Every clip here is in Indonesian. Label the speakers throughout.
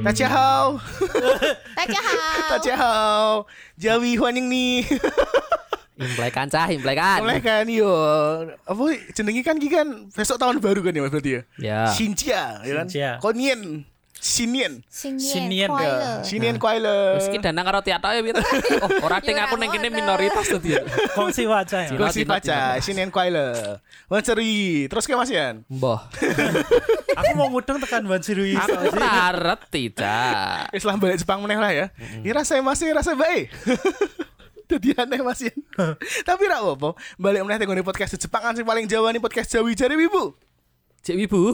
Speaker 1: 大家好，
Speaker 2: 大家好，
Speaker 1: 大家好，Jawi欢迎nih.
Speaker 3: Implekan cah, implekan.
Speaker 1: Oleh kan yo, apa jenenge kan iki kan besok tahun baru kan ya Mas berarti ya.
Speaker 3: Ya.
Speaker 1: Shinjia ya kan.
Speaker 4: Shinjia.
Speaker 1: Konien, Shinien.
Speaker 2: 新
Speaker 4: 新
Speaker 2: 年
Speaker 3: ya.
Speaker 4: 年
Speaker 2: 快
Speaker 4: 的
Speaker 2: 乐！
Speaker 1: Shinien Kwaile.
Speaker 3: Wis ki danang karo tiatoke piye? Oh, ora ting
Speaker 1: Iya,
Speaker 3: aku ning kene minoritas to dia.
Speaker 4: 恭喜发财啊！
Speaker 1: Gosip
Speaker 3: Cina, Cina,
Speaker 1: aja, Shinien Kwaile. Menceri. Terus ke Mas Yan?
Speaker 3: Mbah.
Speaker 4: aku mau mudeng tekan ban
Speaker 1: Iya,
Speaker 4: sirui
Speaker 3: Aku taret tidak.
Speaker 1: Islam balik Jepang meneh lah ya. Ini rasanya masih rasa baik. Jadi aneh Mas Yan. Tapi ra apa, balik meneh tengok di podcast Jepang kan sing paling Jawa nih podcast Jawi jare Wibu.
Speaker 3: Cek Wibu.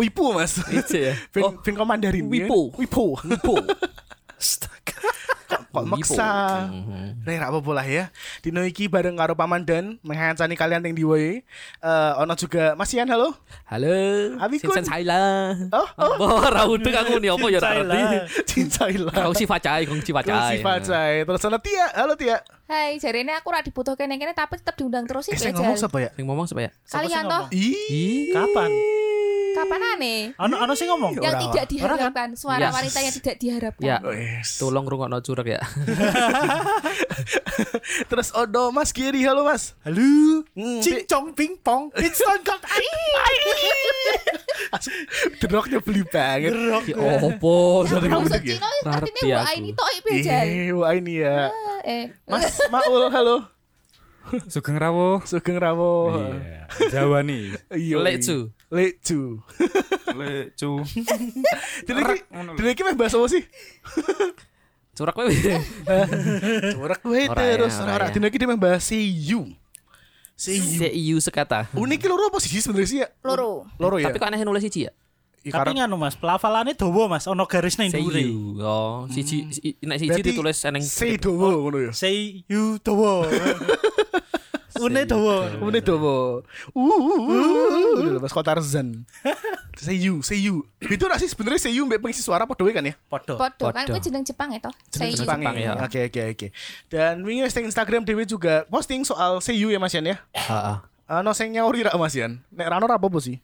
Speaker 1: Wipu Mas.
Speaker 3: Ije ya?
Speaker 1: Vin,
Speaker 3: Oh.
Speaker 1: Vin Komandarin. ya.
Speaker 3: Wipo.
Speaker 1: Wipo.
Speaker 3: Wibu. Astaga.
Speaker 1: kok
Speaker 3: Wipo. Mm-hmm.
Speaker 1: maksa.
Speaker 3: Mhm.
Speaker 1: Nek ra apa-apa lah ya. Dino iki bareng karo Paman Dan menghancani kalian yang diwae. Eh ono juga Mas Ian halo.
Speaker 3: Halo.
Speaker 1: Abi kun.
Speaker 3: Sinsen Saila.
Speaker 1: Oh, oh.
Speaker 3: Mbah, ora udeng aku nih apa ya ora ngerti. Kau
Speaker 1: Cincailah.
Speaker 3: si facai, kau si
Speaker 1: Kursi
Speaker 3: facai.
Speaker 1: Pacai. Terus ono Tia. Halo Tia.
Speaker 2: Hai, jadi ini aku ora dibutuhkan yang ini tapi tetap diundang terus
Speaker 1: Eh,
Speaker 2: sih.
Speaker 1: saya
Speaker 2: Jal.
Speaker 1: ngomong siapa ya?
Speaker 3: Sing ngomong supaya.
Speaker 2: Kalian
Speaker 4: Siapa sih
Speaker 2: toh
Speaker 1: Ih.
Speaker 3: Ih.
Speaker 4: kapan
Speaker 2: kapan aneh?
Speaker 4: ano ano sih ngomong
Speaker 2: Yang
Speaker 1: Ora,
Speaker 2: tidak diharapkan, suara
Speaker 3: Yes.
Speaker 2: wanita yang tidak diharapkan.
Speaker 3: Iya.
Speaker 1: Oh,
Speaker 3: Ya.
Speaker 1: Wes.
Speaker 3: Tolong rungokno curek ya.
Speaker 1: Terus Odo Mas Giri. Halo Mas.
Speaker 4: halo
Speaker 1: Hmm,
Speaker 4: cing cong ping pong it's on god
Speaker 1: Deroknya beli banget.
Speaker 3: Ki opo
Speaker 2: Aku
Speaker 3: jare
Speaker 1: ngomong
Speaker 2: maksud
Speaker 1: iki.
Speaker 2: Cino artinya
Speaker 3: Ngerti
Speaker 2: Bu
Speaker 3: aku.
Speaker 2: Aini toh ibu Jal.
Speaker 1: gitu ya. Ih, wah ini ya.
Speaker 2: Eh,
Speaker 1: Mas Maul, halo.
Speaker 5: Sugeng Rawo.
Speaker 1: Sugeng Rawo.
Speaker 5: Iya, Jawa nih.
Speaker 1: Iya.
Speaker 3: Lecu.
Speaker 1: Lecu.
Speaker 5: Lecu.
Speaker 1: Dene iki, dene iki meh bahas apa sih?
Speaker 3: Curek kowe.
Speaker 1: Corak gue
Speaker 3: Ora ya,
Speaker 1: terus
Speaker 3: ora
Speaker 1: ora
Speaker 3: ya.
Speaker 1: dino iki dia membahas see you. See you.
Speaker 3: CIU sekata.
Speaker 1: Unik iki loro apa sih sebenarnya sih ya?
Speaker 2: loro.
Speaker 1: Loro ya.
Speaker 3: Tapi kok aneh nulis siji ya?
Speaker 1: Ya,
Speaker 4: tapi
Speaker 1: karena-
Speaker 4: nganu mas pelafalannya dobo mas ono garis neng duri
Speaker 3: CIU. Oh, siji si- nek siji
Speaker 1: berarti
Speaker 3: ditulis eneng
Speaker 1: see dowo ngono ya.
Speaker 4: say you dobo une dobo
Speaker 1: Unik dowo. Uh, uh, uh, uh, uh, Mas Kotarzan. See you, see you. Itu ora sih sebenarnya see you mbek pengisi suara padha wae kan ya?
Speaker 4: podo
Speaker 2: Podo kan
Speaker 3: Podo.
Speaker 2: gue jeneng Jepang ya toh.
Speaker 1: Jeneng
Speaker 2: Seiyu.
Speaker 1: Jepang
Speaker 3: Jepang,
Speaker 1: ya.
Speaker 3: ya.
Speaker 1: Oke, oke, oke. Dan wingi wis teng Instagram Dewi juga posting soal see you ya Mas Yan ya.
Speaker 3: Heeh.
Speaker 1: Ano sing nyauri ra Mas Yan? Nek rano ra apa-apa sih?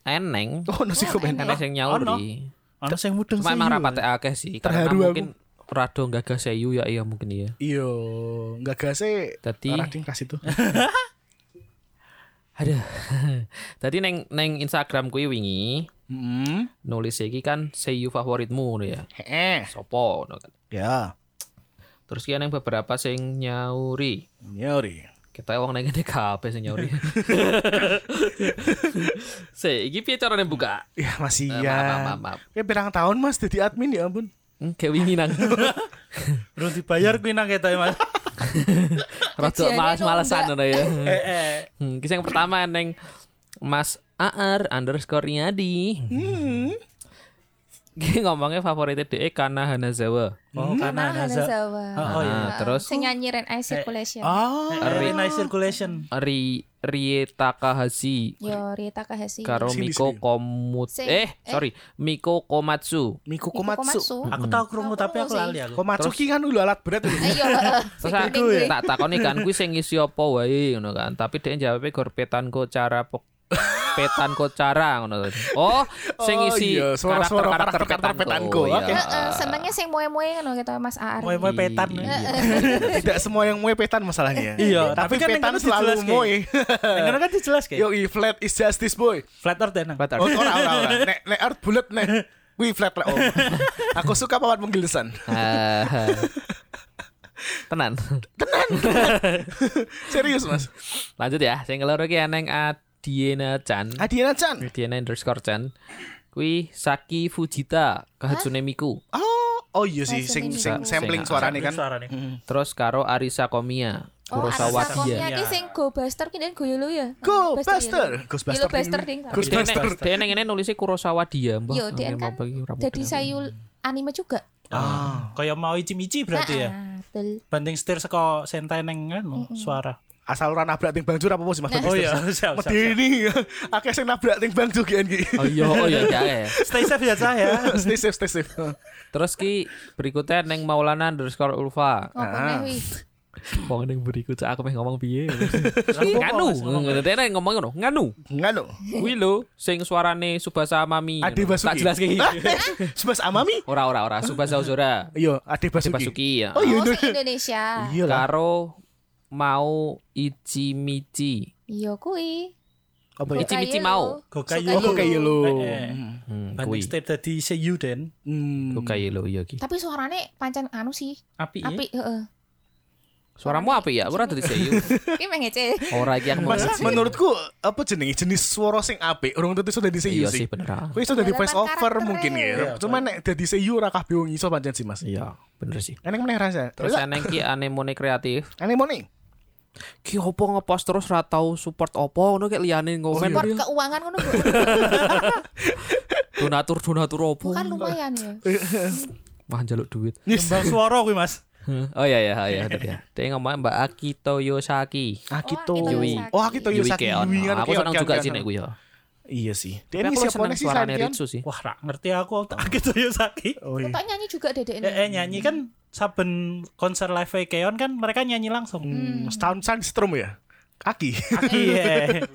Speaker 3: Eneng.
Speaker 1: Oh, no sih komen.
Speaker 3: Eneng sing
Speaker 4: Ono.
Speaker 3: nyauri.
Speaker 4: ono sing mudeng
Speaker 3: Cuma
Speaker 4: say
Speaker 3: emang
Speaker 4: you.
Speaker 3: rapat ya? akeh sih.
Speaker 1: Terharu
Speaker 3: Karena
Speaker 1: aku.
Speaker 3: mungkin Rado gagah CIU ya iya mungkin ya.
Speaker 1: Iya, enggak gase.
Speaker 3: Tadi-
Speaker 1: Ora ding kasih tuh.
Speaker 3: Aduh. Tadi neng neng Instagram kuwi wingi
Speaker 1: Heeh.
Speaker 3: nulis iki kan CIU favoritmu ngono ya.
Speaker 1: Heeh.
Speaker 3: Sopo ngono kan.
Speaker 1: Ya,
Speaker 3: Terus ki neng beberapa sing nyauri.
Speaker 1: nyori.
Speaker 3: Kita wong neng ngene kabeh sing nyauri. Se, iki piye carane buka?
Speaker 1: Ya masih
Speaker 3: Eh,
Speaker 1: ya.
Speaker 3: maaf, maaf, maaf.
Speaker 1: Ya pirang tahun Mas jadi admin ya ampun.
Speaker 3: Hmm, Kayak wingi nang.
Speaker 4: belum dibayar kuwi nang ketoke mas
Speaker 3: Rada
Speaker 2: Kerjaannya
Speaker 3: males-malesan ngono ya.
Speaker 4: eh eh
Speaker 3: Hmm, kisah yang pertama neng Mas Aar underscore Yadi.
Speaker 2: Hmm.
Speaker 3: Ki ngomongnya favoritnya DE karena Hanazawa.
Speaker 2: Nah,
Speaker 4: oh karena
Speaker 2: Hana
Speaker 4: Naza
Speaker 2: Zawa.
Speaker 4: oh oh, iya
Speaker 3: Nah, terus
Speaker 2: Sing nyanyi Ren Ice Circulation.
Speaker 1: Ah,
Speaker 4: Very nice circulation
Speaker 3: Ri Rie Takahashi
Speaker 2: Yo Rita Kahasi.
Speaker 3: karo
Speaker 1: Sini,
Speaker 3: Miko
Speaker 1: sini.
Speaker 3: Komut
Speaker 2: Sing- eh.
Speaker 3: eh sorry Miko Komatsu.
Speaker 1: Miku Komatsu.
Speaker 2: Komatsu.
Speaker 4: aku tahu krungu tapi aku
Speaker 2: Krungu
Speaker 4: lali aku
Speaker 1: Komatsu ki kan dulu alat berat itu.
Speaker 2: Ayo, heeh.
Speaker 3: Terus
Speaker 2: Sing
Speaker 3: aku
Speaker 1: ya?
Speaker 2: penting gue.
Speaker 3: tak takoni kan kuwi sing ngisi apa wae ngono kan. Tapi dia jawabnya gor petanko cara pok- petanko cara ngono. Oh, sing
Speaker 1: Oh,
Speaker 3: ngisi
Speaker 1: iya, suara-suara
Speaker 3: karakter-karakter
Speaker 1: karakter-karakter
Speaker 3: petanko.
Speaker 1: petanko.
Speaker 3: Iya.
Speaker 1: Oke.
Speaker 2: Heeh, senengnya sing moe-moe ngono gitu Mas Aar.
Speaker 4: moe moe petan
Speaker 3: Iya.
Speaker 1: Tidak semua yang moe petan masalahnya. tapi,
Speaker 4: Iya, tapi kan yang
Speaker 1: petan
Speaker 4: kan
Speaker 1: selalu
Speaker 4: dijelaske.
Speaker 1: moe.
Speaker 4: Karena kan dijelas kayak
Speaker 1: Yo, flat is justice boy.
Speaker 4: flat earth ya nang
Speaker 3: Petan.
Speaker 1: Oh, ora ora ora. Nek nek art bulat nek Wih flat lah om. Aku suka pawan penggelesan.
Speaker 3: Ah. Tenan.
Speaker 1: Serius mas.
Speaker 3: Lanjut ya, sing keloro ki eneng Adiena Chan.
Speaker 1: Adiana Chan.
Speaker 3: Adiena underscore Chan. Kui Saki Fujita Kahatsune Miku.
Speaker 1: Oh, oh iya sih.
Speaker 2: Bahasa
Speaker 1: Sing sing
Speaker 3: Indonesia.
Speaker 1: sampling
Speaker 3: Sing-
Speaker 1: suarane kan.
Speaker 4: suara nih
Speaker 3: Terus karo Arisa Komiya
Speaker 2: Oh,
Speaker 3: Kurosawa
Speaker 2: anak
Speaker 3: Dia.
Speaker 2: sakonya ki sing Go Buster ki den goyo lu ya.
Speaker 1: Go Buster.
Speaker 2: Buster. Yellow Buster ding.
Speaker 1: Ghostbuster. Ghostbuster.
Speaker 3: Dia neng ini nulisnya Kurosawa Dia, Mbah.
Speaker 2: Yo, dia kan jadi sayul anime juga.
Speaker 1: Ah,
Speaker 4: kayak mau icim-ici berarti ya
Speaker 2: Nah, betul.
Speaker 4: banding setir seko sentai neng anu suara
Speaker 1: asal ora nabrak ting banjur apa apa sih Mas
Speaker 4: oh iya siap siap, siap
Speaker 1: Medeni akeh sing nabrak ting banjur ki iki.
Speaker 3: Oh iya, oh iya, iya, iya.
Speaker 4: stay safe ya cah ya
Speaker 1: Stay safe, stay safe. Ah.
Speaker 3: Terus ki berikutnya neng Maulana underscore Ulfa.
Speaker 2: Ngopo neh wi.
Speaker 3: Wong ning buriku cak aku meh ngomong piye.
Speaker 4: Aku
Speaker 3: Nganu,
Speaker 4: kok ngomong
Speaker 3: ngono dene ngomong ngono, nganu.
Speaker 1: Nganu.
Speaker 3: Kuwi lho sing suarane Subasa Mami.
Speaker 1: Ade
Speaker 3: ngono. Iya, Tak
Speaker 1: Basuki.
Speaker 3: jelas iki.
Speaker 1: Sebas Amami.
Speaker 3: Ora ora ora Subasa Ozora.
Speaker 1: Iya, Ade
Speaker 3: Si
Speaker 1: Basuki.
Speaker 3: Basuki ya.
Speaker 1: Oh iya.
Speaker 2: Oh,
Speaker 1: itu.
Speaker 2: sing Indonesia.
Speaker 4: Ah,
Speaker 1: Iya lah.
Speaker 3: Karo mau Ichimichi.
Speaker 2: Iya kuwi.
Speaker 1: Apa ya?
Speaker 3: Ichi- Ichimichi mau.
Speaker 4: Gokayu.
Speaker 1: Oh, kok kayak lo.
Speaker 4: Eh, eh.
Speaker 3: Hmm,
Speaker 4: Banding
Speaker 3: kuwi.
Speaker 4: step tadi seyu den.
Speaker 1: Hmm.
Speaker 3: Kok kaya lho iya iki.
Speaker 2: Tapi suarane pancen anu sih,
Speaker 4: Api.
Speaker 2: apik heeh.
Speaker 3: Suaramu apik ya? Ora dadi seyu.
Speaker 2: Ki meh ngece.
Speaker 3: Ora iki aku mau.
Speaker 1: Mas,
Speaker 3: ngisi.
Speaker 1: menurutku apa jenenge jenis suara sing apik urung tentu sudah di
Speaker 3: Iya
Speaker 1: seiyu
Speaker 3: sih
Speaker 1: sih.
Speaker 3: bener. ah.
Speaker 1: Kuwi sudah di
Speaker 2: Dalaman
Speaker 1: voice over
Speaker 2: karakternya.
Speaker 1: mungkin
Speaker 4: Iya,
Speaker 1: ya. Cuman nek dadi seiyu ora kabeh wong iso pancen sih Mas.
Speaker 3: Iya, bener sih.
Speaker 1: Enek meneh rasa.
Speaker 3: Terus
Speaker 1: Terus
Speaker 3: eneng ki anemone kreatif.
Speaker 1: ane moni.
Speaker 3: Ki opo ngepost terus ra tau support opo ngono kek liyane
Speaker 1: Oh, iya.
Speaker 3: komen.
Speaker 2: Support keuangan ngono Bu.
Speaker 3: Donatur donatur opo.
Speaker 2: kan lumayan ya.
Speaker 3: Wah njaluk duit.
Speaker 4: Kembang suara kuwi Mas.
Speaker 3: Oh iya iya iya bener ya. Dia ngomong Mbak Akito Yosaki.
Speaker 1: Akito.
Speaker 2: Akito
Speaker 3: Yui.
Speaker 1: Oh, Akito
Speaker 3: Yui
Speaker 1: Yosaki
Speaker 3: Keon.
Speaker 1: Yui kan.
Speaker 3: Aku
Speaker 1: Keon,
Speaker 3: seneng
Speaker 1: Keon,
Speaker 3: juga
Speaker 1: Keon,
Speaker 3: sih nek
Speaker 1: Keon.
Speaker 3: kuwi ya.
Speaker 1: Iya sih.
Speaker 3: Tapi
Speaker 1: Dia ini
Speaker 3: aku
Speaker 1: siapa
Speaker 3: seneng
Speaker 1: nih sih
Speaker 3: suarane
Speaker 1: Sandian?
Speaker 3: Ritsu sih.
Speaker 4: Wah, ra ngerti aku Akito Yosaki.
Speaker 1: Oh iya.
Speaker 2: Tok nyanyi juga Dedek
Speaker 4: Eh, eh
Speaker 2: ini.
Speaker 4: nyanyi kan saben konser live Keon kan mereka nyanyi langsung.
Speaker 1: Hmm, Sound Sandstrom ya. Aki.
Speaker 4: Iya.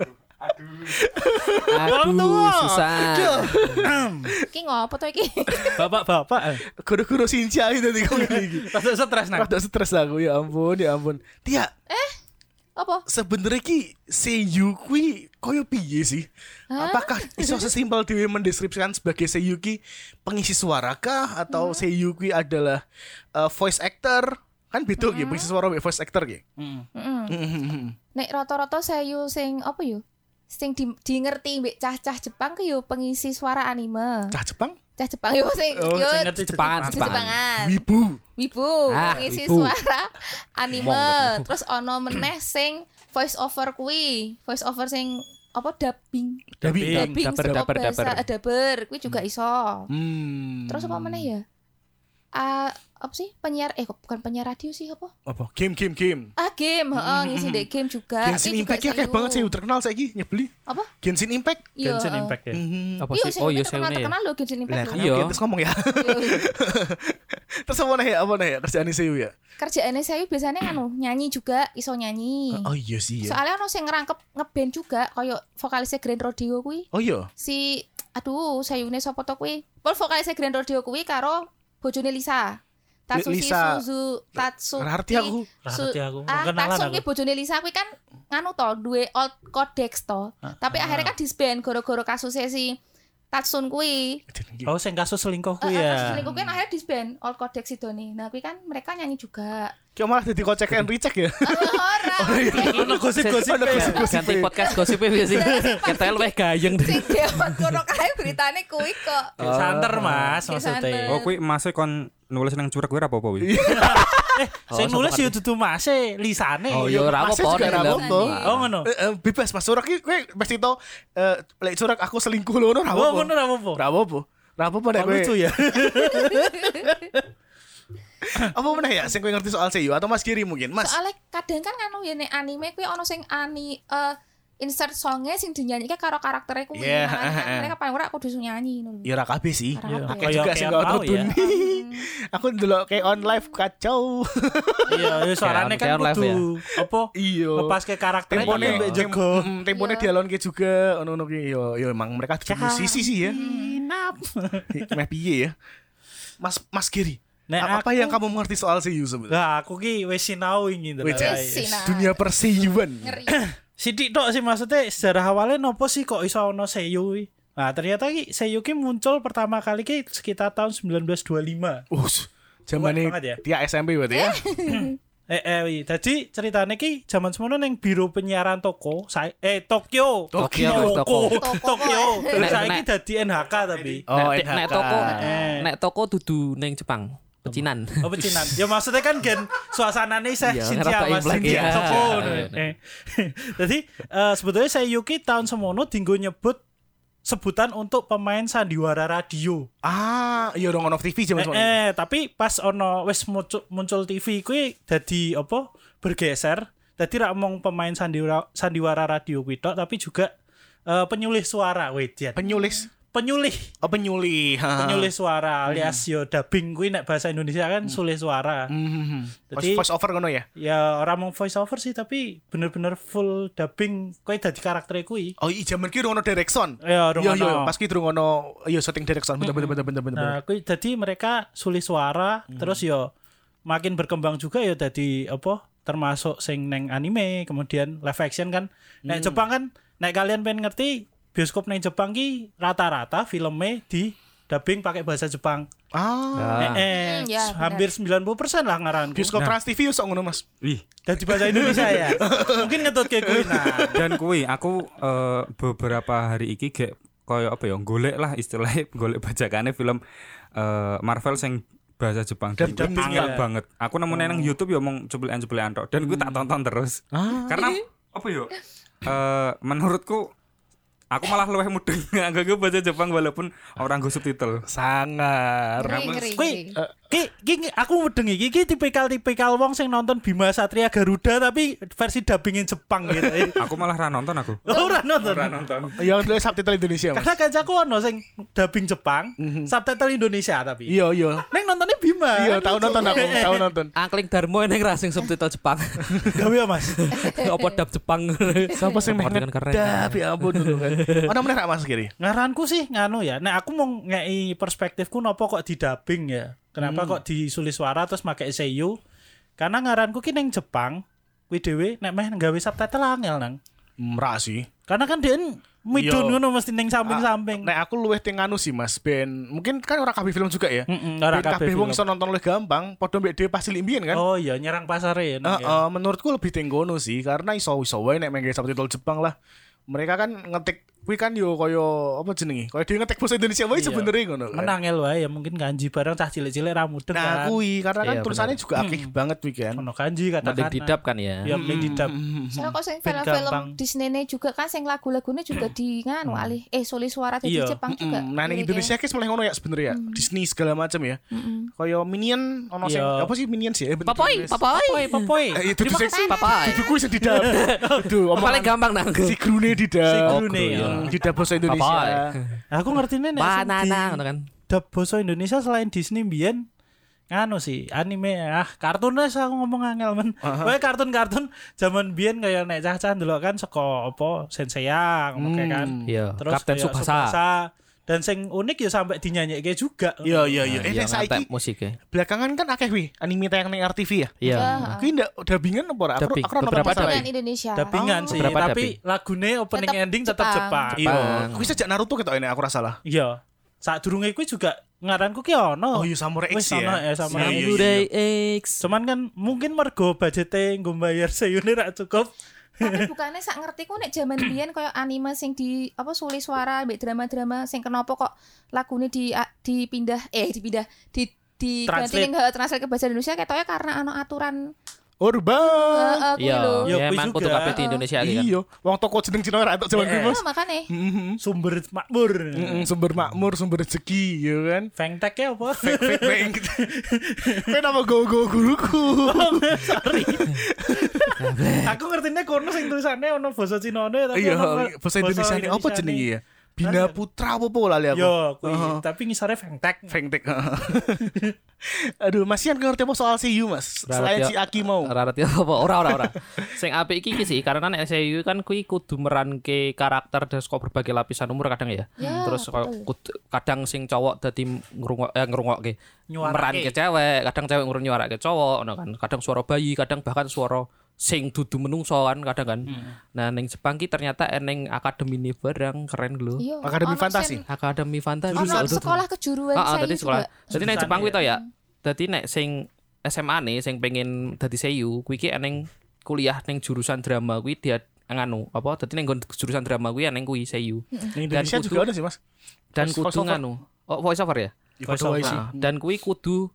Speaker 3: Aduh, susah.
Speaker 2: Ki ngopo to iki?
Speaker 4: Bapak-bapak. eh.
Speaker 1: Guru-guru Shinsha itu tadi kok ngene iki.
Speaker 4: Rasa stres
Speaker 3: Nah.
Speaker 4: nang.
Speaker 1: Rada stres aku ya ampun ya ampun. Tia,
Speaker 2: Apa?
Speaker 1: sebenarnya ki seiyu kuwi koyo piye sih? Apakah iso sesimpel dhewe mendeskripsikan sebagai seiyu ki pengisi suara kah atau seiyu kuwi adalah uh, voice actor? Kan beda ki pengisi suara mbek voice actor Hmm, ki.
Speaker 4: Mm.
Speaker 2: Heeh.
Speaker 1: Heeh.
Speaker 2: Nek rata-rata seyu sing apa yo? Sing di, di ngerti mbek cah-cah Jepang ki yo pengisi suara anime.
Speaker 1: Cah Jepang?
Speaker 2: Cah Jepang yo sing
Speaker 1: Oh,
Speaker 2: yo
Speaker 4: Sing ngerti
Speaker 2: di
Speaker 3: Jepangan, Jepang.
Speaker 2: Jepangan.
Speaker 1: Wibu.
Speaker 2: Wibu
Speaker 3: Ah,
Speaker 2: ngisi
Speaker 3: Wibu.
Speaker 2: suara anime
Speaker 3: Ngomong.
Speaker 2: terus ono meneh sing voice over kuwi voice over sing apa dubbing
Speaker 1: Dabi.
Speaker 4: Dubbing.
Speaker 2: dubbing
Speaker 3: Dapper,
Speaker 2: saka
Speaker 3: dapper,
Speaker 2: bahasa Eh,
Speaker 3: dapper.
Speaker 2: dapper kuwi juga iso
Speaker 1: Hmm.
Speaker 2: terus apa meneh ya Ah, apa sih penyiar eh kok bukan penyiar radio sih apa
Speaker 1: Apa? Game game game.
Speaker 2: ah game heeh ngisi dek game juga
Speaker 1: Genshin
Speaker 2: Kuwi juga
Speaker 1: Impact ya kayak
Speaker 2: seyu.
Speaker 1: banget sih terkenal saiki nyebeli.
Speaker 2: apa
Speaker 1: Genshin Impact.
Speaker 2: iya
Speaker 4: Genshin Impact ya.
Speaker 1: Mhm.
Speaker 3: Apa
Speaker 2: Iya,
Speaker 3: sih? Oh,
Speaker 2: Seune
Speaker 3: iya
Speaker 2: terkenal
Speaker 3: seune ya.
Speaker 2: terkenal loh Genshin
Speaker 1: Lah
Speaker 2: Impact
Speaker 1: kan
Speaker 2: loh.
Speaker 3: Iya.
Speaker 1: aku terus ngomong ya. terus apa nih ya? Apa nih ya? Kerjaan sih ya?
Speaker 2: kerjaannya saya biasanya anu nyanyi juga iso nyanyi
Speaker 1: Oh iya sih ya.
Speaker 2: soalnya ono sing ngerangkep ngeband juga koyo vokalisnya Grand Rodeo kuwi
Speaker 1: Oh iya.
Speaker 2: si aduh sayune sapa to kuwi pol vokalisnya Grand Rodeo kuwi karo bojone Lisa Tatsushi
Speaker 1: Lisa.
Speaker 2: Suzu Tatsu
Speaker 1: Ngerti aku.
Speaker 4: Ra
Speaker 2: Su-
Speaker 4: ngerti aku. Nggak
Speaker 2: Ah,
Speaker 4: kenalan
Speaker 2: Tatsu
Speaker 4: aku.
Speaker 2: ki bojone Lisa kuwi kan nganu to duwe old codex to
Speaker 1: Ah,
Speaker 2: tapi akhirnya kan disband gara-gara kasusnya si Tatsun kuwi
Speaker 4: Oh, sing kasus
Speaker 2: Eh,
Speaker 4: selingkuh kuwi
Speaker 2: eh,
Speaker 4: ya.
Speaker 2: kasus selingkuh kuwi kan akhirnya disband old codex itu nih nah kuwi kan mereka nyanyi juga
Speaker 1: Kayak malah jadi kocek and recheck ya.
Speaker 2: Oh,
Speaker 4: Oh,
Speaker 2: orang
Speaker 4: Ono gosip-gosip.
Speaker 1: Ono
Speaker 4: ya.
Speaker 1: gosip-gosip.
Speaker 3: iya. Ganti podcast gosip ya sih. Ketel weh gayeng.
Speaker 2: sing dia kono kae beritane kuwi kok
Speaker 4: Kayak Santer Mas
Speaker 2: Kayak santer.
Speaker 4: maksudnya.
Speaker 5: Oh, kuwi masih kon nulis nang curug kuwi apa-apa kuwi.
Speaker 4: Sing nulis yo dudu mase lisane.
Speaker 3: Oh, iya ora
Speaker 1: Masih
Speaker 3: apa-apa.
Speaker 1: juga
Speaker 3: nek
Speaker 1: ora
Speaker 3: lho.
Speaker 1: apa-apa.
Speaker 4: Oh ngono.
Speaker 1: Eh, eh, bebas mas surak iki kowe mesti tau eh lek surak aku selingkuh lho ngono ra
Speaker 4: Oh
Speaker 1: apa-apa.
Speaker 4: ngono ra apa-apa.
Speaker 1: Ra apa-apa. Ra apa-apa nek
Speaker 4: Oh,
Speaker 1: kowe.
Speaker 4: Lucu ya.
Speaker 1: Apa meneh ya sing kowe ngerti soal seiyuu atau Mas Giri mungkin? Mas.
Speaker 2: soalnya kadang kan anu ya nek anime kuwi ono sing ani eh, insert songnya sing dinyanyike karo karakternya kuwi
Speaker 4: Iya,
Speaker 1: Yeah,
Speaker 2: Makanya kan
Speaker 1: eh, eh.
Speaker 2: mereka paling ora kudu sing nyanyi ngono lho.
Speaker 1: Ya ra kabeh sih.
Speaker 2: Ra kabeh.
Speaker 1: Akeh juga
Speaker 4: Kayak
Speaker 1: sing
Speaker 4: kayak
Speaker 1: gak
Speaker 4: mau ya.
Speaker 1: tuni. Aku ndelok kayak on live kacau.
Speaker 4: Iya, iya, suarane kan
Speaker 3: Kayak on live ya.
Speaker 4: kudu apa?
Speaker 1: Iya.
Speaker 4: Lepas ke karakter
Speaker 1: Tempone
Speaker 4: mbek
Speaker 1: tem-
Speaker 4: jago.
Speaker 1: mm, Tempone
Speaker 2: Iya.
Speaker 1: dialonke juga ono-ono ki yo yo emang mereka dudu musisi sih ya.
Speaker 4: Inap.
Speaker 1: Meh piye ya? Mas Mas Giri.
Speaker 4: Nek
Speaker 1: a- apa
Speaker 4: aku-
Speaker 1: yang kamu mengerti soal seiyuu sebenarnya?
Speaker 4: Lah aku ki wis sinau ingin
Speaker 1: Wih,
Speaker 2: Wis sinau.
Speaker 1: Dunia persiyuan.
Speaker 2: ngeri
Speaker 4: Sidik tok sih maksudnya sejarah awalnya nopo sih kok iso ono Seiyu. iki? Nah, ternyata ki Seiyu ki muncul pertama kali ki sekitar tahun 1925.
Speaker 1: Us, zamane
Speaker 4: Kuat banget ya.
Speaker 1: dia SMP berarti ya.
Speaker 4: Eh, eh, wi. jadi ceritanya ki zaman semono neng biro penyiaran toko, saya eh Tokyo,
Speaker 3: Tokyo,
Speaker 4: toko,
Speaker 2: Tokyo.
Speaker 4: Tokyo. Terus
Speaker 3: Nek-
Speaker 4: saya ki
Speaker 3: nek- Iya.
Speaker 4: dadi NHK tapi.
Speaker 1: Oh,
Speaker 3: Nek- Nah, Nek
Speaker 1: NHK.
Speaker 3: toko
Speaker 4: Eh.
Speaker 3: nek toko dudu ning Jepang. Pecinan.
Speaker 4: Apa Cina? Ya maksudnya kan gen suasanane saya
Speaker 3: Iya,
Speaker 4: Shinja
Speaker 3: ngerasa
Speaker 4: mas
Speaker 3: Imlek,
Speaker 4: Shinja
Speaker 3: iya.
Speaker 4: toko.
Speaker 3: Iya, iya.
Speaker 4: Eh. Jadi eh, sebetulnya saya Yuki tahun semono dinggo nyebut sebutan untuk pemain sandiwara radio.
Speaker 1: Ah, iya dong on off TV zaman
Speaker 4: Eh,
Speaker 1: semono.
Speaker 4: eh, tapi pas ono wis muncul, muncul TV kuwi dadi apa? Bergeser. Dadi ra mung pemain sandiwara sandiwara radio kuwi tok, tapi juga eh, penyulih suara wedian.
Speaker 1: Penyulis.
Speaker 4: penyulih,
Speaker 1: Oh, penyulih. ha.
Speaker 4: penyulih suara
Speaker 1: Hmm.
Speaker 4: alias yo dubbing kuwi nek bahasa Indonesia kan sulih suara.
Speaker 1: Mhm. Voice,
Speaker 4: Jadi-
Speaker 1: voice over kono ya.
Speaker 4: Ya ora mung voice over sih tapi bener-bener full dubbing kowe dadi karakter kuwi.
Speaker 1: Oh, iya jaman ki durung ono Direction.
Speaker 4: Ya
Speaker 1: Iya, iya,
Speaker 4: rungono.
Speaker 1: pas ki durung ono iya syuting Direction. Bentar, bentar, bentar, bentar, bentar.
Speaker 4: Nah, kuwi dadi mereka sulih suara
Speaker 1: Hmm.
Speaker 4: terus yo makin berkembang juga ya dadi apa termasuk sing neng anime kemudian live action kan.
Speaker 1: Hmm.
Speaker 4: Nek Jepang kan nek kalian pengen ngerti bioskop neng Jepang ki rata-rata filmnya di dubbing pakai bahasa Jepang.
Speaker 1: Ah,
Speaker 3: Nah,
Speaker 4: Eh, eh,
Speaker 2: Hmm, ya,
Speaker 4: hampir 90% lah ngaran.
Speaker 1: bioskop Trans TV yo sok ngono, Mas.
Speaker 5: Wih.
Speaker 4: Dadi bahasa Indonesia ya. Mungkin ngetut kayak kuwi nah.
Speaker 5: Dan kui aku eh, beberapa hari iki gek koyo apa ya golek lah istilahnya golek bajakannya film eh, Marvel sing bahasa Jepang
Speaker 1: Dan
Speaker 5: Jadi
Speaker 1: dubbing
Speaker 5: angel
Speaker 4: ya.
Speaker 5: banget. Aku nemu nang YouTube ya mong cuplian-cuplian tok dan gue tak tonton terus. Karena apa yo? Eh menurutku aku malah luwih mudeng anggo gue baca Jepang walaupun orang gue subtitle.
Speaker 1: Sangar.
Speaker 2: Ngeri, ngeri,
Speaker 4: Kui,
Speaker 2: ngeri.
Speaker 4: ki, ki, ki- aku mudeng iki, ki tipikal-tipikal wong sing nonton Bima Satria Garuda tapi versi dubbingin Jepang gitu.
Speaker 5: Aku malah ra nonton aku.
Speaker 4: Ora nonton.
Speaker 1: Yang dulu Iya, subtitle Indonesia, Mas.
Speaker 4: Karena kancaku ono sing dubbing Jepang, subtitle Indonesia
Speaker 1: Mhm.
Speaker 4: tapi.
Speaker 1: Iya, iya.
Speaker 4: Neng nontonnya Bima.
Speaker 1: Iya,
Speaker 4: kan
Speaker 1: tahu
Speaker 4: lucu.
Speaker 1: nonton aku, tahu nonton.
Speaker 3: Angkling Darmo ini ngerasing subtitle Jepang.
Speaker 4: Gawe ya, Mas.
Speaker 3: Apa dap Jepang.
Speaker 1: Apa sih
Speaker 3: Apa dengan keren?
Speaker 1: Tapi ampun dulu kan. Ono meneh nak Mas Kiri?
Speaker 4: Ngaranku sih nganu ya. Nah, aku mau ngei perspektifku nopo kok di dubbing ya. Kenapa
Speaker 1: Hmm.
Speaker 4: kok disulis suara terus make seiyu? Karena ngaranku ki neng Jepang, kuwi dhewe nek meh nggawe subtitle angel nang.
Speaker 1: Merah sih.
Speaker 4: Karena kan den
Speaker 1: Yo.
Speaker 4: midun ngono mesti neng samping-samping.
Speaker 1: Iya. Ah, Nek aku luwih ting anu sih Mas Ben. Mungkin kan ora kabeh film juga ya.
Speaker 4: Mm-mm,
Speaker 1: Ora
Speaker 4: ora
Speaker 1: kabeh wong
Speaker 4: film.
Speaker 1: iso nonton luwih gampang, padha mbek dhewe pasti limbien kan.
Speaker 4: Oh iya nyerang pasar
Speaker 1: Eh,
Speaker 4: ya. neng ya.
Speaker 1: eh, menurutku lebih tenggono sih karena iso iso wae nek main game subtitle Jepang lah. Mereka kan ngetik kuwi kan yo koyo apa jenenge? Koyo dia ngetik bahasa Indonesia
Speaker 4: Iya.
Speaker 1: wae sebenarnya ngono. kan.
Speaker 4: Menangel wae ya mungkin kanji bareng cah cilik-cilik ra mudeng
Speaker 1: Nah,
Speaker 4: kan.
Speaker 1: kuwi karena kan
Speaker 3: Iya,
Speaker 1: tulisannya juga
Speaker 4: Hmm.
Speaker 1: akeh banget kuwi kan.
Speaker 4: Ono kanji
Speaker 3: Mending
Speaker 4: kata-kata.
Speaker 3: didap kan ya.
Speaker 1: Iya.
Speaker 4: Ya mending didap.
Speaker 1: Hmm.
Speaker 2: Saya kok sing
Speaker 4: Ben hmm, gampang. Hmm.
Speaker 2: film-film Disney ne juga kan sing lagu-lagune juga di nganu alih eh soli suara di
Speaker 4: Iya.
Speaker 2: Jepang juga. iya. Hmm.
Speaker 1: Mm, Nah, ning
Speaker 2: Liriknya.
Speaker 1: Indonesia ki mulai ngono ya sebenarnya ya. Disney segala macam ya.
Speaker 2: Hmm.
Speaker 1: Koyo Minion ono sing
Speaker 4: Iya.
Speaker 1: apa sih Minion sih? Eh, bentar,
Speaker 3: Papoi,
Speaker 1: guys.
Speaker 3: papoi.
Speaker 4: Poi, popoi.
Speaker 1: Eh, itu
Speaker 3: Terima
Speaker 1: tuh
Speaker 3: kasih,
Speaker 1: sing-
Speaker 3: papai.
Speaker 1: Dudu kuwi sing didap. Dudu,
Speaker 3: Paling
Speaker 1: omongan
Speaker 3: gampang nang.
Speaker 1: si Grune didap.
Speaker 4: Si Grune,
Speaker 1: Oh,
Speaker 4: ya.
Speaker 1: Grune. Didap bahasa
Speaker 3: Papai.
Speaker 1: Indonesia.
Speaker 4: Aku ngertine nek sing
Speaker 3: Banana
Speaker 4: di-
Speaker 3: ngono kan.
Speaker 4: dub basa Indonesia selain Disney mbiyen nganu sih anime ah kartun wes aku ngomong angel men Pokoknya kartun-kartun zaman biyen kayak nek cah-cah ndelok kan saka apa Senseiya ngono kayak kan
Speaker 3: Iya,
Speaker 4: terus
Speaker 3: Kapten
Speaker 4: kayak
Speaker 3: Tsubasa.
Speaker 4: dan sing unik ya sampai dinyanyikke juga
Speaker 1: Iya, iya, iya. Eh,
Speaker 3: Iya,
Speaker 1: nek saiki
Speaker 3: ngetek musiknya.
Speaker 1: belakangan kan akeh wi anime tayang ning RTV ya.
Speaker 3: Iya.
Speaker 2: Ah,
Speaker 1: Kuwi ndak dubbingan apa ora? Aku
Speaker 3: Dubbing.
Speaker 1: aku ora nonton
Speaker 3: Beberapa
Speaker 1: masalah.
Speaker 2: dengan Indonesia. Oh.
Speaker 4: dabingan sih
Speaker 3: Beberapa
Speaker 4: tapi lagune opening
Speaker 2: Tetep
Speaker 4: ending tetap
Speaker 2: Jepang.
Speaker 4: Jepang,
Speaker 1: Iya,
Speaker 3: Bang.
Speaker 1: kuwi sejak Naruto ketok ini aku ora salah.
Speaker 4: iya saat durunge kuwi juga ngaranku ki
Speaker 1: Oh,
Speaker 4: ono
Speaker 1: iya Samurai
Speaker 4: Wis
Speaker 1: X
Speaker 4: ono
Speaker 1: ya.
Speaker 4: ya,
Speaker 1: Iya,
Speaker 4: Samurai X.
Speaker 1: iya, iya.
Speaker 3: Samurai X.
Speaker 4: cuman kan mungkin mergo budgetnya nggo bayar seyune ra cukup
Speaker 2: Tapi bukannya sak ngerti ku nek jaman biyen koyo anime sing di apa suli suara mbek drama-drama sing kenapa kok lagune di a- dipindah eh dipindah di di
Speaker 4: Translate.
Speaker 2: ganti ning- translate ke bahasa Indonesia ketoke karena ana aturan
Speaker 1: Orba.
Speaker 2: heeh kuwi
Speaker 3: Iya,
Speaker 2: lho.
Speaker 4: Iya,
Speaker 3: ya
Speaker 4: kuwi
Speaker 3: emang
Speaker 4: juga.
Speaker 3: kutu kabeh di Indonesia iki kan.
Speaker 1: Iya, wong toko jeneng Cina ora entuk jaman kuwi, Mas.
Speaker 2: Nah, makane
Speaker 1: Mhm.
Speaker 4: sumber makmur
Speaker 1: Mm-mm, sumber makmur, sumber rezeki, ya kan?
Speaker 4: Fengteknya ya apa?
Speaker 1: Fake bank. Kowe nama go-go guruku.
Speaker 4: aku ngertinya kono sing tulisannya ono basa Cina tapi
Speaker 1: Iya,
Speaker 4: ono
Speaker 1: bahasa Indonesia ini apa jenenge ya? Bina Putra apa apa lali aku.
Speaker 4: Yo, kui, Iya, tapi ngisore fengtek.
Speaker 1: Fengtek. Aduh, Mas Ian ngerti apa soal CU, Mas? Selain
Speaker 3: ya,
Speaker 1: si Aki mau.
Speaker 3: Ora ngerti apa ya, ora ora ora. Sing apik iki iki sih karena nek SEU kan kuwi kudu meranke karakter terus kok berbagai lapisan umur kadang ya.
Speaker 2: Ya,
Speaker 3: terus kok
Speaker 2: betul.
Speaker 3: kudu- kadang sing cowok dadi ngrungok eh, ngrungokke
Speaker 4: Nyuarake.
Speaker 3: meranke cewek, kadang cewek ngurung nyuarake cowok ngono kan. Kadang suara bayi, kadang bahkan suara sing dudu menungso kan kadang kan.
Speaker 1: Hmm.
Speaker 3: Nah, ning Jepang ki ternyata eneng akademi ini bareng keren lho.
Speaker 2: iya
Speaker 1: Akademi
Speaker 2: ono
Speaker 1: Fantasi.
Speaker 2: sen-
Speaker 3: Akademi fantasi.
Speaker 2: ono sekolah kejuruan
Speaker 3: Heeh,
Speaker 2: saya
Speaker 3: dadi Ah, sekolah.
Speaker 2: juga
Speaker 3: Jadi nek
Speaker 4: Jurusan
Speaker 3: Jepang kuwi
Speaker 4: ya.
Speaker 3: to ya. Dadi nek sing SMA nih sing pengen dadi seiyu kuwi ki eneng kuliah ning jurusan drama kuwi dia nganu apa dadi ning nggon jurusan drama kuwi eneng kuwi seiyu.
Speaker 1: Ning Indonesia
Speaker 3: Dan
Speaker 1: juga ada sih, Mas.
Speaker 3: Dan
Speaker 1: Voice-
Speaker 3: kudu
Speaker 1: voiceover.
Speaker 3: nganu. Oh, voice over ya.
Speaker 2: Hmm.
Speaker 1: Ya, padha wae sih.
Speaker 3: Nah, dan kuwi kudu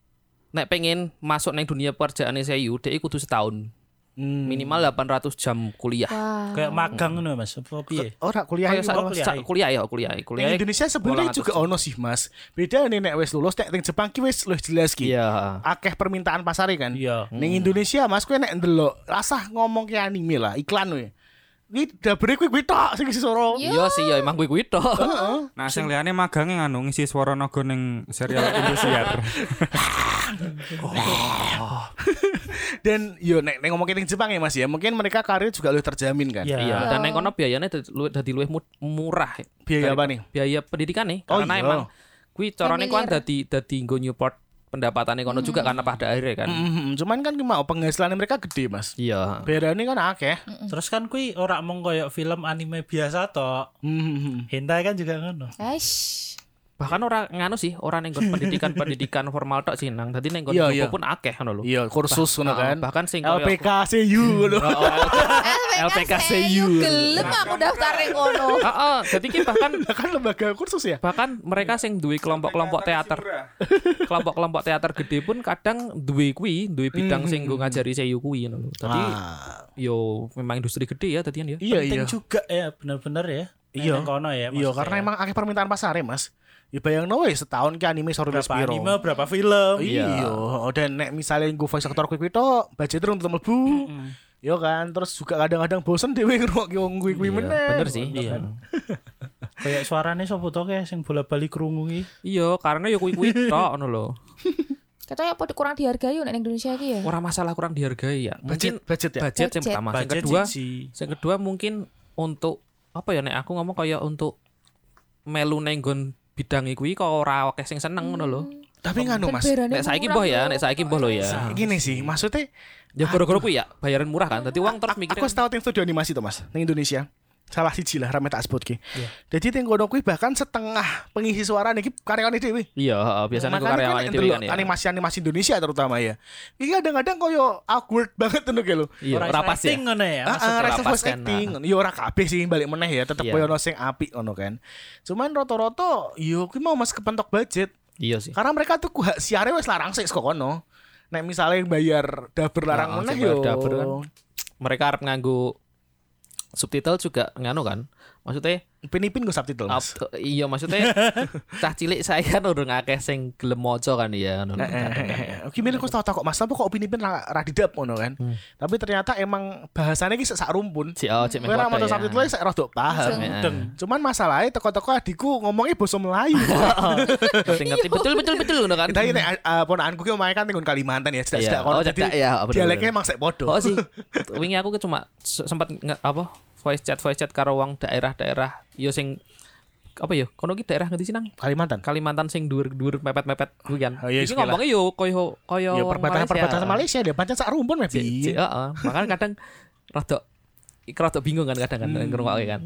Speaker 3: nek pengen masuk ning dunia pekerjaan seiyu dhek kudu setahun.
Speaker 2: Hmm.
Speaker 3: Minimal 800 jam kuliah.
Speaker 2: Wah.
Speaker 4: Hmm.
Speaker 1: Hmm.
Speaker 4: Kayak magang ngono Mas, apa piye?
Speaker 1: Ora Oh, kuliah
Speaker 3: Kayak
Speaker 1: iki,
Speaker 3: sa-
Speaker 1: Mas.
Speaker 4: kuliah.
Speaker 3: sa- kuliah ya, kuliah.
Speaker 1: Ning
Speaker 3: Kuliah.
Speaker 1: Indonesia sebenarnya
Speaker 3: 800.
Speaker 1: juga ono sih, Mas. Beda nih nek wis lulus, nek teng Jepang ki wis luwih jelas ki.
Speaker 3: Iya. Hmm.
Speaker 1: Akeh permintaan pasare kan.
Speaker 4: Iya.
Speaker 1: Ning Indonesia Mas kowe nek ndelok rasah ngomong ke anime lah, iklan we. Ini dabere kuwi kuwi tok sing isi suara.
Speaker 3: Iya sih ya emang gue kuwi
Speaker 2: Iya.
Speaker 3: tok.
Speaker 5: Nah, sing liyane magange nganu ngisi swara naga ning serial Indosiar.
Speaker 1: Dan yo nek, nek ngomongin yang Jepang ya Mas ya, mungkin mereka karir juga lebih terjamin kan.
Speaker 4: Iya.
Speaker 3: Iya,
Speaker 2: Iya.
Speaker 3: dan yang kono biayanya dadi luwih- dadi luwih mu- murah.
Speaker 1: Biaya
Speaker 3: Dari-
Speaker 1: apa nih?
Speaker 3: Biaya pendidikan nih,
Speaker 1: Oh,
Speaker 3: karena
Speaker 1: iya.
Speaker 3: emang kuwi carane kan
Speaker 2: Familiar.
Speaker 3: dadi dadi nggo Newport pendapatannya kono juga karena pada akhirnya kan.
Speaker 1: Mhm, cuman kan mau penghasilannya mereka gede, Mas.
Speaker 3: Iya.
Speaker 1: Berani kan akeh.
Speaker 4: Terus kan kui ora mung koyo film anime biasa tok.
Speaker 1: Mhm.
Speaker 4: Hentai kan juga ngono.
Speaker 2: Aish.
Speaker 3: Bahkan orang nganu sih, orang yang pendidikan-pendidikan formal tok sih nang. Dadi neng
Speaker 1: Iya,
Speaker 3: nggon
Speaker 1: iya.
Speaker 3: pun akeh ngono lho.
Speaker 1: Iya, kursus ngono
Speaker 3: Nah,
Speaker 1: kan.
Speaker 3: Bahkan sing koyo-
Speaker 1: LPK CU ngono.
Speaker 3: LPKCU.
Speaker 2: Gelem aku daftar yang kono.
Speaker 3: Heeh, dadi ki bahkan
Speaker 1: Kan lembaga kursus ya?
Speaker 3: bahkan mereka sing duwe kelompok-kelompok teater kelompok-kelompok teater gede pun kadang duwe kuwi duwe bidang sing nggo ngajari seyu kuwi ngono lho. Dadi
Speaker 1: Hmm. Ah,
Speaker 3: yo memang industri gede ya tadi ya.
Speaker 1: iya
Speaker 4: Penting
Speaker 1: iya.
Speaker 4: juga ya bener-bener ya. Nek
Speaker 1: Iya.
Speaker 4: nang kono ya.
Speaker 1: Iya, karena emang akeh permintaan pasar ya, Mas. Ya bayangno wis setahun ki anime sore wis
Speaker 4: berapa
Speaker 1: piro.
Speaker 4: anime, berapa film.
Speaker 1: Iya, dan nek misalnya gue voice actor kuwi tok, budget rung tetep mlebu. Iya kan, terus juga kadang-kadang bosen dhewe ngrungokke wong kuwi-kuwi
Speaker 3: Iya,
Speaker 1: meneh.
Speaker 3: Bener sih. Iya.
Speaker 4: Kayak suarane sapa to kayak sing bola-bali krungu iki.
Speaker 3: Iya, karena yo kuwi-kuwi tok ngono lho.
Speaker 2: Katanya apa kurang dihargai yo nek ning Indonesia iki ya.
Speaker 3: Ora masalah kurang dihargai ya. Mungkin
Speaker 1: Budget budget ya.
Speaker 3: budget yang
Speaker 2: Budget.
Speaker 3: pertama, yang
Speaker 4: Budget
Speaker 3: kedua,
Speaker 4: siji.
Speaker 3: yang kedua mungkin untuk apa ya nek aku ngomong kayak untuk melu nenggon bidang iku kok ora akeh sing seneng ngono lho.
Speaker 1: Tapi nganu
Speaker 2: Kan
Speaker 1: Mas,
Speaker 3: Nek saiki boh ya, nek saiki boh lho ya.
Speaker 1: gini sih, maksudnya
Speaker 3: Ya gara-gara kuwi ya bayaran murah kan. Dadi wong terus mikir
Speaker 1: aku wis tau tim studio animasi tuh Mas, ning Indonesia. Salah siji lah rame tak sebut ki.
Speaker 3: Iya.
Speaker 1: Jadi teng kono kuwi bahkan setengah pengisi suara niki karyawane dhewe.
Speaker 3: Iya, heeh, biasanya ku
Speaker 1: Makanya
Speaker 3: karyawannya
Speaker 1: kan
Speaker 3: dhewe
Speaker 1: ndelok
Speaker 3: kan ya.
Speaker 1: Animasi-animasi Indonesia terutama ya. Iki kadang-kadang koyo awkward banget ngono ki lho.
Speaker 3: Iya,
Speaker 4: Ora
Speaker 3: rapas ya.
Speaker 4: acting ngono ya.
Speaker 1: Heeh,
Speaker 3: maksudnya
Speaker 1: rasis
Speaker 3: lapas
Speaker 1: voice
Speaker 3: kan,
Speaker 1: acting. Yo ora kabeh sih balik meneh ya, tetep
Speaker 3: Iya.
Speaker 1: koyo ono sing apik ngono kan. Cuman rata-rata yo kuwi mau Mas kepentok budget.
Speaker 3: Iya sih.
Speaker 1: Karena mereka tuh hak siare wis larang sih kok kono. Nek misalnya yang bayar daber
Speaker 3: Ah,
Speaker 1: larang meneh
Speaker 3: sing bayar
Speaker 1: yo.
Speaker 3: daber kan. Mereka arep nganggo subtitle juga nganu kan. Maksudnya
Speaker 1: Pinipin gue subtitle Mas.
Speaker 3: Ab- iya maksudnya cah cilik saya kan urung akeh sing gelem maca kan ya ngono.
Speaker 1: Oke, milih aku tau kok Mas, tapi kok pinipin ra ra didap ngono kan.
Speaker 3: Hmm.
Speaker 1: Tapi ternyata emang bahasanya iki sak rumpun.
Speaker 3: Si oh, cek
Speaker 1: Kowe ra maca subtitle sak rodok paham.
Speaker 3: Eh.
Speaker 1: Cuman masalahnya teko-teko adikku ngomongnya boso Melayu.
Speaker 3: ngerti betul betul betul ngono kan.
Speaker 1: Kita ini uh, ponakanku ki omahe kan tinggal Kalimantan ya,
Speaker 3: Iya.
Speaker 1: cedak-cedak kono.
Speaker 3: Oh, cedak
Speaker 1: Jadi
Speaker 3: ya, bener-bener.
Speaker 1: Dialeknya emang sek podo.
Speaker 3: Oh sih. Wingi aku ke cuma se- sempat nge- apa voice chat voice chat karo wong daerah-daerah yo sing apa yo kono ki daerah ngendi sih nang
Speaker 1: Kalimantan.
Speaker 3: Kalimantan sing dhuwur-dhuwur mepet-mepet kuwi kan.
Speaker 1: Oh, iya,
Speaker 3: Iki
Speaker 1: sekilah.
Speaker 3: ngomongnya yo koyo koyo
Speaker 1: Ya perbatasan perbatasan Malaysia dia pancen sak rumpun Iya. meh.
Speaker 3: Cek-
Speaker 1: Bi.
Speaker 3: cek, heeh. Makanya kadang rada iki rada bingung kan kadang kan
Speaker 1: Hmm.
Speaker 3: ngrungokke kan.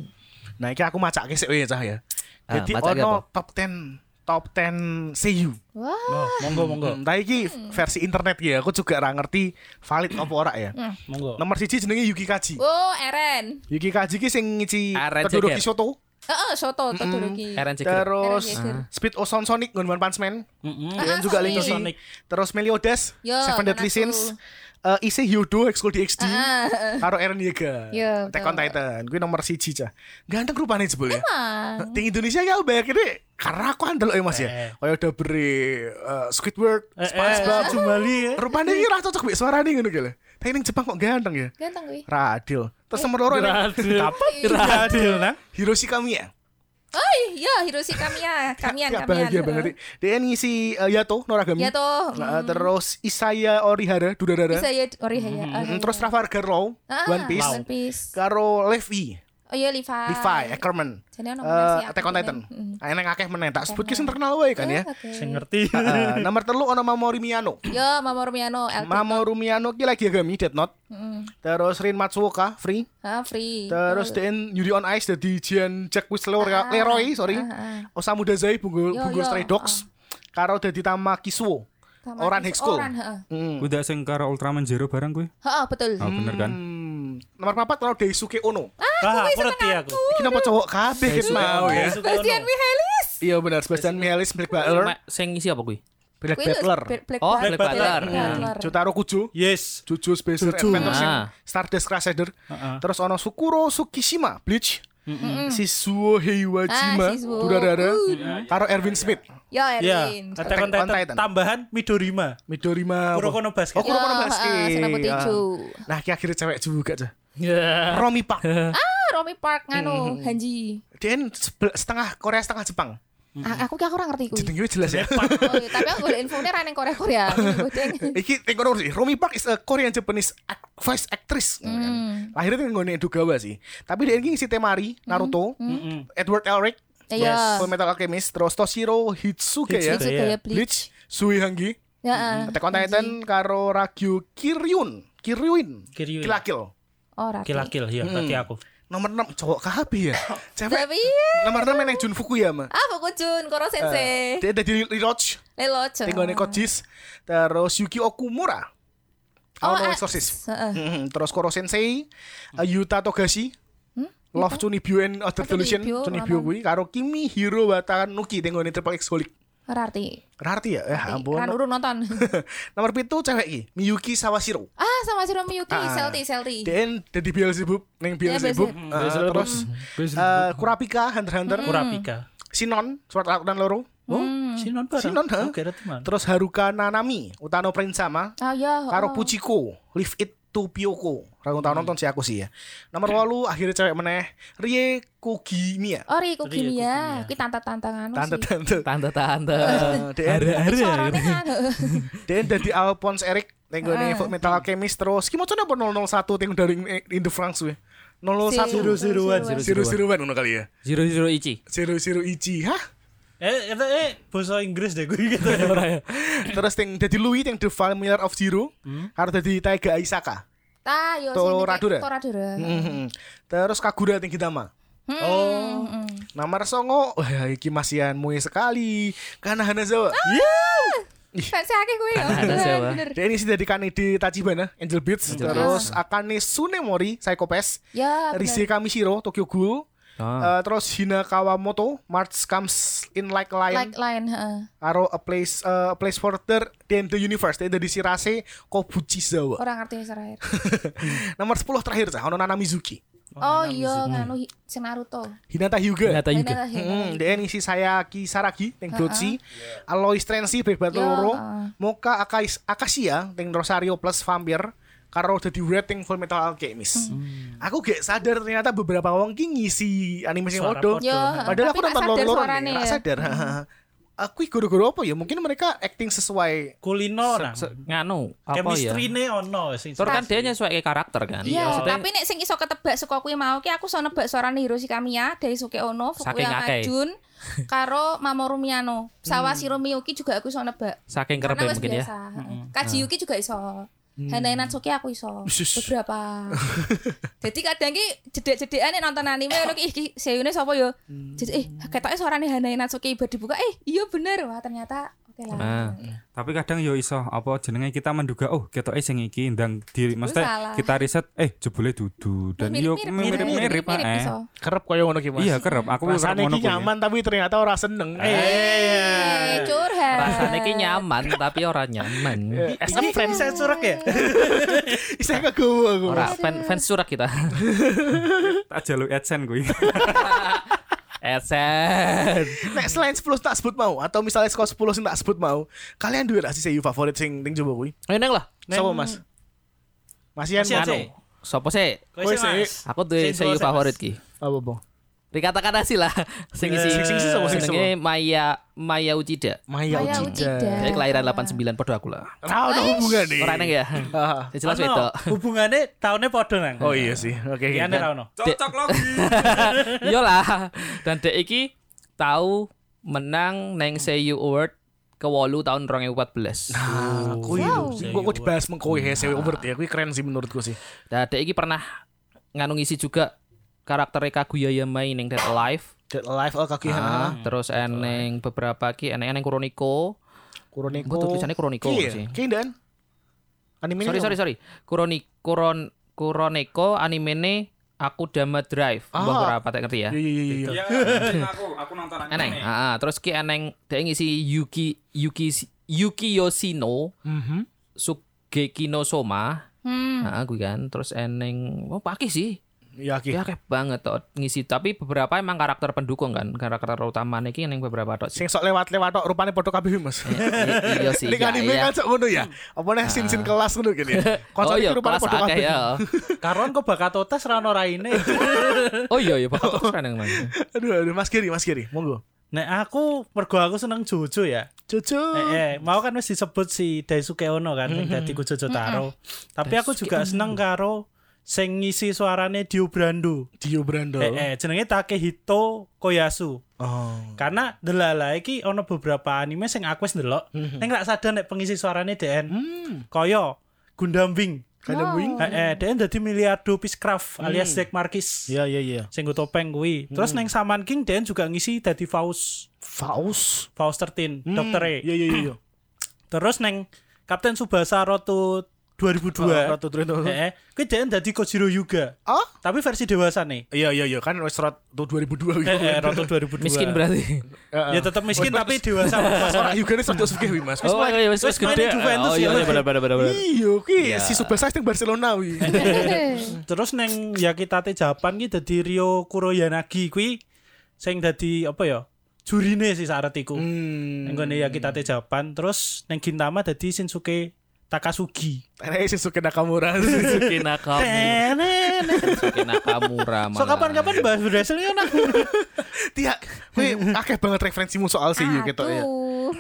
Speaker 1: Nah, iki aku macake sik wae cah ya.
Speaker 3: Ah,
Speaker 1: Jadi
Speaker 3: macake
Speaker 1: ono top 10 top 10 CU.
Speaker 2: Wah,
Speaker 4: Oh, monggo monggo.
Speaker 1: Hmm, tapi iki versi internet ya, aku juga ora ngerti valid apa ora ya.
Speaker 4: Monggo.
Speaker 1: Nomor siji jenenge Yuki Kaji.
Speaker 2: Hmm. oh Eren.
Speaker 1: Yuki Kaji ki sing ngisi
Speaker 4: Ah,
Speaker 3: Aren
Speaker 1: Todoroki
Speaker 3: Jager.
Speaker 1: Soto,
Speaker 2: Heeh, soto Todoroki.
Speaker 3: Eren Jager.
Speaker 1: terus
Speaker 2: Eren Jager.
Speaker 1: Ah. Speed Oson Sonic Gun One Punch Man,
Speaker 4: Heeh.
Speaker 1: dan
Speaker 2: Ah,
Speaker 1: juga
Speaker 2: Sonic.
Speaker 1: Linkin
Speaker 4: Sonic. Eh,
Speaker 1: terus Meliodas,
Speaker 2: Yo,
Speaker 1: Seven Deadly
Speaker 2: Nanatsu.
Speaker 1: Sins, eh Ise Hyodo Exco DxD,
Speaker 2: Heeh.
Speaker 1: karo Eren Yeager.
Speaker 2: Yo,
Speaker 1: Attack on
Speaker 2: Ah, Ya, betul.
Speaker 1: Titan, gue nomor siji cah. Ganteng rupanya jebule.
Speaker 2: Emang.
Speaker 1: Ting Indonesia ya banyak ini karena aku andel ya mas ya. Kayak udah beri eh, Squidward,
Speaker 4: Eh,
Speaker 1: SpongeBob.
Speaker 4: eh, Jumali ya.
Speaker 1: Rupanya ini rasa cocok bik suara nih gitu gila. Tapi ini Jepang kok ganteng ya.
Speaker 2: Ganteng kuwi.
Speaker 1: Radil. Terus nomor loro ini
Speaker 4: Radil.
Speaker 1: apa?
Speaker 4: Radil nah.
Speaker 1: Hiroshi Kamiya.
Speaker 2: Oi, ya Hiroshi Kamiya, gitu. Kamian,
Speaker 1: Gak
Speaker 2: Kamian.
Speaker 1: Iya, bahagia banget. Dia ngisi eh, Yato Noragami.
Speaker 2: Ya toh.
Speaker 1: Nah, terus Isaya Orihara, Dudadara.
Speaker 2: Bisa ya Orihaya.
Speaker 1: Mm, Terus Trafalgar Law,
Speaker 2: Ah,
Speaker 1: One Piece.
Speaker 2: One Piece.
Speaker 1: Karo Levi,
Speaker 2: Oh iya Levi.
Speaker 1: Levi, Ackerman.
Speaker 2: Jadi ono
Speaker 1: eh, Attack on Titan.
Speaker 2: Hmm,
Speaker 1: Enak akeh meneh tak sebut ki sing terkenal wae kan ya.
Speaker 2: Eh.
Speaker 4: Sing ngerti.
Speaker 1: Eh, nomor telu ono Mamoru Miyano.
Speaker 2: Yo Mamoru Miyano, LT.
Speaker 1: Mamoru Miyano ki lagi agami Death Note.
Speaker 2: Hmm.
Speaker 1: Terus Rin Matsuoka Free.
Speaker 2: Ah, free.
Speaker 1: Terus Den Yuri on Ice dari Jian Jack Whistler
Speaker 2: Ah,
Speaker 1: Leroy sorry. Osamu Dazai Bungo
Speaker 2: Yo,
Speaker 1: Bungo
Speaker 2: yo, ah,
Speaker 1: Stray Dogs. Karo dari Tama Kisuo.
Speaker 2: Taman
Speaker 1: Oran
Speaker 2: Kids-
Speaker 1: High School.
Speaker 2: Oran, heeh.
Speaker 1: Hmm.
Speaker 5: Udah sing karo Ultraman Zero bareng kuwi.
Speaker 2: Heeh, betul.
Speaker 5: Oh, bener kan?
Speaker 1: Hmm. Nomor papat kalau Daisuke
Speaker 2: Oh,
Speaker 1: Ono.
Speaker 4: Ah, aku ngerti aku.
Speaker 1: Ini apa
Speaker 2: iya.
Speaker 1: cowok kabeh kita mau ya.
Speaker 2: Bastian Mihaelis.
Speaker 1: Iya benar Sebastian Mihalis Black Butler,
Speaker 3: Ma- Sing ngisi apa kuwi?
Speaker 1: Black
Speaker 2: Kuwi lho,
Speaker 1: Butler.
Speaker 2: Black- Black
Speaker 3: Oh,
Speaker 2: Butler.
Speaker 3: Black Butler.
Speaker 2: Butler.
Speaker 1: Jotaro Kujo.
Speaker 4: Yes.
Speaker 1: Jojo Spacer Adventure
Speaker 3: Ah.
Speaker 1: Stardust Crusader terus ono Sukuro Tsukishima Bleach hmm. Sisuo
Speaker 2: Ah,
Speaker 1: Heiwajima
Speaker 2: Sisuo.
Speaker 1: Durarara karo Erwin Smith
Speaker 2: Yo
Speaker 4: Ya,
Speaker 2: Erin.
Speaker 4: Attack on Titan. Tambahan Midorima.
Speaker 1: Midorima
Speaker 4: Kuroko no Basket.
Speaker 1: Oh Kuroko no
Speaker 2: Yo,
Speaker 1: Basket
Speaker 2: heeh, Senang Putih
Speaker 1: Ah.
Speaker 2: Ijo.
Speaker 1: nah ki akhirnya cewek juga tuh Romi Pak
Speaker 2: Romi Kan Park
Speaker 1: Hmm,
Speaker 2: nganu Hanji.
Speaker 1: Dia sebel- setengah Korea setengah Jepang. hmm.
Speaker 2: A- Ah, aku ki aku ora ngerti kuwi.
Speaker 1: Jenenge jelas ya.
Speaker 2: Oh, iya, tapi aku golek infone ra ning Korea-Korea. Ini bodeng.
Speaker 1: Iki teko nomor sih. Romi Park is a Korean Japanese act- voice actress. ngono
Speaker 2: Hmm.
Speaker 1: kan. Lahirnya dengan nggone Edogawa sih. Tapi dia ini ngisi Temari, Naruto, Edward Elric,
Speaker 2: Iya.
Speaker 1: Full Metal Alchemist, terus Toshiro Hitsuke ya.
Speaker 2: Itu gaya bleach.
Speaker 1: Bleach, Hmm, Suihangi,
Speaker 2: Ya.
Speaker 1: Attack on Titan karo Ragyu Kiryun, Kiryuin,
Speaker 4: Kiryuin.
Speaker 1: Kill la Kill.
Speaker 2: Ora.
Speaker 4: Kilakil ya, berarti aku.
Speaker 1: Nomor 6 cowok KB ya. Cewek
Speaker 2: Tapi
Speaker 1: nomor 6 yang Jun Fukuyama.
Speaker 2: ah Fukujun, Koro Sensei.
Speaker 1: Ah, Dia dari Riroch,
Speaker 2: Lelo. Cok.
Speaker 1: tenggone Kojis, terus Yuki Okumura.
Speaker 2: Oh,
Speaker 1: Ono
Speaker 2: ah,
Speaker 1: Exorcist.
Speaker 2: heeh.
Speaker 1: Mhm, terus Koro Sensei, eh, Yuta Togashi, Hmm. Love Chunibyo and Other
Speaker 2: Chunibyo,
Speaker 1: Delusion, Chunibyo
Speaker 2: aman.
Speaker 1: kuwi karo Kimi Hiro Watanuki tenggone Triple X Holic.
Speaker 2: Ora arti.
Speaker 1: Rarti ya, eh ampun.
Speaker 2: Kan urung nonton.
Speaker 1: nomor pitu cewek iki, Miyuki Sawashiro.
Speaker 2: ah, sama si Romi Yuki,
Speaker 1: Ah.
Speaker 2: Selti, Selti.
Speaker 1: DN jadi Beelzebub, neng Beelzebub, eh, terus eh, Kurapika, Hunter x Hunter,
Speaker 4: Kurapika.
Speaker 1: Sinon, Sword Art dan Loro,
Speaker 4: Oh, Sinon barang.
Speaker 1: Sinon, ha?
Speaker 4: Oke, teman.
Speaker 1: terus Haruka Nanami, Utano Prinsama,
Speaker 2: Oh ya.
Speaker 1: karo
Speaker 2: oh.
Speaker 1: Puchiko, Leave It to Piyoko. Ragung tahun nonton sih aku sih ya. Nomor walu akhirnya cewek meneh, Rie Kogimiya.
Speaker 2: Ori ku
Speaker 4: Jadi ya,
Speaker 2: gini ya,
Speaker 4: kukinya.
Speaker 2: kuwi tantang-tantangan
Speaker 1: Tante Iya,
Speaker 2: sih.
Speaker 1: tante.
Speaker 3: Tante-tante.
Speaker 1: DN
Speaker 2: Suarane kan.
Speaker 1: DN dari Alphonse Eric, tengok nih
Speaker 2: Ah.
Speaker 1: Full Metal Alchemist terus. Kimo apa 001 tengok dari In the eh, France we. 001
Speaker 2: Zero-zeroan.
Speaker 1: zero zero ngono kali ya.
Speaker 3: Zero Zero Ichi.
Speaker 1: Zero zero Ichi, hah?
Speaker 4: Eh, kata eh bahasa Inggris deh gue gitu.
Speaker 1: Terus yang jadi Louis yang The Familiar of Zero Harus jadi Taiga Aisaka
Speaker 2: Ta yo
Speaker 1: Toro Radura.
Speaker 2: Toradura.
Speaker 1: Mhm. Terus Kagura yang Kitama
Speaker 2: Hmm,
Speaker 4: Oh,
Speaker 1: Nomor songo Wah iki masian mue sekali Kana Hanazawa
Speaker 2: Fancy akeh kuwi ya.
Speaker 3: Ada siapa?
Speaker 2: Bener.
Speaker 1: Dia ini sih dari Kanede Tachibana ya, Angel Beats Ah. Terus Akane Sunemori Psycho Pass
Speaker 2: Ya,
Speaker 1: Rize Kamishiro Tokyo Ghoul Eh,
Speaker 3: Ah.
Speaker 1: Terus Hina Kawamoto March Comes In Like a Lion
Speaker 2: like lain, heeh.
Speaker 1: Aro A Place eh, A Place Further Than the Universe Dia dari Shirase Kobuchizawa
Speaker 2: Ora ngerti wis terakhir.
Speaker 1: Nomor 10 terakhir Cah Ono Nana Mizuki
Speaker 2: Oh iya, nganu hi- sing Naruto.
Speaker 1: Hinata Hyuga
Speaker 3: Ternyata juga.
Speaker 2: Hinata- Hinata.
Speaker 1: Hmm, dia ngisi saya Kisaragi Teng Dochi Alois Trensi Bebas
Speaker 2: Ya,
Speaker 1: Loro
Speaker 2: heeh.
Speaker 1: Moka Akais, Akasia Teng Rosario plus Vampir Karo jadi Red Teng Full Metal Alchemist Mm. Aku gak sadar ternyata beberapa wong ki ngisi anime sing
Speaker 4: Suara
Speaker 1: podo
Speaker 4: podo.
Speaker 2: Yo, heeh.
Speaker 1: Padahal aku
Speaker 2: Ya, Tapi
Speaker 1: nonton
Speaker 2: tak sadar
Speaker 1: loro-loro
Speaker 2: suarane
Speaker 1: nih
Speaker 2: ya.
Speaker 1: Gak sadar Aku guru-guru apa ya Mungkin mereka acting sesuai
Speaker 4: kulino orang.
Speaker 3: Se- Nganu apa ya?
Speaker 4: Chemistry ne ono sing.
Speaker 3: Terus kan dia nyesuaikan karakter kan.
Speaker 2: Iya,
Speaker 3: Maksudnya-
Speaker 2: tapi nek sing iso ketebak saka kuwi mau ki aku iso nebak suarane Hiroshi Kamiya, Daisuke Ono,
Speaker 3: Saking
Speaker 2: Fukuyama
Speaker 3: akeh.
Speaker 2: Jun, karo Mamoru Miyano. Sawashiro Miyuki juga aku iso nebak.
Speaker 3: saking
Speaker 2: Karena
Speaker 3: kerepnya
Speaker 2: wis
Speaker 3: mungkin ya.
Speaker 2: biasa. Heeh. Kaji Yuki juga iso. Hanae Natsuki aku iso.
Speaker 1: Usus.
Speaker 2: Beberapa. Jadi kadang ki jedek-jedekan nek nonton anime ngono ki iki seiyune sapa yo. Jadi eh ketoke suarane Hanae Natsuki bar dibuka eh iya bener wah ternyata oke
Speaker 3: Ah.
Speaker 2: lah.
Speaker 5: Tapi kadang yo iso apa jenenge kita menduga oh ketoke sing iki ndang
Speaker 2: salah.
Speaker 5: diri maksudnya kita riset eh jebule dudu dan yo mirip-mirip eh.
Speaker 2: iso.
Speaker 1: Kerep kaya ngono ki
Speaker 5: Iya kerep aku kerep
Speaker 1: Rasanya
Speaker 5: ngono
Speaker 1: ki
Speaker 5: kuwi.
Speaker 1: nyaman tapi ternyata orang seneng
Speaker 2: Eh, curhat.
Speaker 3: Rasanya ki nyaman tapi orang nyaman.
Speaker 4: SM friends saya surak ya.
Speaker 1: Saya kegowo aku
Speaker 3: Orang fan, fans surak kita.
Speaker 5: Tak jaluk adsense kuwi.
Speaker 3: Esen.
Speaker 1: Nek selain 10 tak sebut mau atau misalnya skor 10 sing tak sebut mau, kalian duwe ra sih seiyu favorit sing ting coba kuwi?
Speaker 3: Ayo neng lah.
Speaker 1: Sapa Mas? Masian
Speaker 4: Masian,
Speaker 1: Mano.
Speaker 4: sih.
Speaker 3: Anu. Sopo sih?
Speaker 4: Kowe sih. Mas.
Speaker 3: Aku tuh
Speaker 4: Sing dua,
Speaker 3: seiyu
Speaker 4: sing
Speaker 3: favorit
Speaker 4: mas.
Speaker 3: ki.
Speaker 1: Apa, Bang?
Speaker 3: Dikatakan sih lah. Sing isi.
Speaker 1: Sing sing sapa sing sapa?
Speaker 3: Jenenge Maya Maya Uchida.
Speaker 1: Maya
Speaker 2: Maya Uchida.
Speaker 1: Uchida.
Speaker 3: Jadi kelahiran 89 podo aku lah.
Speaker 1: Ra ono hubungane.
Speaker 3: Ora neng ya.
Speaker 1: Eh. Ah.
Speaker 3: Ya Jelas
Speaker 4: Ono,
Speaker 3: wedok.
Speaker 4: Hubungane tahunnya podo nang.
Speaker 1: Oh iya sih. Oke.
Speaker 4: Iya
Speaker 1: oke.
Speaker 4: nek ono.
Speaker 5: Cocok lagi.
Speaker 3: Iya lah. Dan dek iki tahu menang neng Seiyu Award ke tahun 2014.
Speaker 1: Ah, kuwi
Speaker 2: Wow.
Speaker 1: lho. Sing kok kok dibahas mengko ya sewe over ya. Kuwi keren sih menurutku sih.
Speaker 3: Nah, dek iki pernah nganu ngisi juga karakter Kaguya Yamai ning Dead Alive.
Speaker 1: Dead Alive oh kaki ha.
Speaker 3: Ah, terus eneng beberapa ki eneng eneng Kuroniko.
Speaker 1: Kuroniko.
Speaker 3: Gua tulisannya Kuroniko sih.
Speaker 1: Iya. Ki dan anime
Speaker 3: Sorry sorry sorry. Kuroni Kuron Kuroniko animene aku Dama Drive.
Speaker 1: Ah.
Speaker 3: Mbah ora patek ngerti ya.
Speaker 1: Iya iya iya, iya.
Speaker 5: Iya aku aku nonton
Speaker 3: Eneng. Ah, ah, terus ki eneng dek ngisi Yuki Yuki Yuki Yoshino
Speaker 1: Mhm.
Speaker 3: Sugeki no Soma. Ah,
Speaker 2: Hmm.
Speaker 3: Heeh, kuwi kan. Terus eneng oh pakih sih.
Speaker 1: Ya ki.
Speaker 3: Ya akeh banget toh ngisi, tapi beberapa emang karakter pendukung kan, karakter utama iki ning beberapa tok.
Speaker 1: Sing sok lewat-lewat tok rupane padha kabeh Mas.
Speaker 3: I- iya sih.
Speaker 1: Ning
Speaker 3: ya,
Speaker 1: anime kan
Speaker 3: iya.
Speaker 1: sok ngono ya. Apa neh sin-sin kelas ngono gini.
Speaker 3: Oh
Speaker 1: Konsol
Speaker 3: iya,
Speaker 1: iki rupane
Speaker 3: kelas
Speaker 1: padha
Speaker 3: akeh
Speaker 1: kabeh.
Speaker 3: ya.
Speaker 4: Karon kok bakat otas rano raine.
Speaker 3: Oh iya iya bakal terus kan yang main.
Speaker 1: Aduh aduh Mas Giri, Mas Giri, monggo.
Speaker 4: Nek aku mergo aku seneng Jojo ya.
Speaker 1: Cucu.
Speaker 4: Eh, eh, mau kan wis disebut si Daisuke Ono kan sing dadi Jojo Taro. Tapi aku juga seneng karo sing ngisi suarane Dio Brando.
Speaker 1: Dio Brando.
Speaker 4: Eh, eh, jenenge Takehito Koyasu.
Speaker 1: Oh.
Speaker 4: Karena delala iki ono beberapa anime sing aku wis ndelok, ning gak sadar nek pengisi suarane DN.
Speaker 1: Hmm.
Speaker 4: Koyo Gundambing.
Speaker 2: Oh.
Speaker 1: Kadang wing.
Speaker 4: Eh, eh, DN dadi miliardo Piscraft alias Zack Markis.
Speaker 1: Iya iya iya.
Speaker 4: Sing nggo topeng kuwi. Terus neng Saman King DN juga ngisi dadi Faust.
Speaker 1: Faust.
Speaker 4: Faust 13, Dokter E.
Speaker 1: Iya iya iya, iya.
Speaker 4: Terus neng Kapten Subasa Roto 2002.
Speaker 1: Oh, Ratu Trino.
Speaker 4: Heeh. Eh, Kuwi dhewe dadi Kojiro Yuga.
Speaker 1: Oh?
Speaker 4: Tapi versi dewasa nih.
Speaker 1: Iya iya iya kan wis rot 2002 gitu.
Speaker 4: Heeh, Roto 2002.
Speaker 3: Miskin berarti.
Speaker 1: Iya,
Speaker 4: Ya tetap miskin tapi dewasa Mas
Speaker 1: Mas ora juga nih satu sugih Mas. Wis
Speaker 3: Oh
Speaker 1: mulai.
Speaker 3: iya wis wis
Speaker 4: wis main
Speaker 3: gede.
Speaker 4: di Juventus
Speaker 3: Oh iya
Speaker 4: ya.
Speaker 3: iya, benar benar benar. benar.
Speaker 1: Iya, ki
Speaker 3: Iya. Eh,
Speaker 1: si Subasa sing Barcelona wi.
Speaker 2: Eh,
Speaker 4: Terus neng Yakitate Japan ki dadi Ryo Kuroyanagi kuwi sing dadi apa ya? Jurine sih syarat iku.
Speaker 1: Hmm.
Speaker 4: Neng gone Yakitate Japan terus neng Gintama dadi Shinsuke Takasugi.
Speaker 1: Enak sih Suke Nakamura.
Speaker 3: Suki Nakamura. Suki Nakamura.
Speaker 4: So
Speaker 3: malah.
Speaker 4: kapan-kapan bahas berhasil ya nak.
Speaker 1: Tiak, kowe akeh banget referensimu soal si Yu gitu ya.
Speaker 2: Aduh.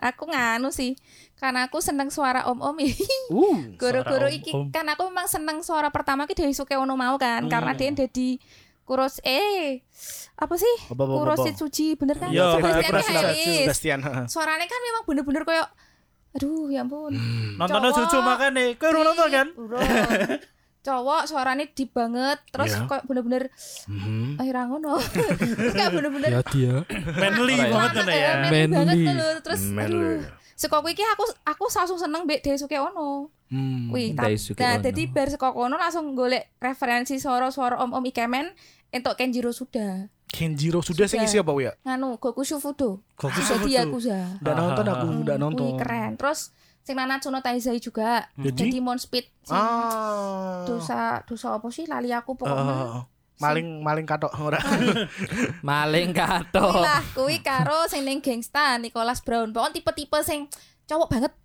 Speaker 2: Aku nganu sih, karena aku seneng suara om-om ini.
Speaker 1: Uh.
Speaker 2: Goro-goro
Speaker 4: Suara
Speaker 2: iki
Speaker 4: om-om.
Speaker 2: kan aku memang seneng suara pertama ki dari Suke Ono mau kan, karena dia jadi Kuros eh apa sih?
Speaker 1: Apa, apa, apa,
Speaker 2: Kuros
Speaker 1: apa?
Speaker 2: Suji bener kan?
Speaker 4: Iya,
Speaker 2: Sebastian
Speaker 4: Kuroshitsuji.
Speaker 2: Mihalis.
Speaker 1: Bastian. heeh.
Speaker 2: Suaranya kan memang bener-bener kayak aduh ya ampun.
Speaker 4: Nontonnya
Speaker 2: Cowok.
Speaker 4: Jojo makane. Kowe urung nonton kan?
Speaker 2: Urung. cowok suaranya deep banget terus
Speaker 1: Iya.
Speaker 2: kayak bener-bener
Speaker 3: Hmm.
Speaker 1: Mhm.
Speaker 2: akhir ngono terus kayak bener-bener
Speaker 3: Ya dia.
Speaker 2: Iya.
Speaker 4: Manly
Speaker 3: Ora ya.
Speaker 4: banget ngono ya.
Speaker 2: Manly banget
Speaker 3: Manly.
Speaker 2: tuh lho. terus
Speaker 1: Manly.
Speaker 2: aduh saka kuwi iki aku aku langsung seneng mbek Daisuke Ono
Speaker 1: Hmm.
Speaker 2: kuwi ta-
Speaker 3: Daisuke
Speaker 2: nah
Speaker 3: Ono.
Speaker 2: dadi bar saka kono langsung golek referensi soro-soro om-om ikemen entuk Kenjiro Suda
Speaker 1: Kenjiro sudah sing
Speaker 2: Sudah.
Speaker 1: isi apa ya?
Speaker 2: nganu Goku Shufudo
Speaker 4: Goku
Speaker 2: jadi
Speaker 4: Shufudo.
Speaker 2: Yakuza
Speaker 1: Ndak nonton Ah, aku, ndak
Speaker 2: Hmm,
Speaker 1: nonton.
Speaker 2: kuwi keren terus sing Nanatsu no Taizai juga
Speaker 1: Jadi?
Speaker 2: jadi Mon Speed sing
Speaker 1: Ah.
Speaker 2: dosa dosa apa sih lali aku pokoknya
Speaker 4: Oh,
Speaker 1: Ah, maling maling katok ora.
Speaker 2: Ah.
Speaker 3: Maling kato.
Speaker 2: lah kuwi karo sing ning gangsta Nicholas Brown pokoknya tipe-tipe sing cowok banget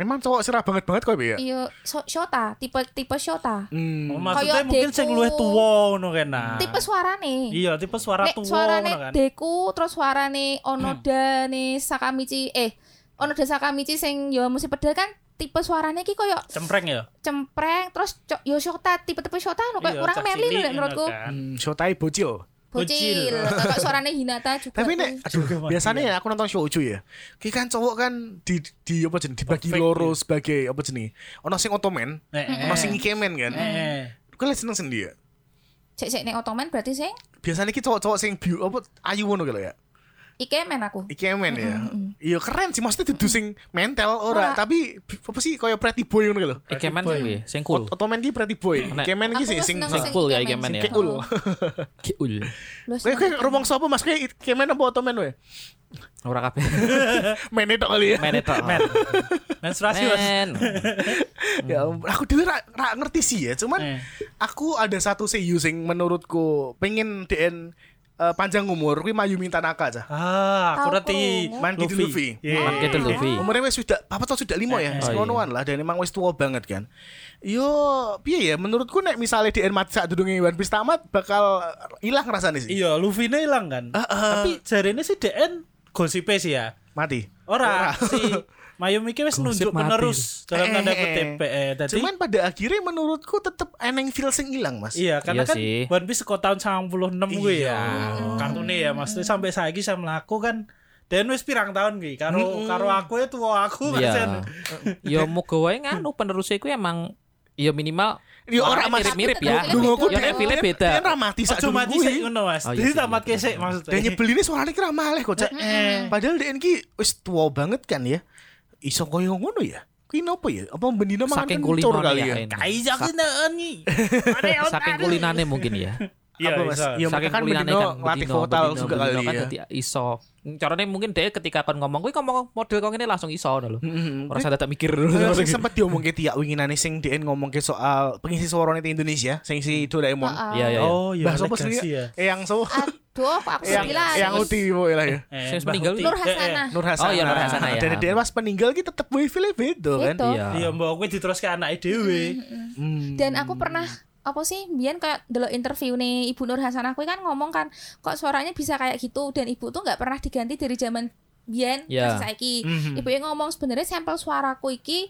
Speaker 1: Memang cowok sirah banget banget kok ya.
Speaker 2: iya so- Shota tipe-tipe Shota
Speaker 1: Hmm.
Speaker 4: Oh,
Speaker 2: Kayak
Speaker 4: maksudnya mungkin
Speaker 2: Deku.
Speaker 4: sing luwih tuwa ngono kena.
Speaker 1: Ah.
Speaker 2: tipe suarane
Speaker 4: Iya, tipe suara
Speaker 2: nek
Speaker 4: tuwa
Speaker 2: suarane
Speaker 4: ngono kan. Hmm.
Speaker 2: Deku terus suarane Onoda nih Sakamichi eh Onoda Sakamichi sing yo musik pedal kan tipe suarane iki koyo
Speaker 4: Cempreng ya.
Speaker 2: cempreng terus co- yo Shota tipe-tipe Shota anu koyo
Speaker 4: Iya,
Speaker 2: kurang
Speaker 4: cah
Speaker 2: meli
Speaker 4: cilik
Speaker 2: lho nek menurutku
Speaker 4: ngono kan.
Speaker 1: Hmm, Shotai bocil.
Speaker 2: bocil koyo suarane Hinata juga
Speaker 1: Tapi
Speaker 2: kuwi.
Speaker 1: nek aduh,
Speaker 4: Juga, Mas.
Speaker 1: biasanya ya aku nonton shoujo ya. Ki kan cowok kan di di apa jenis dibagi
Speaker 4: Perfect, iya.
Speaker 1: loro sebagai apa jenis. Ono sing otomen,
Speaker 4: Eh, eh.
Speaker 1: ono sing ikemen kan.
Speaker 4: Eh, eh.
Speaker 1: Kau lihat seneng sendiri ya.
Speaker 2: cek-cek nek Ottoman berarti sing
Speaker 1: Biasanya ki cowok-cowok sing biu apa ayu ngono gitu ya.
Speaker 2: Ikemen aku
Speaker 1: Ikemen ya. Iya keren sih maksudnya dudu sing mental ora,
Speaker 2: Ora.
Speaker 1: tapi bi- apa sih kaya pretty boy ngono gitu.
Speaker 3: Ikemen sing kuwi, sing cool.
Speaker 1: Ot- Otomen ki pretty boy.
Speaker 3: Nek-
Speaker 1: Ikemen ki
Speaker 2: Aku
Speaker 1: sing
Speaker 2: wis
Speaker 1: sing
Speaker 2: seneng
Speaker 1: sing
Speaker 2: sing
Speaker 3: cool ya
Speaker 2: Ikemen
Speaker 3: Ikemen ya.
Speaker 2: sih.
Speaker 1: cool.
Speaker 3: Kiul.
Speaker 2: Lu
Speaker 1: Kowe kowe
Speaker 2: seneng.
Speaker 1: rumong sapa Mas? Kowe Ikemen apa otomen kowe?
Speaker 3: Ora kabeh.
Speaker 1: Mene tok kali ya.
Speaker 3: Men itu.
Speaker 4: Men. Menstruasi Mas.
Speaker 3: Men.
Speaker 1: Ya ampun, aku dulu ra, ra ngerti sih ya, cuman
Speaker 4: Eh.
Speaker 1: aku ada satu seiyu sing menurutku pengen DN eh, panjang umur kuwi Mayumi Tanaka cah.
Speaker 4: Ah,
Speaker 2: Tahu
Speaker 4: aku ngerti. Iya.
Speaker 2: kok.
Speaker 1: Man Kid Luffy.
Speaker 4: Yeah.
Speaker 3: Kan gitu
Speaker 2: Iya.
Speaker 3: Luffy.
Speaker 1: Umurnya wis sudah apa tau sudah lima ya,
Speaker 3: Oh, iya.
Speaker 1: sekonoan lah dan emang wis tua banget kan. Yo, piye ya menurutku nek misalnya DN mati saat dudungnya One Piece tamat bakal hilang rasanya sih.
Speaker 4: Iya, Luffy-ne ilang kan.
Speaker 1: Ah,
Speaker 4: Tapi jarene sih DN gosipe sih ya.
Speaker 1: Mati.
Speaker 4: Ora si Mayumi ki wis
Speaker 3: Gosip
Speaker 4: nunjuk
Speaker 3: mati.
Speaker 4: penerus dalam
Speaker 1: Eh,
Speaker 4: tanda
Speaker 1: eh,
Speaker 4: kutip. Eh, eh, Tadi
Speaker 1: Cuman pada akhirnya menurutku tetep eneng feel sing hilang, Mas.
Speaker 4: Iya, karena
Speaker 3: Iya
Speaker 4: kan
Speaker 3: sih.
Speaker 4: One Piece kok tahun 96 gue
Speaker 1: Iya.
Speaker 4: ya. Kartune ya, maksudnya sampai saiki saya melaku kan dan wis pirang tahun gue. Karo karo aku ya tua aku
Speaker 3: Iya.
Speaker 4: kan.
Speaker 3: Ya moga wae nganu penerusnya iku emang ya minimal
Speaker 1: Yo ora
Speaker 3: Warnanya
Speaker 1: Mas.
Speaker 3: mirip-mirip ya.
Speaker 1: Dungoku
Speaker 3: Yo nek feel-nya beda.
Speaker 1: DN ra mati saat
Speaker 4: Ojo mati
Speaker 1: dudung
Speaker 4: sik
Speaker 1: kuwi.
Speaker 4: ngono Mas.
Speaker 3: Oh, iya
Speaker 4: Jadi
Speaker 3: sih,
Speaker 4: tamat
Speaker 3: iya,
Speaker 4: kesek maksudnya.
Speaker 1: Dan nyebelin ini suaranya kira maleh kok Cak.
Speaker 3: Nah.
Speaker 1: Padahal DN ki wis tua banget kan ya. Iso koyo ngono ya. Kuwi nopo ya? Apa bendina mangan
Speaker 3: saking
Speaker 1: kencur ya?
Speaker 3: kulinane
Speaker 1: kali
Speaker 3: ya.
Speaker 1: ya?
Speaker 3: ini.
Speaker 4: Kai jakin nih.
Speaker 3: Saking kulinane mungkin ya.
Speaker 4: Iya,
Speaker 1: apa mas?
Speaker 4: iso.
Speaker 1: Ya mereka kan
Speaker 3: kuliahane
Speaker 1: Bedino ngelatih
Speaker 3: bedino,
Speaker 1: vokal
Speaker 3: bedino,
Speaker 1: juga
Speaker 3: bedino
Speaker 1: kali
Speaker 3: kan
Speaker 1: ya.
Speaker 3: dadi iso. Carane mungkin dia ketika kon ngomong kuwi ngomong model kok ngene langsung iso ngono lho.
Speaker 1: Mm-mm.
Speaker 3: Ora usah tetep mikir.
Speaker 1: Kayak
Speaker 3: gitu.
Speaker 1: sing sempat diomong ke Tia winginane sing DN ngomong ke soal pengisi suaranya di Indonesia sing si Doraemon
Speaker 2: Heeh.
Speaker 3: Iya iya.
Speaker 4: Oh iya,
Speaker 1: Ya, bahasa apa
Speaker 4: legasi
Speaker 1: sih
Speaker 4: ya.
Speaker 1: ya? Eyang so
Speaker 3: Ah,
Speaker 2: Aduh, kok aku
Speaker 1: Eyang
Speaker 2: sembilan.
Speaker 1: Eyang Uti wo lah ya
Speaker 4: Eh,
Speaker 3: Sing
Speaker 4: Mbah
Speaker 3: meninggal
Speaker 4: Uti.
Speaker 2: Nur
Speaker 4: Eh, eh,
Speaker 2: Hasanah.
Speaker 1: Nur Hasanah
Speaker 3: Oh, iya, Nur Hasanah, ya.
Speaker 1: dan dia pas meninggal kita tetep wifile beda kan
Speaker 2: Beda.
Speaker 3: Iya.
Speaker 4: Iya, mbok kowe diterus ke anake dhewe.
Speaker 1: Hmm.
Speaker 2: Dan aku pernah apa sih Bian kayak delok interview nih Ibu Nur Hasanah aku kan ngomong kan kok suaranya bisa kayak gitu dan ibu tuh nggak pernah diganti dari zaman Bian
Speaker 3: Ya.
Speaker 2: yeah. saiki.
Speaker 1: Mhm.
Speaker 2: Ibu yang ngomong sebenarnya sampel suaraku iki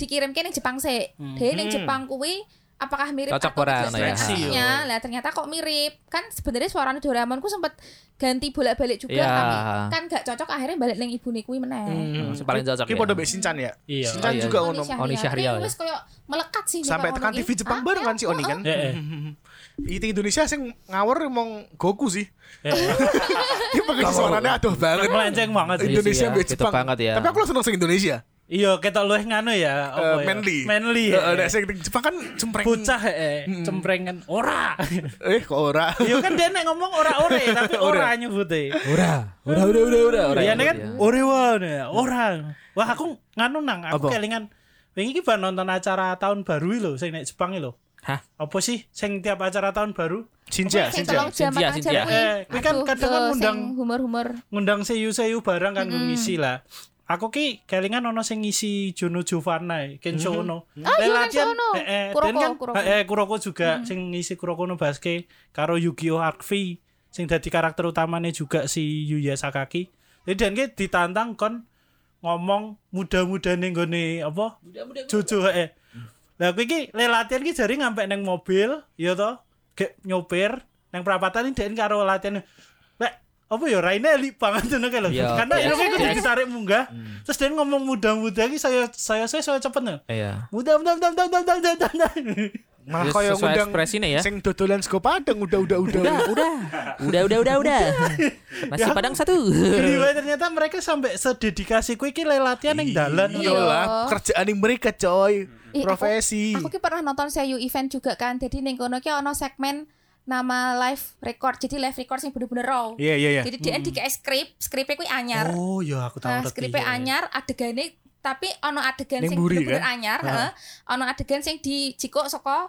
Speaker 2: dikirim ke Jepang sih. Dia ning Jepang kuwi apakah mirip
Speaker 3: Mhm. Cocok
Speaker 2: atau
Speaker 3: ora,
Speaker 2: tidak
Speaker 3: ngono
Speaker 4: ya.
Speaker 2: aslinya? Lah ternyata kok mirip. Kan sebenarnya suara Doraemon ku sempet ganti bolak-balik juga
Speaker 3: Ya.
Speaker 2: tapi kan nggak cocok akhirnya balik ning ibune kuwi meneh.
Speaker 1: Hmm.
Speaker 3: Sing paling cocok
Speaker 1: Ki
Speaker 3: ya.
Speaker 1: podo mbek Shinchan ya
Speaker 4: Iya.
Speaker 1: Shinchan
Speaker 3: Oh, iya,
Speaker 1: juga
Speaker 3: iya.
Speaker 1: ngono
Speaker 3: Oni Syahrial
Speaker 2: Ini
Speaker 3: ya.
Speaker 2: wis koyo melekat sih
Speaker 1: sampai tekan TV
Speaker 2: gitu. Ah,
Speaker 1: Jepang bareng
Speaker 2: iya,
Speaker 1: kan si Oni
Speaker 3: Iya,
Speaker 1: kan
Speaker 4: Eh, eh.
Speaker 1: itu Indonesia sing ngawur emang Goku sih
Speaker 3: Iya,
Speaker 1: Ki pengisi suaranya aduh banget
Speaker 4: Melenceng banget sih.
Speaker 1: Indonesia
Speaker 3: Iya,
Speaker 1: mbek
Speaker 3: beda
Speaker 1: Jepang
Speaker 3: banget ya. Oh,
Speaker 1: tapi aku langsung sing Indonesia
Speaker 4: Iya, ketok luwih nganu ya. apa
Speaker 3: iya.
Speaker 1: Eh,
Speaker 4: ya?
Speaker 1: manly
Speaker 4: Manly.
Speaker 1: Eh,
Speaker 4: ya.
Speaker 1: eh, nek sing Mm, di Jepang kan cempreng
Speaker 4: Bocah eh cemprengan ora.
Speaker 1: eh kok ora
Speaker 4: Iya kan dia nek ngomong ora-ora ya, tapi
Speaker 1: Ora.
Speaker 4: ora nyebute.
Speaker 3: Ora, ora, ora, ora, ora, ora.
Speaker 4: Iya kan
Speaker 1: ya.
Speaker 4: ore wae ora. Wah aku nganu nang aku
Speaker 1: Apa?
Speaker 4: kelingan wingi iki bar nonton acara tahun baru iki lho sing nek Jepang iki lho.
Speaker 3: Hah?
Speaker 4: Apa sih sing tiap acara tahun baru
Speaker 1: Shinja
Speaker 2: Sing
Speaker 1: Shinja
Speaker 2: tolong jam
Speaker 3: Sintia,
Speaker 2: makan jam
Speaker 3: Sintia.
Speaker 2: kuwi.
Speaker 4: Eh, kuwi kan
Speaker 2: Aduh, yo,
Speaker 4: kadang kan
Speaker 2: sing
Speaker 4: ngundang-
Speaker 2: humor-humor.
Speaker 4: ngundang seyu-seyu bareng kan ngisi lah. Aku ki kelingan ono sing ngisi Juno Giovanna, eh, Kenzo Ono.
Speaker 2: Ah,
Speaker 4: Dan
Speaker 2: Juno
Speaker 4: latihan,
Speaker 2: Ono.
Speaker 4: eh, eh, dan
Speaker 2: Kuroko,
Speaker 4: kan,
Speaker 2: Kuroko.
Speaker 4: eh, eh, Kuroko juga sing ngisi Kuroko no Basuke karo Yukio Harvey sing dadi karakter utamanya juga si Yuya Sakaki. Jadi dan ki ditantang kon ngomong muda-muda ning gone apa? Jojo eh. Lah kuwi ki le latihan ki jari ngampe neng mobil, ya to. Gek nyopir neng perapatan ini dek karo latihan. Lek apa ya raine elik banget ngono kae lho.
Speaker 3: Iya,
Speaker 4: Karena
Speaker 3: iya,
Speaker 4: ini kuwi kudu
Speaker 3: iya.
Speaker 4: ditarik munggah.
Speaker 1: Hmm.
Speaker 4: Terus dia ngomong muda-muda ki saya saya saya saya cepet nih.
Speaker 3: Iya.
Speaker 4: Muda muda muda muda muda muda muda.
Speaker 1: malah
Speaker 3: Terus
Speaker 1: kaya
Speaker 3: sesuai
Speaker 1: ngundang
Speaker 3: ekspresine ya.
Speaker 1: sing dodolan sego padang udah udah udah
Speaker 3: udah, udah, udah, udah, udah. Nasi
Speaker 4: Ya.
Speaker 3: padang satu.
Speaker 1: Iya.
Speaker 4: Jadi wae ternyata mereka sampai sededikasi kuwi ki le latihan ning dalan.
Speaker 1: iya lah kerjaan yang mereka coy
Speaker 2: Ih, aku-
Speaker 1: profesi
Speaker 2: Aku ki pernah nonton Seiyu event juga kan. Jadi ning kono ki ono segmen nama live record. Jadi live record sing bener-bener raw.
Speaker 1: iya iya iya
Speaker 2: Jadi
Speaker 3: Hmm.
Speaker 2: dia di skrip, skripnya kuwi anyar.
Speaker 4: Oh ya ya? aku tahu
Speaker 2: Nah,
Speaker 4: ngerti.
Speaker 2: skripnya Iya. anyar, adegannya tapi ono adegan
Speaker 1: Ning
Speaker 2: sing
Speaker 1: buri,
Speaker 2: bener-bener
Speaker 1: kan?
Speaker 2: anyar, heeh. Ono adegan sing dijikuk saka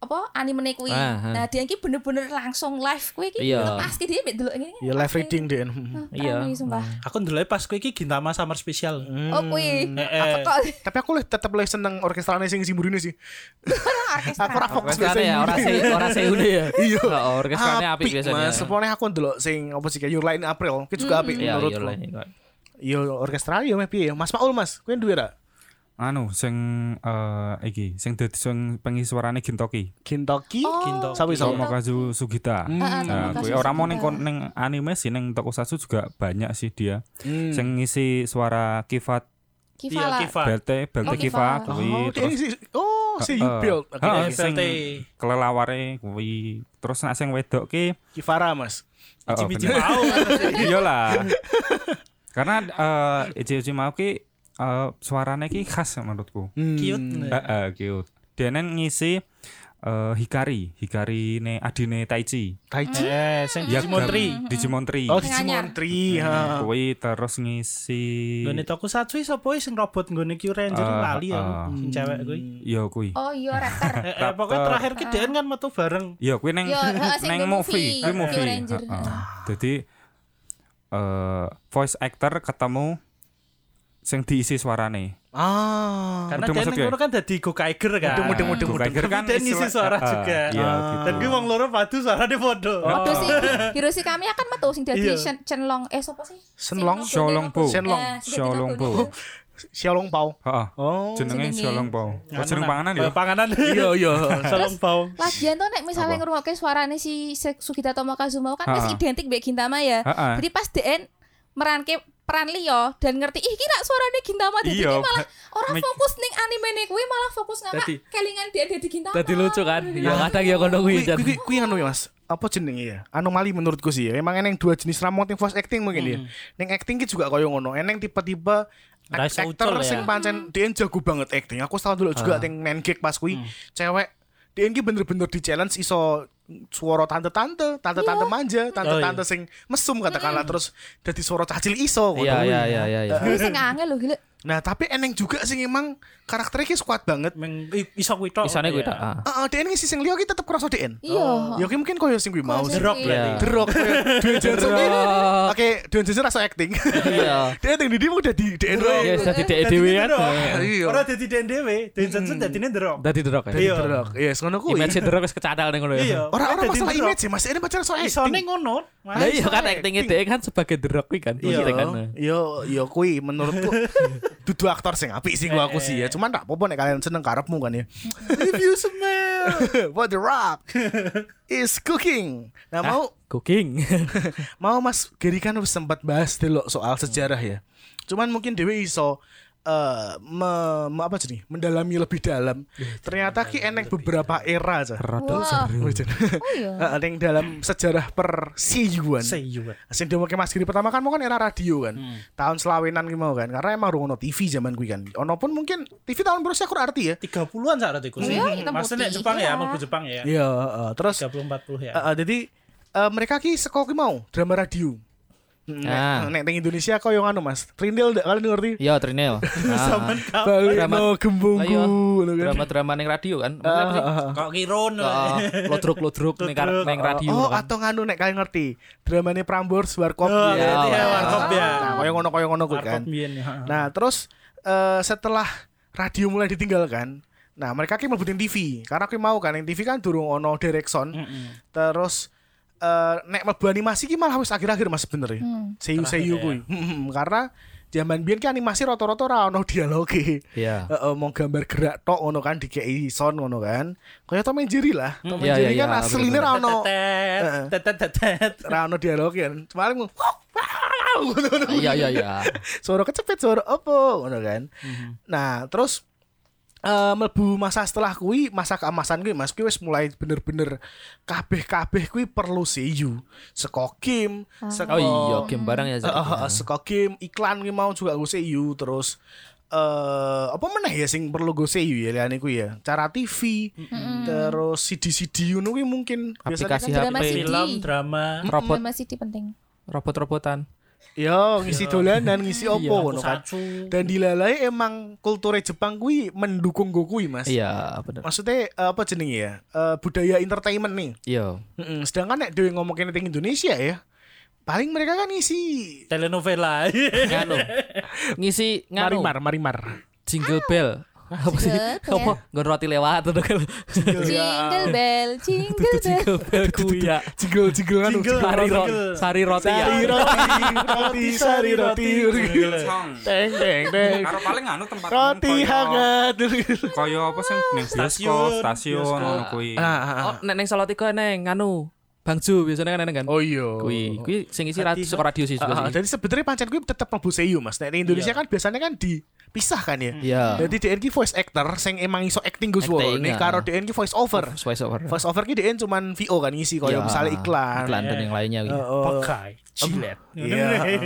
Speaker 2: apa anime kuwi.
Speaker 3: Ah, ah.
Speaker 2: Nah, dia iki bener-bener langsung live kuwi iki
Speaker 3: Iya.
Speaker 2: tetep pasti dia mbek delok ngene.
Speaker 4: Iya,
Speaker 1: ya live reading deh
Speaker 3: Iya.
Speaker 2: Iya. sumpah.
Speaker 4: Aku ndelok pas kuwi ki Gintama Summer Special.
Speaker 2: Oh, kuwi.
Speaker 4: Hmm, eh,
Speaker 2: Apa kok
Speaker 1: tapi aku le- tetep le seneng orkestrane sing si Burine sih
Speaker 2: orkestra?
Speaker 1: aku ora fokus
Speaker 3: Orkestra ya, orang se, orang se udah ya.
Speaker 1: iya
Speaker 3: Oh, orkestrane apik biasanya.
Speaker 1: mas sepone aku ndelok sing apa sih kayak Your Line in April itu juga apik
Speaker 3: Iya, iya,
Speaker 1: menurutku
Speaker 3: lain, iya.
Speaker 1: iya orkestra ya meh piye Mas Maul Mas kuwi duwe ra
Speaker 5: Anu sing eh iki sing dadi sing pengisi suarane Gintoki.
Speaker 1: Kintoki
Speaker 2: Oh.
Speaker 4: Gintoki.
Speaker 1: sawi sama
Speaker 5: Tomokazu Sugita.
Speaker 2: Heeh,
Speaker 5: Nah,
Speaker 2: Tomokazu
Speaker 5: kuwi ora mau ning
Speaker 2: Sugita.
Speaker 5: kon- ning anime sih ning tokusatsu juga banyak sih dia.
Speaker 1: Hmm.
Speaker 5: Sing ngisi suara Kifat
Speaker 4: Iya
Speaker 2: Kivala.
Speaker 4: Kiva.
Speaker 5: Belte Belte
Speaker 2: Oh,
Speaker 5: Kiva
Speaker 2: Kiva.
Speaker 1: oh
Speaker 5: kuwi
Speaker 1: dia
Speaker 5: terus
Speaker 1: si oh si you
Speaker 5: Heeh.
Speaker 1: build
Speaker 4: Eh,
Speaker 5: Heeh,
Speaker 1: oke oke.
Speaker 5: sing
Speaker 4: Belte.
Speaker 5: kelelaware kuwi terus nek sing wedok ki
Speaker 1: Kifara Mas
Speaker 5: oh, oh,
Speaker 4: Cici
Speaker 5: bener.
Speaker 4: mau.
Speaker 5: Iya lah. Karena eh Ichi mau ki eh, suarane ki khas menurutku.
Speaker 1: Hmm.
Speaker 4: Cute.
Speaker 5: Heeh, cute. Dene ngisi eh, Hikari, Hikari ne adine Taichi.
Speaker 1: Taiji
Speaker 4: Eh, sing Digimon
Speaker 5: Yagami,
Speaker 4: 3.
Speaker 5: Digimon 3.
Speaker 1: oh
Speaker 5: Kuwi
Speaker 1: Digimon 3 Iya. ha
Speaker 5: Hmm. terus ngisi
Speaker 4: Gone Tokusatsu iso apa sing robot nggone Q Ranger
Speaker 5: Ah,
Speaker 4: lali aku
Speaker 5: ah.
Speaker 4: sing cewek kuwi.
Speaker 3: Hmm.
Speaker 5: Ya kuwi.
Speaker 2: Oh iya rapper.
Speaker 4: Eh, eh, pokoknya terakhir ki Dean kan metu bareng.
Speaker 5: Ya kuwi neng
Speaker 2: Ya, heeh, sing
Speaker 5: neng
Speaker 2: di
Speaker 5: movie,
Speaker 2: movie.
Speaker 5: kuwi
Speaker 2: Q
Speaker 5: movie.
Speaker 2: Ranger.
Speaker 5: Heeh. Jadi eh voice actor ketemu sing diisi suarane.
Speaker 1: ah
Speaker 4: Karena
Speaker 5: Udah
Speaker 4: Dean
Speaker 5: masuk
Speaker 4: ning
Speaker 5: ya?
Speaker 4: kono kan dadi Go Kiger kan.
Speaker 1: Udah, udah, udah.
Speaker 5: Go Kiger kan
Speaker 4: Kemudian ngisi
Speaker 5: istilah-
Speaker 4: suara
Speaker 5: Heeh,
Speaker 4: juga.
Speaker 5: Iya
Speaker 1: Ah.
Speaker 5: gitu.
Speaker 4: Dan kuwi wong loro padu suarane padha.
Speaker 2: Waduh sih, Hiroshi kami akan metu sing dadi
Speaker 4: Iya.
Speaker 2: Shen- Shenlong eh sapa sih?
Speaker 1: Senlong?
Speaker 5: Xiaolongbo.
Speaker 1: Shenlong.
Speaker 2: Eh, sing dadi
Speaker 5: Xiaolongbo.
Speaker 2: Nobune.
Speaker 1: Xiaolong Pao
Speaker 5: Heeh.
Speaker 1: oh
Speaker 5: Jenenge
Speaker 2: Jenenge.
Speaker 5: Xiaolong Pao. Oh, jeneng panganan ya.
Speaker 4: Eh, Panganan.
Speaker 1: iya iya
Speaker 4: Salam bau.
Speaker 2: Lagian tuh nek misalnya
Speaker 5: Apa?
Speaker 2: ngrungokke suarane si Se- Sugita Tomokazu mau kan
Speaker 5: Ha-ha.
Speaker 2: wis identik mbek Gintama ya.
Speaker 5: Ha-ha.
Speaker 2: Jadi pas DN meranke peran liya dan ngerti ih kira suarane Gintama dadi ini
Speaker 5: Iya,
Speaker 2: malah orang
Speaker 5: Mik-
Speaker 2: fokus ning anime nih kuwi malah fokus ngapa
Speaker 3: Dadi-
Speaker 2: kelingan dia dadi Gintama. Iya.
Speaker 3: Tadi lucu kan? Ya kadang ya kono kuwi.
Speaker 1: Kui kui kui anu ya Mas. Apa jenenge ya? Anomali menurutku sih ya. Emang eneng dua jenis ramot yang voice acting mungkin ya.
Speaker 4: Hmm.
Speaker 1: Ning acting ki juga koyo ngono. Eneng tipe-tipe
Speaker 4: Ra iso ucul
Speaker 1: aktor
Speaker 4: ya. Ah.
Speaker 1: sing
Speaker 2: Hmm.
Speaker 1: pancen dia jago banget
Speaker 4: Hmm.
Speaker 1: acting. Aku selalu dulu juga ning main gig pas kui cewek dia ki bener-bener di challenge iso suara tante-tante, tante-tante
Speaker 2: Iya.
Speaker 1: manja, tante-tante
Speaker 4: Oh,
Speaker 1: sing mesum katakanlah
Speaker 2: Hmm.
Speaker 1: terus dadi suara cacil iso.
Speaker 3: Iya
Speaker 1: ngono.
Speaker 3: iya iya iya. iya.
Speaker 2: Kuwi sing angel lho gila.
Speaker 1: Nah, tapi eneng juga sing emang karakternya ki kuat banget.
Speaker 2: Hmm.
Speaker 4: Meng i- iso kuwi tok.
Speaker 3: Isane kuwi tak.
Speaker 4: Iya.
Speaker 3: ah.
Speaker 1: Heeh, DN ngisi sing liya ki tetep kroso DN.
Speaker 2: Iya.
Speaker 1: Ya ki mungkin koyo sing kuwi mau.
Speaker 2: Koyo
Speaker 1: sih.
Speaker 2: sing-
Speaker 4: Derok
Speaker 3: Iya.
Speaker 4: berarti.
Speaker 1: The Rock Dwayne Johnson
Speaker 3: The Rock.
Speaker 1: Oke Dwayne Johnson rasa acting
Speaker 3: Iya.
Speaker 1: Dia acting di dia udah di di Android.
Speaker 3: Ya sudah
Speaker 4: Dadine
Speaker 3: tidak Eh, dhewe
Speaker 4: The
Speaker 3: kan.
Speaker 4: Rock.
Speaker 1: Iya.
Speaker 4: Ora dadi dhewe, Dwayne Johnson dadine The Rock.
Speaker 3: Dadi derok ya.
Speaker 4: Iya.
Speaker 1: The Rock Iya yes, ngono kuwi
Speaker 3: Image derok wis kecadal ning ngono
Speaker 4: Iya.
Speaker 3: ya.
Speaker 1: Orang-orang
Speaker 4: Dadine
Speaker 1: masalah
Speaker 4: The Rock.
Speaker 1: image sih Mas ini pacaran soal
Speaker 4: Isone
Speaker 1: acting
Speaker 4: ngono.
Speaker 3: Lah iya kan
Speaker 1: Acting.
Speaker 3: acting dhek kan sebagai derok kuwi kan.
Speaker 4: Iya.
Speaker 3: maksudnya kan.
Speaker 1: Yo, yo kuwi menurutku dudu aktor sing apik sih gua aku sih ya. Cuman tak apa-apa nek kalian seneng karepmu kan ya. If you smell what the rock is cooking. Nah mau
Speaker 3: Cooking.
Speaker 1: mau Mas Gary kan wis sempat bahas dulu soal sejarah ya. Cuman mungkin Dewi iso eh me- me- apa jadi mendalami Iya, lebih dalam. Ternyata ki eneng beberapa era aja.
Speaker 2: Wah.
Speaker 3: Rada seru.
Speaker 2: Oh iya.
Speaker 1: Eneng dalam sejarah persiyuan.
Speaker 4: Say you. were.
Speaker 1: Sing diomongi Mas Giri pertama kan mau kan era radio kan. Tahun selawenan ki mau kan. Karena emang rungono TV zaman kuwi kan. Ono pun mungkin TV tahun berusnya aku arti ya.
Speaker 4: 30-an saat itu sih.
Speaker 2: Iya, hitam
Speaker 4: Maksudnya nek
Speaker 2: putih,
Speaker 4: Jepang ya,
Speaker 2: iya.
Speaker 4: mau Jepang ya.
Speaker 1: Iya, heeh. terus
Speaker 4: 30 40 ya.
Speaker 3: Iya.
Speaker 1: eh, eh, jadi eh, mereka ki seko ki mau drama radio.
Speaker 3: Ah.
Speaker 1: Nek, nek teng Indonesia kau yang anu Mas. Trindel ndak? kalian ngerti?
Speaker 3: Iya, Trinil. Ah.
Speaker 1: Balik
Speaker 3: Drama-
Speaker 1: no gembungku
Speaker 3: Ayo.
Speaker 1: ngono kan.
Speaker 3: Drama-drama ning radio kan. Maksudnya apa sih?
Speaker 4: Kok kirun.
Speaker 3: Heeh, lodruk-lodruk ning kar-
Speaker 4: Lodruk.
Speaker 3: ning radio
Speaker 1: Oh,
Speaker 3: kan.
Speaker 1: atau nganu nek kalian ngerti. Dramane Prambors Warkop.
Speaker 4: Oh,
Speaker 1: ya.
Speaker 4: berarti ya
Speaker 3: iya.
Speaker 4: warkop ya.
Speaker 1: Nah, koyo ngono koyo ngono kuwi
Speaker 4: Warkop
Speaker 1: kan.
Speaker 4: biyen ya. heeh.
Speaker 1: Nah, terus eh, setelah radio mulai ditinggalkan, nah mereka ki mlebutin TV karena aku mau kan yang TV kan durung ono Direkson.
Speaker 3: Hmm.
Speaker 1: Terus eh, nek mlebu animasi ki malah wis akhir-akhir Mas sebenarnya. Seyu-seyu kuwi. Mm-mm, karena zaman biyen ki animasi rata-rata ora ono dialoge.
Speaker 3: Iya.
Speaker 1: Heeh, mau gambar gerak tok ngono kan dikei sound ngono kan. Kayak Tom and Jerry lah. Tom and
Speaker 3: iya,
Speaker 1: Jerry
Speaker 3: iya,
Speaker 1: kan
Speaker 3: iya,
Speaker 1: asline ra ono
Speaker 4: Tetet,
Speaker 1: Heeh.
Speaker 4: tetet, tetet.
Speaker 1: ra ono dialog kan. Cuma ngono. ngono.
Speaker 3: Iya, iya, iya.
Speaker 1: suara kecepet suara opo ngono kan
Speaker 3: Mhm.
Speaker 1: nah terus eh mlebu masa setelah kui masa keemasan kui mas kui wis mulai bener-bener kabeh kabeh kui perlu seiyuu seko game seko
Speaker 3: Oh iya, game barang ya.
Speaker 1: Eh,
Speaker 3: Zak.
Speaker 1: eh, eh, seko game iklan kui mau juga gue seiyuu terus eh apa meneh ya sing perlu gue seiyuu ya liane kui ya cara TV terus CD CD ngono kui mungkin biasanya
Speaker 3: Aplikasi
Speaker 2: Drama
Speaker 3: HP,
Speaker 2: CD.
Speaker 4: Film, drama.
Speaker 3: robot,
Speaker 2: Drama CD penting.
Speaker 3: robot-robotan.
Speaker 1: yo ngisi dolanan ngisi opo
Speaker 3: Iya,
Speaker 1: ngono kan
Speaker 4: Sacu.
Speaker 1: dan dilalai emang kulture Jepang kui mendukung gue kui mas
Speaker 3: Iya, bener.
Speaker 1: maksudnya eh, apa jenenge ya Eh, budaya entertainment nih
Speaker 3: Iya.
Speaker 1: Mm-mm. sedangkan nek dewe ngomongin tentang Indonesia ya paling mereka kan ngisi
Speaker 4: Telenovela.
Speaker 3: Nganu. Ngisi nganu.
Speaker 1: marimar marimar Ah,
Speaker 3: Jingle bell. Apa sih?
Speaker 2: Jingle bell.
Speaker 3: Apa? Nggon roti lewat atau kan?
Speaker 2: ya. Jingle bell, jingle bell.
Speaker 3: Jingle bell kuwi ya.
Speaker 1: jigel jigel anu
Speaker 4: Jigel.
Speaker 3: Sari ro-
Speaker 4: Jingle.
Speaker 3: sari roti ya.
Speaker 1: sari roti roti sari roti
Speaker 5: Song.
Speaker 1: teng teng teng
Speaker 5: Karo paling anu tempat
Speaker 1: roti
Speaker 5: umum, koyo-
Speaker 1: hangat
Speaker 5: Koyo apa sih ning bioskop,
Speaker 4: Stasiun.
Speaker 5: stasiun
Speaker 4: Bioskop.
Speaker 5: ngono kuwi.
Speaker 1: Ah, ah,
Speaker 3: Oh,
Speaker 1: ah.
Speaker 3: nek neng Salatiga neng nganu. Bangju biasanya kan neng kan.
Speaker 1: oh iya
Speaker 3: Kuwi, kuwi sing isi radio, suka radio sih
Speaker 1: Ah, ah.
Speaker 3: juga sih.
Speaker 1: jadi sebenarnya pancen kuwi tetap mlebu seiyu mas nek di Indonesia kan biasanya kan dipisah kan ya
Speaker 3: Iya.
Speaker 1: Jadi DN ki voice actor sing emang iso acting gue suwo.
Speaker 3: Acting,
Speaker 1: Nih
Speaker 3: ya.
Speaker 1: karo DN ki voice over.
Speaker 3: Voice over.
Speaker 1: Voice over ki DN cuman VO kan ngisi koyo
Speaker 3: Iya.
Speaker 1: misalnya iklan.
Speaker 3: Ya.
Speaker 1: Oh,
Speaker 3: Iklan dan yang lainnya gitu.
Speaker 4: Pakai. Jilet.
Speaker 1: Iya. Eh,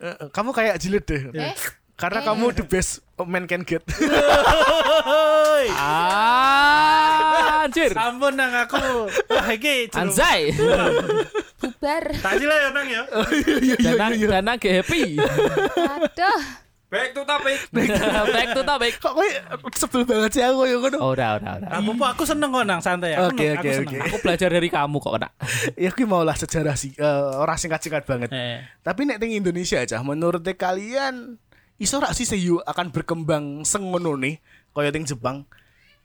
Speaker 1: eh, Kamu kayak jilid deh.
Speaker 2: Eh,
Speaker 1: Karena
Speaker 2: Eh.
Speaker 1: kamu the best man can get.
Speaker 3: Ah, anjir.
Speaker 4: Ampun nang aku. Wah, iki jeruk.
Speaker 3: Anzai.
Speaker 2: bubar.
Speaker 4: Tak sila ya nang ya.
Speaker 1: Iya,
Speaker 3: Danang Danang ge happy.
Speaker 2: Aduh.
Speaker 5: Back to topic.
Speaker 3: Back to topic. Oh,
Speaker 1: Kok kowe sebel banget sih aku yo ngono.
Speaker 3: Ora ora ora.
Speaker 4: Aku aku seneng kok nang santai aku.
Speaker 1: Oke,
Speaker 4: aku
Speaker 1: oke,
Speaker 4: seneng.
Speaker 1: oke.
Speaker 3: Aku belajar dari kamu kok nak.
Speaker 1: Ya kuwi maulah sejarah sih eh, ora singkat-singkat banget.
Speaker 4: Eh.
Speaker 1: Tapi nek ning Indonesia aja menurut kalian iso rak sih seiyuu akan berkembang sengono nih koyo ting Jepang.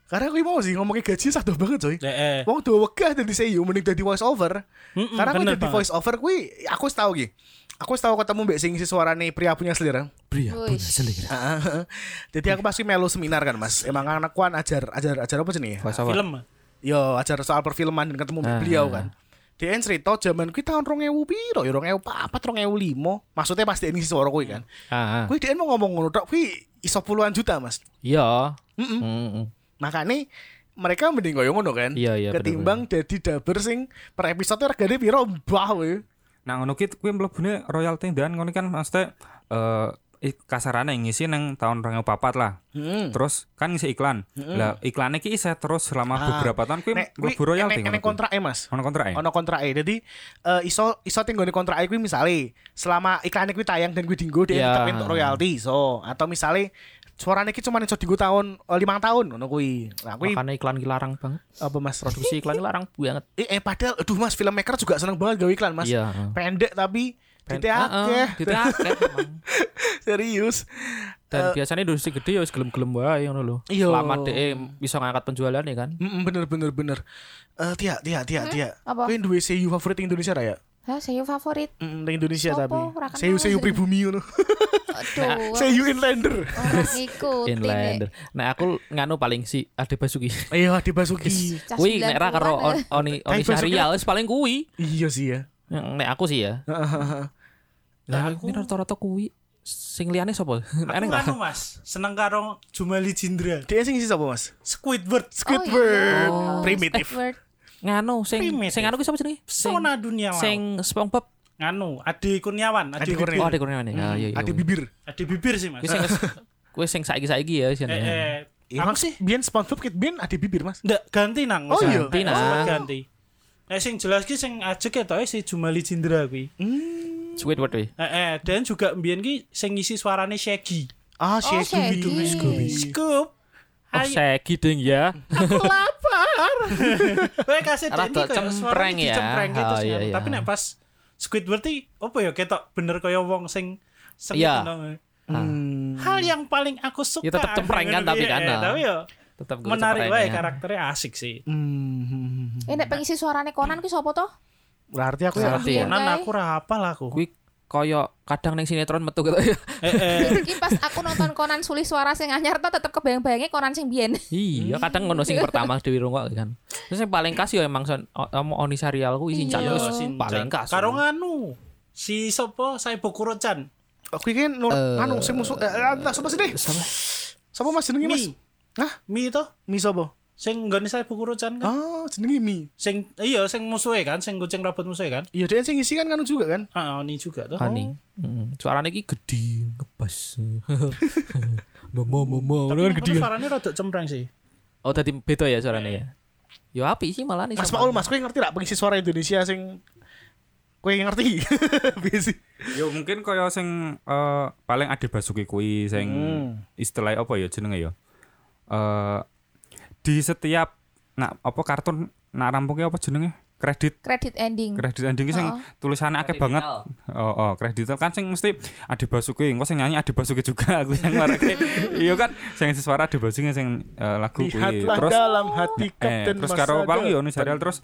Speaker 1: Karena aku mau sih ngomongin gaji satu banget coy.
Speaker 4: Eh, eh.
Speaker 1: Wong dua wegah dadi CEO mending dadi voice over.
Speaker 4: Mm-mm,
Speaker 1: Karena aku
Speaker 4: bener
Speaker 1: dadi
Speaker 4: banget.
Speaker 1: voice over kuwi aku wis tau iki. Aku wis tau ketemu mbek sing isi suarane pria punya Ah, selera.
Speaker 3: Pria
Speaker 2: punya Wih. selera.
Speaker 1: Jadi aku pasti melu seminar kan, Mas. Emang anak kuan ajar ajar ajar apa jenenge? ya?
Speaker 3: Voice over.
Speaker 4: Film.
Speaker 1: Yo, ajar soal perfilman dan ketemu mbek
Speaker 3: Ah.
Speaker 1: beliau kan. Dia cerita zaman kuwi tahun 2000 piro ya 2004 2005. Maksudnya pasti ini suara kuwi kan.
Speaker 3: Ah, ah.
Speaker 1: Kuwi dia mau ngomong ngono tok kuwi iso puluhan juta, Mas.
Speaker 3: Iya.
Speaker 1: Mm-mm.
Speaker 3: Mm-mm.
Speaker 1: Makanya mereka mending koyo ngono kan.
Speaker 3: Iya, iya,
Speaker 1: Ketimbang dadi daber sing per episode regane piro mbah we.
Speaker 5: Nah ngono ki kuwi mlebune royalti dan ngono kan maksudnya eh eh, kasarane ngisi nang tahun 2004 lah.
Speaker 1: Hmm.
Speaker 5: Terus kan ngisi iklan. Lah iklannya ki isih terus selama
Speaker 1: Ah.
Speaker 5: beberapa tahun kuwi
Speaker 1: Nek kuwi
Speaker 5: mlebu
Speaker 3: ya,
Speaker 1: enek-
Speaker 5: royalti.
Speaker 1: enek
Speaker 5: ngono kuwi.
Speaker 1: kontrak e, Mas.
Speaker 5: Ono kontrak ya?
Speaker 1: Ono kontrak e. Jadi eh, iso iso tinggone kontrak e kuwi misale selama iklannya kuwi tayang dan kuwi dinggo dia
Speaker 3: Ya.
Speaker 1: tetep entuk royalti iso. Atau misale suarane ki cuma iso dinggo tahun 5 tahun ngono kuwi. Lah kuwi
Speaker 3: Makanya iklan iki larang banget.
Speaker 1: apa Mas Rodu?
Speaker 3: Produksi iklan iki larang banget.
Speaker 1: Eh, eh, padahal aduh Mas filmmaker juga seneng banget gawe iklan Mas. ya,
Speaker 3: Iya. Ah,
Speaker 1: Pendek tapi
Speaker 3: Pen-
Speaker 1: titik akeh.
Speaker 3: Heeh, titik akeh, emang.
Speaker 1: serius.
Speaker 3: Dan
Speaker 1: Eh.
Speaker 3: biasanya industri gede ya wis gelem-gelem wae ngono lho.
Speaker 1: Iya.
Speaker 3: Selama dhek bisa ngangkat penjualan ya kan.
Speaker 1: Mm, mm, bener bener bener. Eh Tia, Tia, Tia, Tia.
Speaker 2: Hmm? Apa?
Speaker 1: Kuwi duwe seiyu favorit ing Indonesia ra ya?
Speaker 2: Hah, Ah, saya favorit.
Speaker 1: Mm, ning Indonesia
Speaker 2: Sopo?
Speaker 1: tapi.
Speaker 2: Ora kenal.
Speaker 1: Seiyu seiyu pribumi ngono.
Speaker 3: Nah,
Speaker 2: Aduh.
Speaker 1: Seiyu inlander.
Speaker 2: Orang ngikutin.
Speaker 3: Inlander. Nah aku nganu paling si Ade Basuki.
Speaker 1: Ayo Ade Iya, Basuki.
Speaker 2: Cah
Speaker 3: Kui nek ra karo
Speaker 2: 90-an,
Speaker 3: on- Oni Oni
Speaker 1: Tapi Basuki-
Speaker 3: Syahrial wis paling kui.
Speaker 1: Iya sih ya.
Speaker 3: Nek aku sih ya. Lah aku rata-rata kui sing liyane sapa? Nek
Speaker 4: Aku
Speaker 3: Eneng ra?
Speaker 4: anu mas, seneng karo Jumali Jindra,
Speaker 1: Dia sing sih sapa Mas?
Speaker 4: Squidward,
Speaker 1: Squidward.
Speaker 2: eh. iya. Oh,
Speaker 1: Primitif.
Speaker 2: Squidward.
Speaker 3: Nganu sing
Speaker 4: Primitif.
Speaker 3: sing anu ki sapa jenenge? Sing
Speaker 4: Sona Dunia.
Speaker 3: sing SpongeBob.
Speaker 4: anu, Adi Kurniawan,
Speaker 1: Adi
Speaker 4: Adi, Bibir.
Speaker 1: Kurniawan.
Speaker 3: Oh, Ade Kurniawan ya. Ah, iya iya.
Speaker 1: Ade bibir.
Speaker 4: Hmm, Adi Bibir sih mas.
Speaker 3: Kui sing kui sing saiki-saiki ya
Speaker 4: Eh,
Speaker 3: jenenge.
Speaker 4: eh,
Speaker 1: Iya
Speaker 4: aku
Speaker 1: Mas.
Speaker 4: sih
Speaker 1: Bian SpongeBob kit Bian Ade bibir Mas.
Speaker 4: ndak ganti nang.
Speaker 1: Oh,
Speaker 4: Mas.
Speaker 1: iya.
Speaker 4: Nek,
Speaker 3: Ganti,
Speaker 4: sempat
Speaker 3: nang.
Speaker 4: Ganti. Nah, sing jelas ki sing ajek ya si Jumali Jindra kuwi.
Speaker 3: Squidward weh.
Speaker 4: Eh, eh, dan juga mbiyen ki sing ngisi suarane Shaggy.
Speaker 1: Ah,
Speaker 2: Oh,
Speaker 1: Shaggy.
Speaker 2: Shaggy.
Speaker 1: Scooby.
Speaker 4: Scoop.
Speaker 3: Oh, segi ding ya.
Speaker 2: Aku lapar.
Speaker 4: Kowe kasih
Speaker 3: Rada
Speaker 4: dene kayak
Speaker 3: cempreng ya.
Speaker 4: Cempreng gitu
Speaker 3: Oh,
Speaker 4: sih.
Speaker 3: iya, iya.
Speaker 4: Tapi nek pas Squidward ki opo ya ketok bener kaya wong sing sengit
Speaker 3: Iya.
Speaker 4: nang-
Speaker 1: Hmm.
Speaker 4: Hal yang paling aku suka.
Speaker 3: Ya, tetep cempreng kan, tapi
Speaker 4: Iya,
Speaker 3: kan, ah.
Speaker 4: Tapi ya
Speaker 3: Tetep gue
Speaker 4: menarik
Speaker 3: cempreng,
Speaker 4: wae
Speaker 3: ya.
Speaker 4: karakternya asik sih.
Speaker 1: Hmm.
Speaker 2: Eh nek pengisi suarane Conan ki sapa toh?
Speaker 1: Berarti aku ya.
Speaker 3: Ngerti ya.
Speaker 2: Iya,
Speaker 4: Konan
Speaker 2: guys.
Speaker 4: aku ra hafal aku.
Speaker 3: Kui koyo kadang neng sinetron metu gitu ya.
Speaker 4: Eh, eh,
Speaker 2: Iki pas aku nonton Conan Sulih Suara sing anyar ta tetep kebayang-bayange Conan sing biyen.
Speaker 3: Iya,
Speaker 4: Hmm.
Speaker 3: kadang ngono sing pertama Dewi Rungok kan. Terus yang paling khas ya emang son o- om Oni Sarial ku isin
Speaker 4: iya,
Speaker 3: wis
Speaker 4: Shinchan.
Speaker 3: paling khas.
Speaker 4: Karo nganu. Si sopo Saibokuro-chan.
Speaker 1: Aku iki nur anu sing musuh eh, eh, entah sapa sih deh.
Speaker 3: Sama.
Speaker 1: Sapa Mas jenenge Mas?
Speaker 4: Mi.
Speaker 1: Hah?
Speaker 4: Mi to
Speaker 1: Mi sapa?
Speaker 4: sing nggone Saibokuro-chan kan.
Speaker 1: Ah, jenenge Mi.
Speaker 4: Sing iya sing musuhe kan, sing kucing robot musuhe kan.
Speaker 1: Iya, dia sing ngisi kan kan juga kan?
Speaker 4: Ah, ini juga
Speaker 2: Oh.
Speaker 4: tuh.
Speaker 3: Ani. Heeh. Suarane iki gede ngebas. Momo momo
Speaker 4: Tapi
Speaker 3: ngono kan
Speaker 4: aku
Speaker 3: gede.
Speaker 4: tuh
Speaker 3: kan.
Speaker 4: suaranya rada cempreng sih.
Speaker 3: Oh tadi beda ya suarane ya. Yo api sih malah nih.
Speaker 1: Mas
Speaker 3: sama.
Speaker 1: Paul, Mas, kowe ngerti gak pengisi suara Indonesia sing kowe ngerti? Biasa.
Speaker 5: Yo mungkin kaya sing eh, paling Ade Basuki kuwi sing
Speaker 1: Mm.
Speaker 5: istilah apa ya jenenge ya. Eh di setiap nak apa kartun nak rampungnya apa jenenge? Kredit
Speaker 2: Kredit ending.
Speaker 5: kredit ending ki sing tulisannya akeh banget. Oh, oh, kredit kan sing mesti Ade Basuki, engko sing nyanyi Ade Basuki juga aku yang ngareke. Iya kan, sing isi suara Ade Basuki sing eh, lagu kuwi.
Speaker 1: Lihatlah
Speaker 5: Terus
Speaker 1: dalam hati
Speaker 5: eh,
Speaker 1: Kapten
Speaker 5: terus
Speaker 1: Mas
Speaker 5: karo
Speaker 1: Sadar.
Speaker 5: paling yo serial terus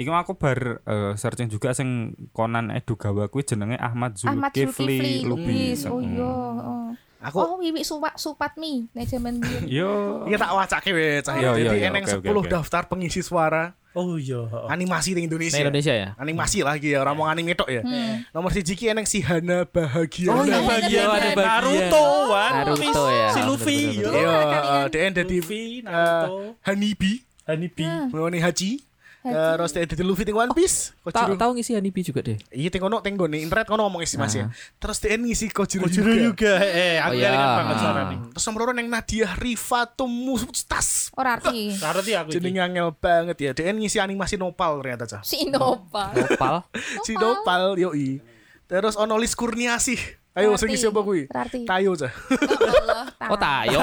Speaker 5: iki mah aku bar eh, searching juga sing Conan Edugawa kuwi jenenge Ahmad
Speaker 2: Ahmad
Speaker 5: Zulkifli Lubis.
Speaker 2: Oh
Speaker 5: Mm.
Speaker 2: iya. oh.
Speaker 1: Aku
Speaker 2: Oh, Wiwi Supat Supatmi nek jaman biyen.
Speaker 5: Yo.
Speaker 1: Iya tak wacake we cah.
Speaker 5: Iya, iya,
Speaker 1: Jadi
Speaker 5: iya,
Speaker 1: eneng 10
Speaker 5: oke, oke, oke.
Speaker 1: daftar pengisi suara
Speaker 4: Oh iya.
Speaker 1: animasi di
Speaker 3: Nah,
Speaker 1: Indonesia.
Speaker 3: Indonesia ya.
Speaker 1: Animasi lagi ya, orang
Speaker 5: Iya.
Speaker 1: mau anime tok ya. Nomor siji ki eneng si Hana Bahagia.
Speaker 4: Hmm. Oh iya
Speaker 3: Ada
Speaker 4: bagian
Speaker 3: bagian, ada bagian.
Speaker 4: Naruto, One
Speaker 3: Naruto
Speaker 4: Piece,
Speaker 3: ya,
Speaker 4: Si Luffy,
Speaker 3: betul,
Speaker 4: yo.
Speaker 3: betul,
Speaker 1: Iya,
Speaker 2: Kalian.
Speaker 1: dia ada di eh,
Speaker 4: Luffy, Naruto,
Speaker 1: Hanibi,
Speaker 3: Eh,
Speaker 4: Hanibi.
Speaker 3: Hmm. Oh,
Speaker 1: Mewani Haji. Terus dia ada di Luffy ting One Piece.
Speaker 3: Tahu
Speaker 1: Kojiro.
Speaker 3: tahu ngisi Hanibi juga deh.
Speaker 1: Iya ting kono ting gone internet kono ngomong isi Mas ya.
Speaker 3: Ah.
Speaker 1: Terus dia ngisi Kojiro
Speaker 4: Kojiro
Speaker 1: Yuga.
Speaker 4: juga. Eh, aku
Speaker 3: Oh, iya.
Speaker 4: elingan banget
Speaker 3: Ah.
Speaker 4: suara nih.
Speaker 1: Terus nomor loro neng Nadia Rifatum Mustas.
Speaker 2: Ora arti.
Speaker 4: Ngerti aku ini.
Speaker 1: Jenenge angel banget ya. Dia ngisi animasi Nopal ternyata cah.
Speaker 2: Si Innova.
Speaker 3: Opal.
Speaker 1: Si Nopal yoi. Terus ono Lis Kurniasih. Ayo
Speaker 2: Ngerti.
Speaker 1: sing ngisi apa kuwi?
Speaker 2: Ngerti.
Speaker 1: Tayo cah.
Speaker 2: Allah.
Speaker 3: Oh tayo.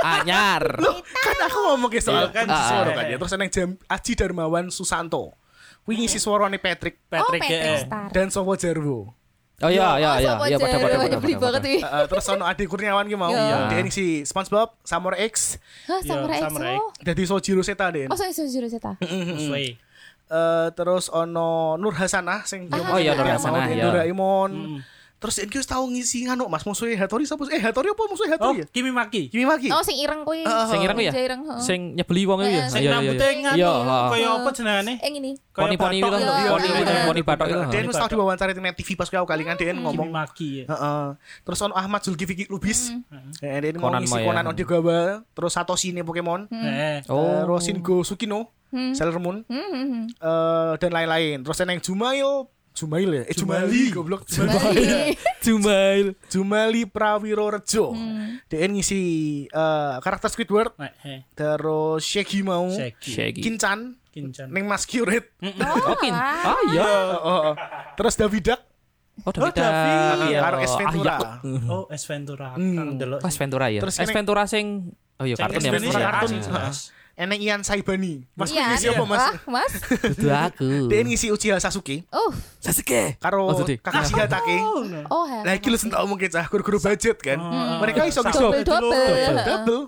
Speaker 3: Anyar.
Speaker 1: kan aku ngomong ke soal
Speaker 4: Iya, kan,
Speaker 1: pengisi
Speaker 3: ah,
Speaker 1: suara
Speaker 4: ah.
Speaker 1: kan ya. Terus neng Jam Aji Darmawan Susanto. Kuwi
Speaker 2: Iya.
Speaker 1: ngisi suarane Patrick
Speaker 4: Patrick eh,
Speaker 2: Oh,
Speaker 4: GE.
Speaker 2: Patrick Star.
Speaker 1: dan Sopo Jarwo.
Speaker 3: Oh iya iya
Speaker 2: Oh,
Speaker 3: iya.
Speaker 2: sama
Speaker 3: Iya pada
Speaker 2: aja.
Speaker 3: pada
Speaker 2: Waduh,
Speaker 3: pada.
Speaker 2: beli banget ya?
Speaker 3: pada.
Speaker 2: wi.
Speaker 1: Eh, eh, terus ono Ade Kurniawan ki mau.
Speaker 2: Iya.
Speaker 1: Dia ngisi SpongeBob, Samurai X,
Speaker 2: Hah,
Speaker 4: Iya,
Speaker 2: Samurai X.
Speaker 4: Samurai
Speaker 2: oh.
Speaker 1: jadi Sojiro Seta Den.
Speaker 2: Oh, saya Sojiro Zeta.
Speaker 4: hmm,
Speaker 3: Oh,
Speaker 4: Sesuai.
Speaker 1: Eh, terus ono Nur Hasanah sing dia
Speaker 3: Oh, iya, Nur
Speaker 1: dia mau
Speaker 3: Hasanah,
Speaker 1: di
Speaker 3: iya.
Speaker 1: Doraemon. Terus ini wis tau ngisi nganu Mas musuhe Hattori sapa eh Hattori apa musuhe
Speaker 4: Oh,
Speaker 1: Hattori ya?
Speaker 4: Kimi Maki.
Speaker 1: Kimi Maki.
Speaker 2: Oh, sing ireng kuwi.
Speaker 3: Sing ireng kuwi ya?
Speaker 2: Raja ireng, heeh.
Speaker 3: Sing nyebeli wong itu ya.
Speaker 2: Eh,
Speaker 4: Sing
Speaker 3: Iya, iya, iya.
Speaker 4: rambutnya nganu.
Speaker 3: Iya, heeh.
Speaker 4: Kayak apa jenengane?
Speaker 2: Eh ngene.
Speaker 4: Kayak
Speaker 3: Poni-poni itu
Speaker 4: batok
Speaker 3: kan,
Speaker 4: ya.
Speaker 2: Iya,
Speaker 3: poni
Speaker 2: iya.
Speaker 3: poni batok itu.
Speaker 1: Den wis tau diwawancara di TV pas kau kali kan Den
Speaker 4: Kimi
Speaker 1: ngomong.
Speaker 4: Maki. ya.
Speaker 1: Heeh. Terus ono Ahmad Zulkifli Lubis.
Speaker 4: Hmm.
Speaker 1: Eh Den mau
Speaker 3: Conan
Speaker 1: ngisi
Speaker 3: Maya.
Speaker 1: Conan Odegawa, terus Satoshi ne Pokemon.
Speaker 4: Eh,
Speaker 3: Oh.
Speaker 1: Terus Shingo Sukino, Sailor Moon,
Speaker 2: Hmm, hmm, hmm.
Speaker 1: eh, dan lain-lain. Terus eneng Jumail Jumail ya? Eh Jumali, goblok. Jumali.
Speaker 2: Bali.
Speaker 3: Jumail.
Speaker 1: Jumali Prawiro Rejo.
Speaker 4: Hmm.
Speaker 1: Dia kan ngisi eh, karakter Squidward,
Speaker 4: Nek, eh,
Speaker 1: terus Shaggy mau,
Speaker 4: Shaggy.
Speaker 3: Shaggy.
Speaker 1: Kincan,
Speaker 4: Kincan.
Speaker 1: Neng Mas Kyurit,
Speaker 3: Oh, Kin.
Speaker 2: wah.
Speaker 3: Ah, iya.
Speaker 1: Oh, oh, oh. terus Davidak,
Speaker 3: Oh, David.
Speaker 4: David.
Speaker 3: Iya.
Speaker 1: karo S Ventura.
Speaker 3: Ah, iya.
Speaker 4: Oh, S Ventura.
Speaker 1: Hmm.
Speaker 4: Kang delok.
Speaker 3: Oh, S Ventura ya.
Speaker 1: Terus
Speaker 3: S
Speaker 1: kene-
Speaker 3: Ventura sing Oh iya
Speaker 4: Sing
Speaker 3: kartun ya.
Speaker 1: S Ventura
Speaker 3: Mas.
Speaker 1: kartun.
Speaker 3: Iya.
Speaker 1: Heeh. Eneng Ian Saibani. Mas
Speaker 2: Iya,
Speaker 1: ngisi apa Mas?
Speaker 2: wah, Mas.
Speaker 3: Dudu aku.
Speaker 1: Dia ngisi Uchiha Sasuke,
Speaker 2: Oh,
Speaker 3: Sasuke.
Speaker 1: karo
Speaker 3: Oh, jadi.
Speaker 1: Kakashi Hatake.
Speaker 2: oh. ha.
Speaker 1: Lah iki lu sentau mungkin cah guru-guru budget kan.
Speaker 2: Oh.
Speaker 4: Hmm.
Speaker 1: Mereka iso ngisi
Speaker 2: Double double.
Speaker 1: double.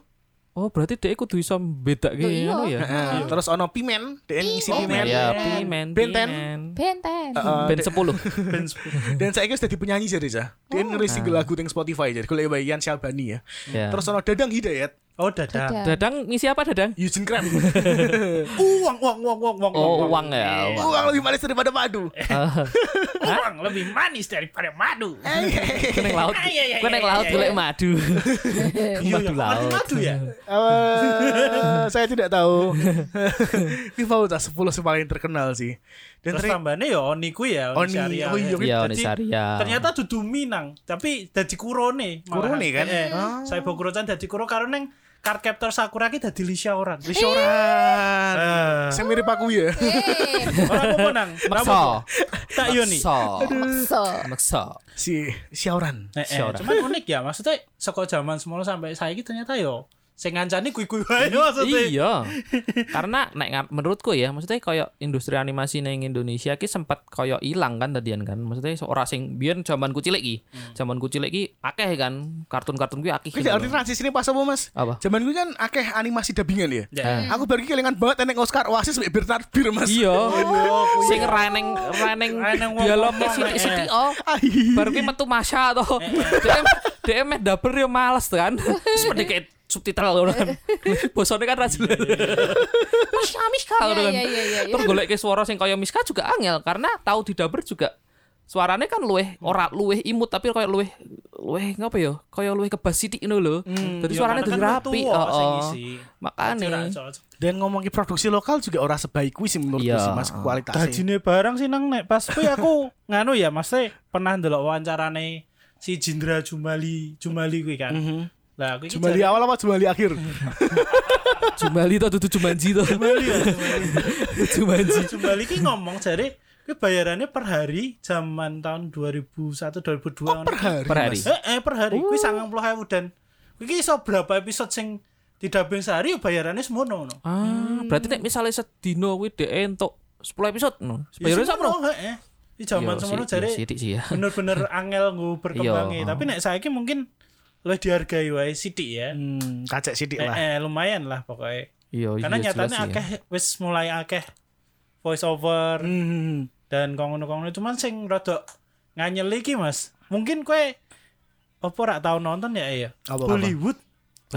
Speaker 3: Oh, berarti dia kudu bisa beda
Speaker 2: Loh, iya.
Speaker 3: gitu ya.
Speaker 1: Heeh. Terus ono Pimen, dia ngisi Pimen.
Speaker 2: Pimen.
Speaker 3: Ya,
Speaker 2: Pimen.
Speaker 3: Pimen.
Speaker 1: Benten.
Speaker 3: Pimen.
Speaker 2: Benten.
Speaker 4: Eh,
Speaker 1: Heeh,
Speaker 3: Ben 10.
Speaker 4: Ben Spur.
Speaker 1: dan saya kira sudah penyanyi jadi cah. Dia
Speaker 2: Oh.
Speaker 1: ngeri single
Speaker 3: Nah.
Speaker 1: lagu di Spotify jadi kalau Ian Syabani ya.
Speaker 3: Ya.
Speaker 1: Terus ono Dadang Hidayat,
Speaker 4: Oh, dadah.
Speaker 2: Dadah.
Speaker 3: Dadang ngisi apa Dadang?
Speaker 1: Eugene Kram.
Speaker 3: Iya.
Speaker 4: Uang, uang, uang, uang, uang.
Speaker 3: Oh, uang ya. uang.
Speaker 1: Uang lebih manis daripada padu.
Speaker 3: Eh.
Speaker 4: Uang lebih manis daripada madu.
Speaker 1: Eh.
Speaker 3: Gue neng laut,
Speaker 4: Iya, iya,
Speaker 3: gue neng
Speaker 4: iya,
Speaker 3: laut
Speaker 4: iya,
Speaker 3: golek madu.
Speaker 4: Iya,
Speaker 3: Madu
Speaker 4: madu
Speaker 3: laut.
Speaker 4: madu ya.
Speaker 1: Eh, saya tidak tahu. Ini mau tak 10 yang paling terkenal sih. Dan
Speaker 4: Terus
Speaker 1: ternyata
Speaker 4: tambahnya ya Oni ku ya, Oni
Speaker 1: Oni,
Speaker 4: Syariah.
Speaker 1: oh iya,
Speaker 3: Iya,
Speaker 4: Jadi,
Speaker 3: Oni Saria.
Speaker 4: Ternyata dudu Minang, tapi dadi kurone. malahan.
Speaker 1: Kurone kan?
Speaker 4: Eh, eh.
Speaker 1: Ah.
Speaker 4: Saya Bogorocan dadi kuro karo neng card captor Sakura ki dadi Lisha orang.
Speaker 1: Lishoran.
Speaker 4: Eh.
Speaker 1: Saya mirip aku ya.
Speaker 2: Eh,
Speaker 4: Ora apa nang?
Speaker 3: Maksa.
Speaker 4: Tak yo nih.
Speaker 3: Maksa.
Speaker 2: makso.
Speaker 3: Maksa.
Speaker 1: Si Sioran.
Speaker 4: Eh, eh,
Speaker 3: Ora.
Speaker 4: cuman unik ya maksudnya saka zaman semono sampai saiki ternyata yo sing ngancani kui-kui wae maksudnya.
Speaker 3: Iya. Karena nek ngar- menurutku ya, maksudnya koyo industri animasi ning Indonesia ki sempat koyo ilang kan tadian kan. Maksudnya ora sing biyen zamanku cilik ki. Zamanku cilik ki akeh kan kartun-kartun kuwi akeh.
Speaker 1: Kau
Speaker 3: gitu
Speaker 1: jadi
Speaker 3: loh.
Speaker 1: transisi ini pas apa mas?
Speaker 3: Apa?
Speaker 1: Zaman gue kan akeh animasi dubbingan ya.
Speaker 4: Ya.
Speaker 1: Aku bagi kelingan banget enek Oscar Oasis mbek Bernard Bir mas.
Speaker 3: Iya.
Speaker 4: Oh, kui-
Speaker 3: Sing reneng reneng
Speaker 4: Reneng wong-
Speaker 3: dialognya
Speaker 4: wong-
Speaker 3: sithik
Speaker 4: eh.
Speaker 3: sithik oh. Baru ki metu Masya to. DM DM dapur yo males tuh kan. Terus mending kayak subtitle ngono kan. Bosone kan ra jelas. Miska Miska ngono kan.
Speaker 2: Iya, iya, iya, iya.
Speaker 3: Terus golek ke suara sing kaya Miska juga angel karena tahu di dapur juga suarane kan luweh ora luweh imut tapi kaya luweh luweh ngapa yo kaya luweh kebas sithik ngono lho. Dadi
Speaker 4: Yo,
Speaker 3: suarane dadi
Speaker 4: karena kan
Speaker 3: rapi.
Speaker 4: tua sing
Speaker 3: Heeh.
Speaker 4: ngisi.
Speaker 3: Kan
Speaker 4: Ora
Speaker 3: Makane.
Speaker 4: cocok.
Speaker 1: Dan ngomongin produksi lokal juga orang sebaik kuis sih menurutku
Speaker 3: Iya.
Speaker 1: sih mas kualitasnya. Iya,
Speaker 4: Dajine barang sih nang nek pas kuwi aku nganu ya Mas teh pernah ndelok wawancarane si Jindra Jumali Jumali kuwi kan. Lah aku iki
Speaker 1: Jumali awal
Speaker 4: jarang-
Speaker 1: apa Jumali akhir?
Speaker 3: Jumali to dudu Jumanji to.
Speaker 4: Jumali ya, Jumali.
Speaker 3: Jumanji.
Speaker 4: Jumali ki ngomong jare kuwi bayarannya per hari zaman tahun 2001 2002.
Speaker 1: Per hari.
Speaker 3: Per hari.
Speaker 4: Eh, eh, per hari
Speaker 3: Oh.
Speaker 4: kuwi 90.000 dan kuwi iso berapa episode sing didubbing sehari ya bayarannya semono no.
Speaker 3: Ah,
Speaker 4: Hmm.
Speaker 3: berarti nek misalnya sedino kuwi dhek entuk 10 episode no. Sebayare sapro?
Speaker 4: Heeh. Di Ya
Speaker 3: Ya,
Speaker 4: zaman
Speaker 3: Yo,
Speaker 4: semono
Speaker 3: si-
Speaker 4: jare
Speaker 3: yo, Iya, Sithik sih ya.
Speaker 4: bener-bener angel nggo berkembangnya tapi nek saiki mungkin lebih dihargai wae sithik ya
Speaker 1: Hmm, kacek sidik lah.
Speaker 4: eh, eh, lumayan lah pokoknya
Speaker 3: Iya,
Speaker 4: karena
Speaker 3: iya, jelas
Speaker 4: nyatanya
Speaker 3: sih ya.
Speaker 4: akeh wis mulai akeh voice over
Speaker 1: Hmm.
Speaker 4: dan kongono-kongono cuman sing rada nganyel iki Mas mungkin kue apa rak tau nonton ya ya
Speaker 1: Apa, apa?
Speaker 4: Hollywood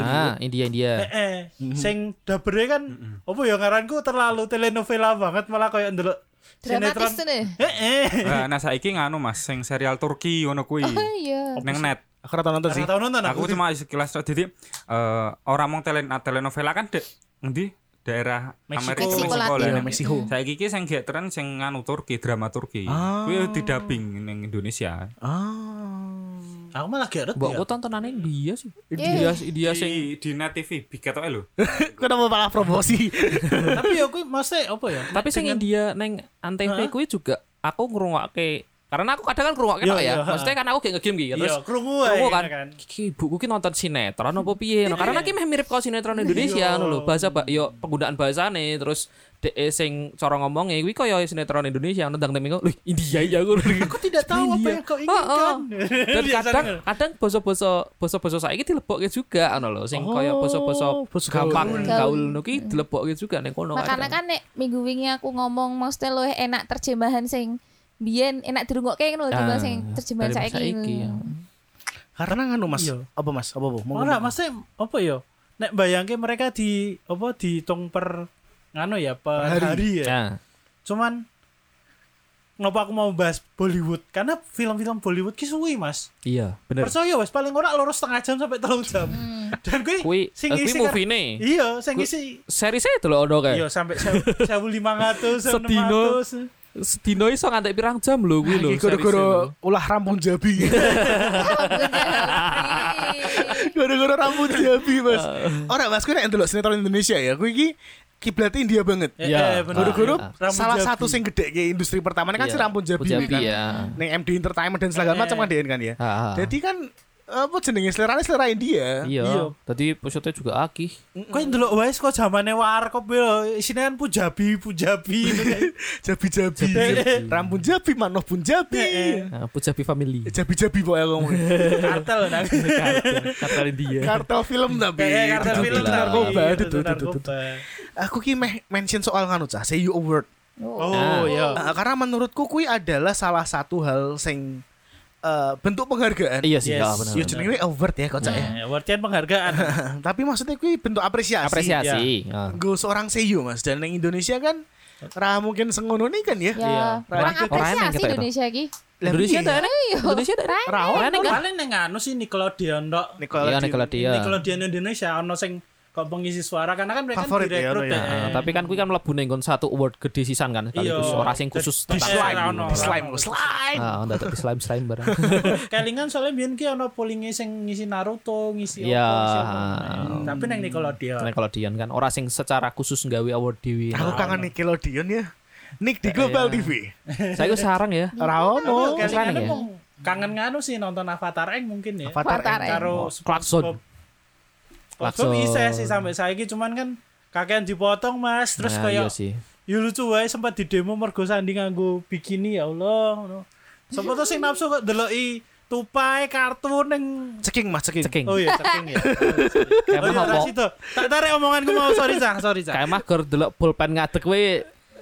Speaker 3: Ah, India India.
Speaker 4: eh, eh. sing dabere kan apa ya ngaranku terlalu telenovela banget malah kayak ndelok
Speaker 2: Dramatis
Speaker 4: sinetron.
Speaker 2: tuh nih.
Speaker 4: eh, eh.
Speaker 5: Eh, nah saiki nganu Mas, sing serial Turki ngono kuwi.
Speaker 2: Oh iya.
Speaker 5: Neng net.
Speaker 1: Aku rata nonton sih.
Speaker 4: Ora tau nonton aku
Speaker 5: Aku cuma sekilas tok dadi eh orang mong telen telenovela kan dek ngendi? Daerah
Speaker 4: Meksiko.
Speaker 5: Amerika
Speaker 2: Meksiko
Speaker 5: Meksiko
Speaker 2: Latin.
Speaker 5: lah. ya.
Speaker 1: Iya, Meksiko.
Speaker 5: Saiki iki sing gak tren sing nganu Turki, drama Turki.
Speaker 1: Ah.
Speaker 5: Kuwi didubbing ning Indonesia.
Speaker 1: Ah.
Speaker 4: aku malah geret
Speaker 3: Mbok
Speaker 4: ya
Speaker 3: aku tontonan India sih. India India sing
Speaker 5: Iya, Di, di Net TV, Big Ketoke lho.
Speaker 1: Kenapa malah promosi?
Speaker 4: tapi ya kuwi mesti apa ya
Speaker 3: tapi sing India neng Antv kuwi juga aku ngrungokke karena aku kadang kan ngrungokke
Speaker 4: Iya,
Speaker 3: tok ya.
Speaker 4: iya, ha.
Speaker 3: Maksudnya kan aku gak nge-game gitu. Terus
Speaker 4: Iya, krungu ae,
Speaker 3: krungu kan.
Speaker 4: kan. Iya.
Speaker 3: Iki ibuku ki nonton sinetron apa piye no. Karena ki meh mirip karo sinetron Indonesia ngono lho. Bahasa ba yo penggunaan bahasane terus dhek sing cara ngomongnya kuwi koyo sinetron Indonesia nendang temenku. Lho, India ya aku.
Speaker 4: aku tidak tahu apa yang kau
Speaker 3: Oh,
Speaker 4: inginkan Iya,
Speaker 3: Dan kadang kadang basa-basa basa-basa saiki dilebokke juga ngono lho. Sing koyo
Speaker 4: Oh,
Speaker 3: basa-basa
Speaker 1: basa gaul.
Speaker 3: gampang
Speaker 2: Gaul.
Speaker 3: gaul ngono
Speaker 4: Iya.
Speaker 3: ki dilebokke juga ning kono. Nah,
Speaker 2: Makanya
Speaker 3: kadang.
Speaker 2: kan nek minggu wingi aku ngomong maksudnya luwih enak terjemahan sing biyen enak dirungokke ngono lho timbang
Speaker 3: Ah,
Speaker 2: sing terjemahan
Speaker 3: daripada
Speaker 2: saiki.
Speaker 3: saiki, ya.
Speaker 1: Karena nganu mas.
Speaker 4: Iya.
Speaker 1: Apa mas? Apa bu? Mau
Speaker 4: ora
Speaker 1: ngomong.
Speaker 4: mesti apa ya nek bayangke mereka di apa dihitung per nganu ya per
Speaker 1: hari.
Speaker 4: hari, ya
Speaker 3: Nah,
Speaker 4: cuman kenapa aku mau bahas Bollywood karena film-film Bollywood ki suwi mas
Speaker 3: iya, bener.
Speaker 4: percaya wes paling ora lurus setengah jam sampai telung jam
Speaker 3: Hmm.
Speaker 4: dan gue
Speaker 3: Kui, eh, kui movie nih.
Speaker 4: iya sing
Speaker 3: Kui-
Speaker 4: ngisi Eh.
Speaker 3: Seri saya dulu ono kayak.
Speaker 4: iya sampai sewu lima ratus
Speaker 3: Sedino. Sedino iso ngantek pirang jam lho kuwi lho.
Speaker 1: Iki gara-gara ulah rampung jabi. Gara-gara rampung jabi, Mas.
Speaker 4: Ah.
Speaker 1: Ora, Mas, kuwi nek ndelok sinetron Indonesia ya, kuwi iki kiblatnya India banget.
Speaker 4: Eh,
Speaker 3: Ya.
Speaker 4: eh, bener.
Speaker 1: Guru-guru
Speaker 4: Ah, iya.
Speaker 1: salah
Speaker 4: Rampung
Speaker 1: satu
Speaker 4: Jabi.
Speaker 1: sing gede ke industri pertama kan
Speaker 3: Iya.
Speaker 1: si Rampun Jabi,
Speaker 3: Jabi,
Speaker 1: kan.
Speaker 4: iya.
Speaker 3: ya.
Speaker 1: Ning MD Entertainment dan
Speaker 4: Eh.
Speaker 1: segala macam kan dia kan ya.
Speaker 3: Ha, ha.
Speaker 1: Jadi ya, kan apa jenenge selerane selera India.
Speaker 4: Ah. Iya.
Speaker 3: Iya. Tadi peserta juga akih.
Speaker 4: Kok ndelok wae kok zamane warkop lho, isine kan pujabi, pujabi.
Speaker 1: Jabi-jabi. Rampun Jabi, Manoh pun
Speaker 4: Eh,
Speaker 1: Jabi.
Speaker 3: Nah, Pujabi family.
Speaker 1: Jabi-jabi pokoknya ngomongnya.
Speaker 4: Kartel nang.
Speaker 3: Kata dia.
Speaker 1: Kartel film tapi.
Speaker 4: Kayak Eh, kartel film Iya,
Speaker 3: Alhamdulillah.
Speaker 1: narkoba.
Speaker 4: narkoba,
Speaker 1: Duh, duh, duh, duh, duh.
Speaker 4: narkoba.
Speaker 1: Aku ki meh mention soal nganu cah, say you award.
Speaker 4: Oh, iya.
Speaker 1: Nah, karena menurutku kui adalah salah satu hal sing eh, bentuk penghargaan.
Speaker 3: Iya sih,
Speaker 4: Yes.
Speaker 3: ya benar. Nah.
Speaker 1: Ya jenenge award ya kocak ya.
Speaker 4: Ya, artian penghargaan.
Speaker 1: Tapi maksudnya kui bentuk apresiasi.
Speaker 3: Apresiasi. Ah.
Speaker 1: Gue seorang seiyu mas dan yang Indonesia kan ra mungkin sengono nih kan ya.
Speaker 2: Ya, kurang
Speaker 3: Iya. Orang- orang yang
Speaker 2: apresiasi
Speaker 3: kita itu.
Speaker 2: Indonesia iki.
Speaker 1: Lah,
Speaker 3: Indonesia
Speaker 1: iya.
Speaker 3: ada
Speaker 2: Iya.
Speaker 3: Indonesia ada.
Speaker 2: Ra-
Speaker 1: Ra-
Speaker 3: Orang
Speaker 4: Paling
Speaker 3: enggak.
Speaker 4: paling neng anu sih Nickelodeon tok.
Speaker 3: Iya,
Speaker 1: Nickelodeon.
Speaker 3: Nickelodeon.
Speaker 4: Nickelodeon Indonesia ono sing kok pengisi suara karena kan mereka
Speaker 1: Favorit
Speaker 4: kan
Speaker 1: ya,
Speaker 4: direkrut
Speaker 1: ono ya.
Speaker 4: eh.
Speaker 3: Nah, tapi kan kuwi kan mlebu ning kon satu award gede sisan kan sekaligus
Speaker 4: Iya.
Speaker 3: ora sing khusus
Speaker 1: eh,
Speaker 4: Di- di
Speaker 3: tentang
Speaker 4: slime, ono.
Speaker 3: slime.
Speaker 1: Slime, slime.
Speaker 3: Nah, ndak tapi slime slime bareng.
Speaker 4: Kelingan soalnya biyen ki ono pollinge sing ngisi Naruto, ngisi
Speaker 3: Iya.
Speaker 4: apa, ngisi apa. Eh, Tapi neng Nickelodeon.
Speaker 3: Nah, kalau Dian kan ora sing secara khusus nggawe award dhewe.
Speaker 1: Aku kangen Nickelodeon ya. Nick di
Speaker 3: Iya.
Speaker 1: Global TV.
Speaker 3: Saya itu sarang ya.
Speaker 1: Ra ono.
Speaker 3: Mas
Speaker 4: Kelingan
Speaker 3: Rani ya?
Speaker 4: Oh, mung kangen nganu sih nonton Avatar Eng mungkin ya.
Speaker 2: Avatar
Speaker 1: Avatar.
Speaker 2: Eng.
Speaker 4: Karo
Speaker 3: Oh, Klakson.
Speaker 4: SpongeBob.
Speaker 3: Klakson.
Speaker 4: SpongeBob bisa sih sampai saiki cuman kan kakean dipotong Mas, terus
Speaker 3: Nah, iya
Speaker 4: kayak
Speaker 3: sih.
Speaker 4: Ya lucu wae sempat di demo mergo Sandi nganggo bikini ya Allah ngono. Sopo tuh sing nafsu kok deloki tupai kartun ning
Speaker 1: Ceking mas, ceking.
Speaker 3: Ceking.
Speaker 4: Oh iya ceking ya.
Speaker 3: Kayak
Speaker 4: Oh iya
Speaker 3: mah
Speaker 4: ra
Speaker 3: opo?
Speaker 4: situ. Tak tarik omonganku mau sorry Cah, sorry Cah.
Speaker 3: Kayak mah gor delok pulpen ngadeg we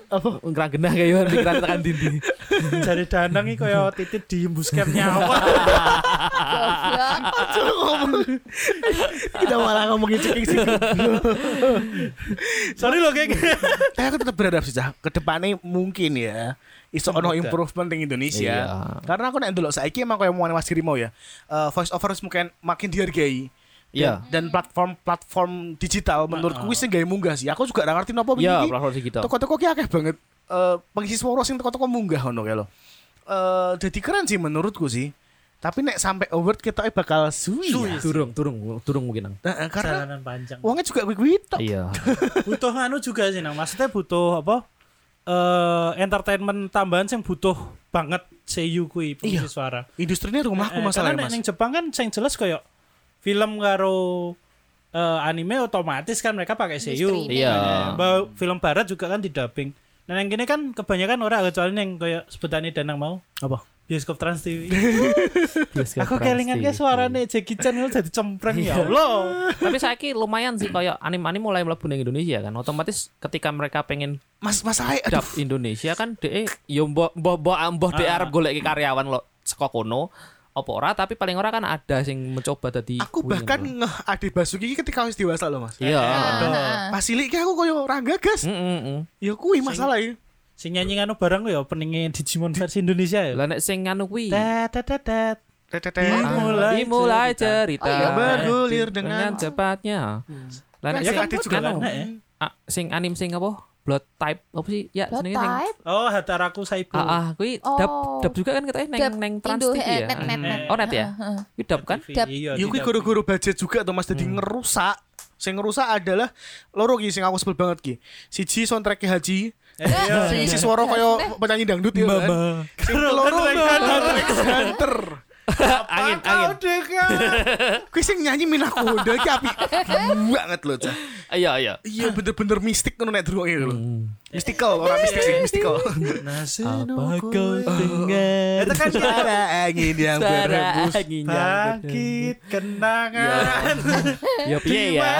Speaker 3: apa ngrangenah kayak pikiran tekan dindi.
Speaker 4: Jare Danang iki koyo titit diembuskan nyawa.
Speaker 2: Goblok.
Speaker 1: Cuma ngomong. Kita malah ngomongin ceking sih.
Speaker 4: sorry loh geng.
Speaker 1: Tapi aku tetap berharap sih Cah. Kedepannya mungkin ya. Iso ono improvement di Indonesia.
Speaker 3: Iya.
Speaker 1: Karena aku nek ndelok saiki emang koyo omongan Mas Girimo ya. Eh, voice over harus mungkin makin dihargai.
Speaker 3: Iya.
Speaker 1: Dan platform-platform digital menurutku wis sing gawe munggah sih. Aku juga gak ngerti napa
Speaker 3: Iya,
Speaker 1: wingi iki.
Speaker 3: platform digital.
Speaker 1: Toko-toko ki akeh banget eh pengisi suara sing toko-toko munggah ono kae lho. Eh jadi keren sih menurutku sih. Tapi nek sampai award kita bakal suwi. ya.
Speaker 3: Durung, durung, durung mungkin. Nang.
Speaker 1: Eh, eh, karena
Speaker 4: Jalanan panjang.
Speaker 1: uangnya juga kuwi-kuwi tok.
Speaker 3: Iya.
Speaker 4: Butuh anu juga sih nang. Maksudnya butuh apa? Eh entertainment tambahan sing butuh banget seiyu kui pengisi
Speaker 1: Iya.
Speaker 4: suara.
Speaker 1: Industrinya rumahku
Speaker 4: Eh,
Speaker 1: masalahnya
Speaker 4: karena nek
Speaker 1: Mas.
Speaker 4: ning Jepang kan sing jelas koyo film karo eh, anime otomatis kan mereka pakai seiyu.
Speaker 2: Industri.
Speaker 3: Iya.
Speaker 4: Eh, bahwa film barat juga kan didubbing. Nah, yang gini kan kebanyakan orang kecuali yang koyo sebetani danang mau
Speaker 3: Apa?
Speaker 4: bioskop Trans TV.
Speaker 3: Bioskop
Speaker 4: Aku
Speaker 3: Trans
Speaker 4: kelingan
Speaker 3: TV.
Speaker 4: ke suarane Jackie Chan itu jadi cempreng
Speaker 3: Iya.
Speaker 4: ya Allah.
Speaker 3: Tapi saiki lumayan sih kayak anime-anime mulai mlebu ning Indonesia kan. Otomatis ketika mereka pengen
Speaker 1: Mas Mas saya
Speaker 3: dap Indonesia kan dhek yo mbok mbok mbok mbok dhek arep goleki karyawan lo saka kono apa ora tapi paling ora kan ada sing mencoba dadi
Speaker 1: Aku
Speaker 3: kuwi
Speaker 1: bahkan
Speaker 3: ngono.
Speaker 1: ngeh Ade Basuki ketika wis dewasa loh Mas.
Speaker 3: Iya.
Speaker 1: Pas cilik ki aku koyo ora gagas.
Speaker 3: Mm, mm, mm.
Speaker 1: Ya kuwi masalahnya.
Speaker 4: Sing nyanyi nganu bareng ya peningin Digimon versi Indonesia ya.
Speaker 3: Lah nek sing anu kuwi
Speaker 4: Tet tet tet, tet.
Speaker 1: Tetetet.
Speaker 4: Dimulai
Speaker 3: dimulai cerita.
Speaker 2: Oh, iya.
Speaker 1: Bergulir dengan-
Speaker 3: cepatnya. Lah nek
Speaker 1: Ya,
Speaker 3: sing
Speaker 1: Kak Ade juga
Speaker 3: anu,
Speaker 4: enak ya.
Speaker 3: ah, sing anim sing apa? Blood type apa sih? Ya
Speaker 2: Lo
Speaker 3: senenge sing
Speaker 2: type.
Speaker 4: Oh, Hataraku Saibu.
Speaker 3: Ah, ah, kuwi
Speaker 2: Oh.
Speaker 3: dap dap juga kan katanya neng
Speaker 2: Dap
Speaker 3: neng trans
Speaker 2: Indo,
Speaker 3: TV
Speaker 2: eh,
Speaker 3: ya.
Speaker 2: net, net, net.
Speaker 3: Oh net ya. Kuwi dap kan?
Speaker 4: TV,
Speaker 2: Dap.
Speaker 4: iya,
Speaker 1: Ya kuwi
Speaker 4: didap.
Speaker 1: goro-goro budget juga tuh Mas jadi ngerusak. Sing ngerusak adalah loro ki sing aku sebel banget ki. Siji soundtrack Haji, sing isi suara koyo penyanyi dangdut ya kan. Sing loro Hunter.
Speaker 3: angin, angin.
Speaker 1: Kuwi sing nyanyi Minako Honda ki apik banget loh Cah.
Speaker 3: Iya, iya.
Speaker 1: Iya bener-bener mistik ngono nek durunge lho.
Speaker 3: Hmm.
Speaker 1: Mystical, ora mistik sih, mystical.
Speaker 4: Nasib apa kau
Speaker 1: Itu
Speaker 4: dengar
Speaker 3: Iya,
Speaker 1: kan suara angin yang
Speaker 3: ya. Suara
Speaker 1: berebus.
Speaker 3: angin yang
Speaker 4: Bangkit kenangan
Speaker 3: Ya piye ya.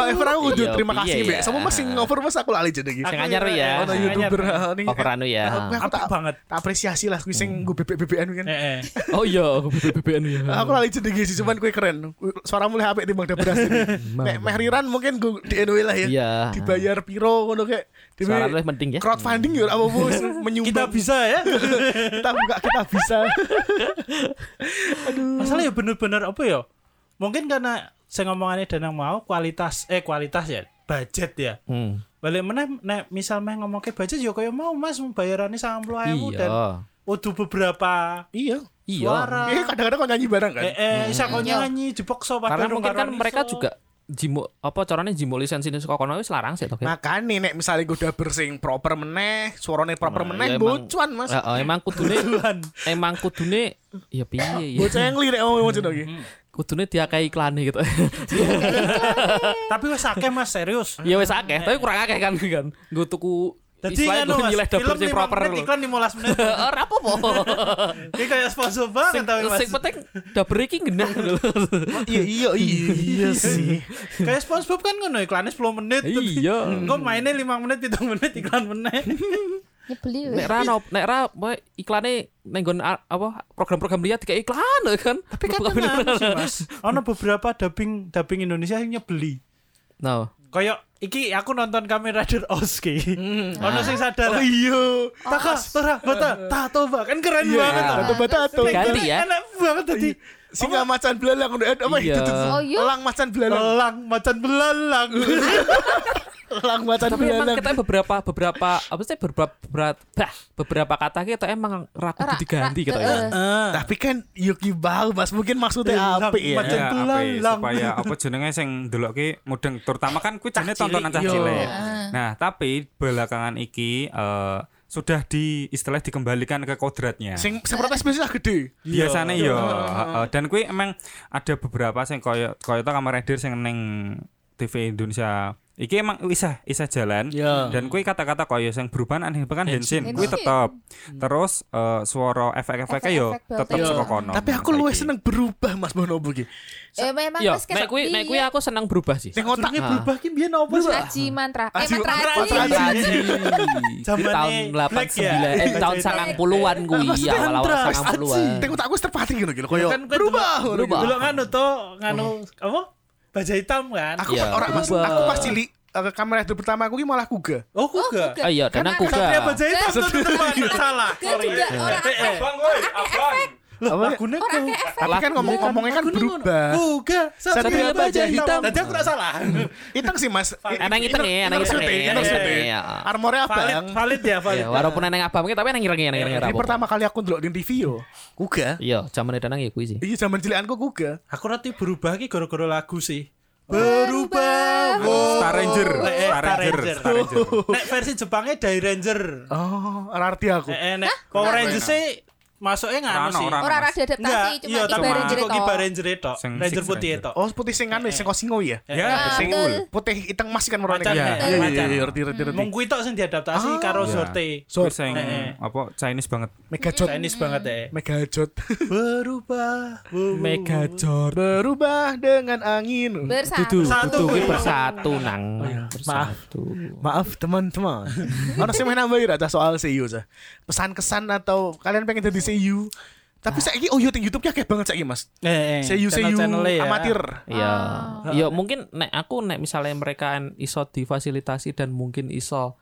Speaker 1: However aku kudu
Speaker 3: Iya,
Speaker 1: terima kasih
Speaker 3: iya,
Speaker 1: Mbak.
Speaker 3: iya.
Speaker 1: Sama Mas sing over Mas aku lali jenenge.
Speaker 3: Sing anyar ya.
Speaker 1: Ono
Speaker 4: Sing anyar.
Speaker 1: YouTuber ha, ning-
Speaker 3: Over anu ya.
Speaker 1: Aku aku
Speaker 4: Apik
Speaker 1: tak
Speaker 4: banget.
Speaker 1: tak apresiasi lah kuwi
Speaker 3: Hmm.
Speaker 1: sing nggo bebek-bebekan kuwi kan.
Speaker 4: Eh, eh.
Speaker 3: Oh iya, BBN ya.
Speaker 1: Aku lali jenenge sih cuman kuwi keren. Kuwi Suaramu mulai apik timbang Dabras. Nek meh riran mungkin gue di NW lah ya.
Speaker 3: Iya.
Speaker 1: Dibayar piro ngono kayak Dewe
Speaker 3: Suara lu penting ya.
Speaker 1: crowdfunding ya apa bos
Speaker 4: Kita
Speaker 1: menyumbang
Speaker 4: bisa ya
Speaker 1: kita buka kita bisa.
Speaker 4: Masalah ya bener-bener apa ya Mungkin karena Saya ngomongannya danang mau Kualitas Eh kualitas ya budget ya.
Speaker 3: Hmm.
Speaker 4: Balik mana nek misal meh ngomong ke budget ya kaya mau Mas bayarane 60.000 dan
Speaker 3: Iya.
Speaker 4: udah beberapa
Speaker 1: Iya.
Speaker 3: Iya. Hmm.
Speaker 4: suara.
Speaker 1: Iya kadang-kadang kok nyanyi bareng kan.
Speaker 4: Eh, eh isa kok
Speaker 2: Iya.
Speaker 4: nyanyi dipaksa
Speaker 3: Karena
Speaker 4: padahal
Speaker 3: mungkin kan
Speaker 4: karo
Speaker 3: mereka
Speaker 4: iso.
Speaker 3: juga jimo apa caranya jimo lisensi ini suka kono wis larang sih ya?
Speaker 1: Eh.
Speaker 3: toh. Ki.
Speaker 1: Makanya nek misalnya gue udah bersing proper meneh, suaranya proper
Speaker 3: Nah,
Speaker 1: meneh,
Speaker 3: ya emang-
Speaker 1: bocuan mas.
Speaker 3: Ya, oh, emang kudune emang kudune ya piye ya.
Speaker 1: Bocah yang oh, lirik ngomong ngomong lagi.
Speaker 3: Hmm. Kudune diakai iklane gitu.
Speaker 4: Tapi wes akeh Mas serius.
Speaker 3: Ya wes akeh, tapi kurang akeh kan kan. Gue tuku
Speaker 4: Dadi
Speaker 3: istilahnya gue
Speaker 4: ngono kan, Mas,
Speaker 3: nyileh double
Speaker 4: film
Speaker 3: sing
Speaker 4: 5
Speaker 3: proper
Speaker 4: menit
Speaker 3: lho.
Speaker 4: iklan 15 menit.
Speaker 3: Ora apa-apa.
Speaker 4: Ini kayak sponsor banget
Speaker 3: Sing
Speaker 4: tapi Mas.
Speaker 3: sing penting double iki genah lho.
Speaker 1: Iya iya iya iya sih.
Speaker 4: Kayak SpongeBob kan ngono iklannya 10 menit.
Speaker 3: Iya.
Speaker 4: Kok mainnya 5 menit, 7 menit iklan meneh.
Speaker 2: Nyebeli weh.
Speaker 3: Nek ra no, nek ra apa, iklane ning nggon a- apa program-program liat kayak iklan lho kan. Tapi kan
Speaker 4: Anu sih, Mas. Ono beberapa dubbing dubbing Indonesia yang nyebeli.
Speaker 3: No.
Speaker 4: Kayak iki aku nonton kamera Rider Oski. Ono sing sadar.
Speaker 1: Oh iya.
Speaker 4: Takas, Tora, Bata, Tatoba kan keren banget.
Speaker 3: iya.
Speaker 1: Batu batu batu.
Speaker 3: Diganti ya.
Speaker 4: Enak banget
Speaker 1: Oh,
Speaker 4: tadi.
Speaker 1: Singa macan belalang udah apa
Speaker 3: Iya.
Speaker 1: itu tuh.
Speaker 2: Oh, iya.
Speaker 1: Elang macan belalang.
Speaker 4: Lelang macan belalang.
Speaker 1: Elang macan
Speaker 3: Tapi emang
Speaker 1: belalang.
Speaker 3: kita beberapa beberapa apa sih beberapa berat- bah, beberapa kata kita emang raku
Speaker 2: Ra-
Speaker 3: diganti
Speaker 2: ra-
Speaker 3: gitu
Speaker 2: eh,
Speaker 3: ya.
Speaker 4: Ah.
Speaker 1: Tapi kan Yuki bau mas mungkin maksudnya
Speaker 4: Elang
Speaker 1: apa ya?
Speaker 4: macan-
Speaker 5: Ya,
Speaker 4: Jentulan
Speaker 5: ape,
Speaker 4: lang.
Speaker 5: supaya apa jenenge sing ndelokke mudeng terutama kan kuwi jenenge
Speaker 1: Cah cilik, iya.
Speaker 5: tontonan cah
Speaker 1: yo.
Speaker 5: cilik.
Speaker 2: Ah.
Speaker 5: Nah, tapi belakangan iki eh, sudah di istilah dikembalikan ke kodratnya.
Speaker 1: Sing Iya. sing protes biasanya gede.
Speaker 5: biasanya yo heeh. dan kui emang ada beberapa sing koyo koyo to kamar Rider sing neng TV Indonesia iki emang isah isah jalan
Speaker 1: Iya.
Speaker 5: dan kui kata-kata koyo sing berubah aneh pekan
Speaker 2: Henshin.
Speaker 5: Henshin kui tetep
Speaker 1: Hmm.
Speaker 5: terus eh, suara efek-efeknya yo
Speaker 2: Efek-efek
Speaker 5: tetep
Speaker 2: Iya.
Speaker 5: saka kono
Speaker 1: Tapi aku
Speaker 5: Saiki.
Speaker 1: luwih seneng berubah mas Bonobo ki.
Speaker 2: Eh memang
Speaker 3: Yo,
Speaker 2: wis kesak-
Speaker 3: nek kuwi nek kuwi
Speaker 2: iya.
Speaker 3: aku senang berubah sih.
Speaker 1: Sing otaknya
Speaker 3: Ah.
Speaker 1: berubah ki biar apa sih?
Speaker 2: Aji mantra. Eh
Speaker 1: Aji-
Speaker 2: mantra Oh,
Speaker 1: mantra
Speaker 2: aji.
Speaker 1: aji.
Speaker 3: Di
Speaker 4: Zamane
Speaker 3: Iya. tahun
Speaker 4: Black
Speaker 3: 89
Speaker 4: ya?
Speaker 3: eh tahun
Speaker 4: Black.
Speaker 3: 90-an kuwi
Speaker 1: Maksudnya
Speaker 3: Oh, iya, awal-awal
Speaker 1: Andra,
Speaker 3: 90-an.
Speaker 1: Aji. Tengok otakku wis terpatri ngono ki lho koyo
Speaker 4: Kan kue
Speaker 1: berubah.
Speaker 4: dulu-
Speaker 1: ngono ki.
Speaker 3: berubah.
Speaker 4: Dulu nganu to, nganu
Speaker 1: Oh.
Speaker 4: apa? Baja hitam kan.
Speaker 1: Aku
Speaker 3: Iya.
Speaker 1: orang mas,
Speaker 3: Berubah.
Speaker 1: aku pas cilik eh, kamera itu pertama aku ki malah kuga.
Speaker 4: Oh, kuga.
Speaker 3: Oh iya, dan
Speaker 2: Karena
Speaker 3: aku
Speaker 2: aku
Speaker 4: Satria
Speaker 3: gak.
Speaker 4: Baja hitam tuh teman salah.
Speaker 2: Dia juga orang
Speaker 4: Eh, eh.
Speaker 5: Abang, woi, abang.
Speaker 4: Loh,
Speaker 1: Apa?
Speaker 4: lagune ku.
Speaker 1: Tapi kan ngomong-ngomongnya kan
Speaker 4: Lagune ngono. Uh.
Speaker 1: berubah.
Speaker 4: Kuga,
Speaker 1: Satria
Speaker 4: Satria Baja
Speaker 1: Baja
Speaker 4: hitam.
Speaker 1: Hitam.
Speaker 4: Tadi aku nggak salah.
Speaker 1: Iteng sih mas.
Speaker 3: Enang iteng ya, enang iteng ya, enang iteng ya.
Speaker 1: Armornya
Speaker 4: Valid,
Speaker 1: abang.
Speaker 4: valid ya, valid.
Speaker 3: Ya, walaupun enang abang kita tapi enang ireng enang ireng
Speaker 1: Ini pertama kali aku ndelok di TV yo. Kuga.
Speaker 3: Iya, zaman itu nang ya kuwi sih.
Speaker 1: Iya zaman cilikanku kuga.
Speaker 4: Aku nanti berubah ki gara-gara lagu sih. Berubah.
Speaker 5: Star Ranger,
Speaker 4: Eh, Oh. eh,
Speaker 5: Star Ranger, Star Ranger.
Speaker 4: Nek versi Jepangnya Dai Ranger.
Speaker 1: Oh, ora arti aku.
Speaker 4: Eh, eh, nek Power Ranger sih masuknya nggak anu
Speaker 5: Rano,
Speaker 4: sih.
Speaker 5: Rano.
Speaker 2: Orang ada adaptasi
Speaker 4: Enggak,
Speaker 2: cuma
Speaker 4: iya tapi
Speaker 2: kibar
Speaker 5: bareng
Speaker 4: cuma
Speaker 2: jerito.
Speaker 4: kok kibar Ranger itu.
Speaker 5: Sing
Speaker 4: Ranger
Speaker 5: Six
Speaker 4: putih
Speaker 5: Ranger.
Speaker 4: itu.
Speaker 1: Oh, putih sing anu, sing kosingo ya.
Speaker 4: Eh,
Speaker 5: Ya,
Speaker 2: Ah,
Speaker 5: sing
Speaker 2: betul.
Speaker 1: Putih iteng mas kan warnanya.
Speaker 4: Macan,
Speaker 5: Iya,
Speaker 1: iya,
Speaker 4: macan.
Speaker 1: iya, iya, ngerti, ngerti, ngerti.
Speaker 4: Mung kuwi tok sing diadaptasi karo
Speaker 5: Iya.
Speaker 4: Zorte.
Speaker 5: Kui sing
Speaker 4: Eh, eh.
Speaker 5: apa Chinese banget.
Speaker 1: Megajot.
Speaker 4: Chinese banget ya.
Speaker 1: Megajot.
Speaker 4: Berubah. wow.
Speaker 3: Megajor.
Speaker 1: Berubah dengan angin.
Speaker 2: Bersatu.
Speaker 3: Dudu,
Speaker 4: Satu.
Speaker 3: dudu kuwi persatu
Speaker 4: Oh,
Speaker 3: nang.
Speaker 4: iya. Ah.
Speaker 3: Persatu.
Speaker 1: Maaf teman-teman. Ono sing menambah ira ta soal E CEO ta. Pesan kesan atau kalian pengen jadi CEO? Tapi saiki oh YouTube YouTube-nya akeh banget saiki, Mas. E
Speaker 4: Eh, eh,
Speaker 1: CEO CEO
Speaker 4: channel-channelnya ya.
Speaker 1: amatir.
Speaker 3: Iya. Ya mungkin nek aku nek misalnya mereka en- iso difasilitasi dan mungkin iso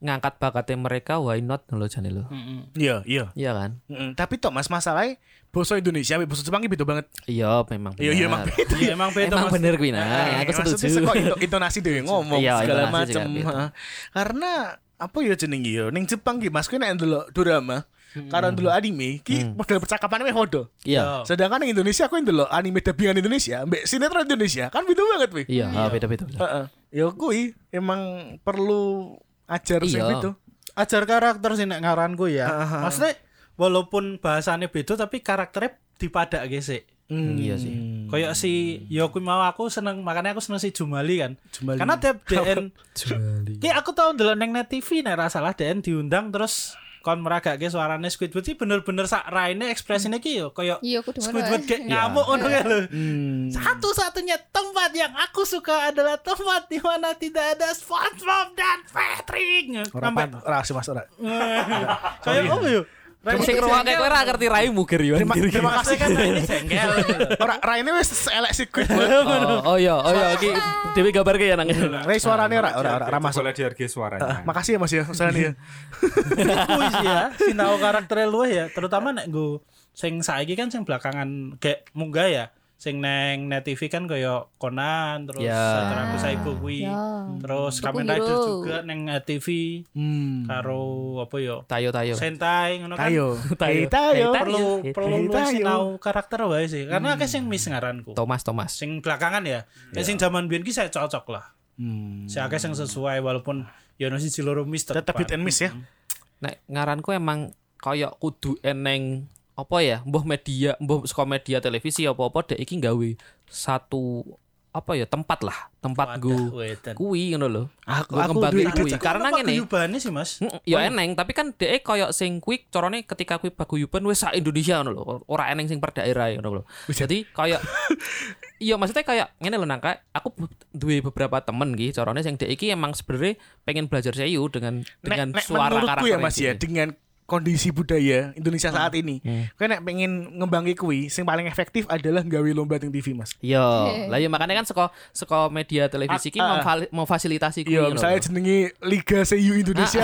Speaker 3: ngangkat bakatnya mereka why not lho jane lho.
Speaker 1: Iya, iya.
Speaker 3: Iya kan?
Speaker 1: Mm, tapi toh Mas masalahnya boso Indonesia ambek boso Jepang iki beda banget.
Speaker 3: Iya memang.
Speaker 1: Iya, iya, emang
Speaker 3: bener.
Speaker 1: beda.
Speaker 4: Iya emang beda
Speaker 3: Emang
Speaker 4: Mas.
Speaker 3: bener kuwi nah.
Speaker 1: Eh,
Speaker 3: aku
Speaker 1: maksudnya
Speaker 3: setuju.
Speaker 1: sekok into- intonasi dhewe ngomong
Speaker 3: Iya,
Speaker 1: segala
Speaker 3: intonasi juga
Speaker 1: macem
Speaker 3: beda.
Speaker 1: Heeh. Karena apa ya jeneng yo ning Jepang ki Mas kuwi nek ndelok drama karo ndelok anime ki
Speaker 3: Mm.
Speaker 1: model percakapannya meh podo.
Speaker 3: Iya.
Speaker 4: Iya.
Speaker 1: Sedangkan yang Indonesia aku yang dulu anime dubbingan Indonesia, mbak sinetron Indonesia kan beda banget wi.
Speaker 3: Iya, ah, beda-beda. beda.
Speaker 1: Heeh. Ya kui emang perlu ajar sing
Speaker 3: Iya.
Speaker 1: itu.
Speaker 4: ajar karakter sih nek ngaranku ya. Maksudnya walaupun bahasanya beda tapi karakternya dipadak gesek.
Speaker 3: Iya sih.
Speaker 1: Hmm.
Speaker 4: Kayak si ya aku mau aku seneng makanya aku seneng si Jumali kan.
Speaker 1: Jumali.
Speaker 4: Karena Iya. tiap DN Ki aku tau ndelok neng net TV nek ra salah DN diundang terus kon meragake suarane Squidward ki bener-bener sak raine ekspresine ki yo kayak
Speaker 2: Iya, aku denger,
Speaker 4: Squidward
Speaker 2: eh.
Speaker 4: kayak ngamuk ngono kae lho.
Speaker 1: Hmm.
Speaker 4: Satu-satunya tempat yang aku suka adalah tempat di mana tidak ada SpongeBob dan Patrick.
Speaker 1: Orang
Speaker 4: Sampai-
Speaker 1: pan- orang sih mas orang.
Speaker 4: Kayak apa yo?
Speaker 3: Terus sing ngrungokke kowe ora ngerti raimu ger yo.
Speaker 1: Terima, terima kasih.
Speaker 4: Maksudnya kan ini jengkel.
Speaker 1: Orang Raine wes selek sih kui.
Speaker 3: Oh, oh iya, oh iya iki dhewe gambarke ya nang.
Speaker 1: Rai suaranya ora ora ora ramah.
Speaker 5: Boleh dihargai suaranya.
Speaker 1: Makasih ya mas ya usahanya ya.
Speaker 4: Kuis ya, sinau karakternya luwih ya, terutama nek nggo sing saiki kan sing belakangan kayak munggah ya. sing neng net TV kan kaya Conan terus
Speaker 3: Ya.
Speaker 4: Satranaku Saibo kuwi.
Speaker 2: Ya.
Speaker 4: Terus
Speaker 2: Boku
Speaker 4: Kamen Rider
Speaker 2: Hero.
Speaker 4: juga neng net TV
Speaker 1: Hmm.
Speaker 4: karo apa yo?
Speaker 3: Tayo tayo.
Speaker 4: Sentai ngono kan.
Speaker 1: Tayo. Tayo.
Speaker 3: Tayo.
Speaker 1: Tayo.
Speaker 3: Tayo.
Speaker 4: Perlu
Speaker 3: Iya.
Speaker 4: perlu
Speaker 1: Iya,
Speaker 4: lu sing
Speaker 1: tayo. Hmm.
Speaker 4: tau karakter wae sih. Karena akeh sing miss ngaranku.
Speaker 3: Thomas Thomas.
Speaker 4: Sing belakangan ya. Nek sing zaman biyen ki saya cocok lah.
Speaker 1: Iya. Hmm.
Speaker 4: Saya akeh sing sesuai walaupun yo ono siji loro miss Hmm.
Speaker 1: Tetap hit and miss ya.
Speaker 3: Nek ngaranku emang koyo kudu eneng apa ya, mbah media, mbah saka media televisi apa-apa dek iki gawe satu apa ya tempat lah, tempat
Speaker 4: Waduh,
Speaker 3: go
Speaker 4: wedan.
Speaker 3: kuwi ngono lho.
Speaker 1: Aku
Speaker 3: Gua kembangin
Speaker 1: duwe ide,
Speaker 3: kuwi.
Speaker 1: Cak.
Speaker 3: Karena
Speaker 4: Kenapa
Speaker 3: ngene.
Speaker 4: guyubane sih, Mas?
Speaker 3: Mm, Ya eneng, tapi kan dek koyo sing kuwi carane ketika kuwi paguyuban wis sak Indonesia ngono lho, ora eneng sing per daerah ngono lho. Jadi koyo Iya maksudnya kayak ngene lho nangka aku bu- duwe beberapa temen iki carane sing dek iki emang sebenarnya pengen belajar sayu dengan
Speaker 1: Nek,
Speaker 3: dengan
Speaker 1: nek
Speaker 3: suara
Speaker 1: menurutku
Speaker 3: karakter
Speaker 1: ya
Speaker 3: Hmm.
Speaker 1: Mas ya dengan kondisi budaya Indonesia saat ini. Kowe nek pengen ngembangi kuwi sing paling efektif adalah nggawe lomba teng TV Mas.
Speaker 3: Yo, lah ya makanya kan seko seko media televisi
Speaker 1: Ah,
Speaker 3: ki
Speaker 1: ah.
Speaker 3: memfali- memfasilitasi kuwi
Speaker 1: Iya,
Speaker 3: lho.
Speaker 1: misalnya jenenge Liga Seiyu Indonesia.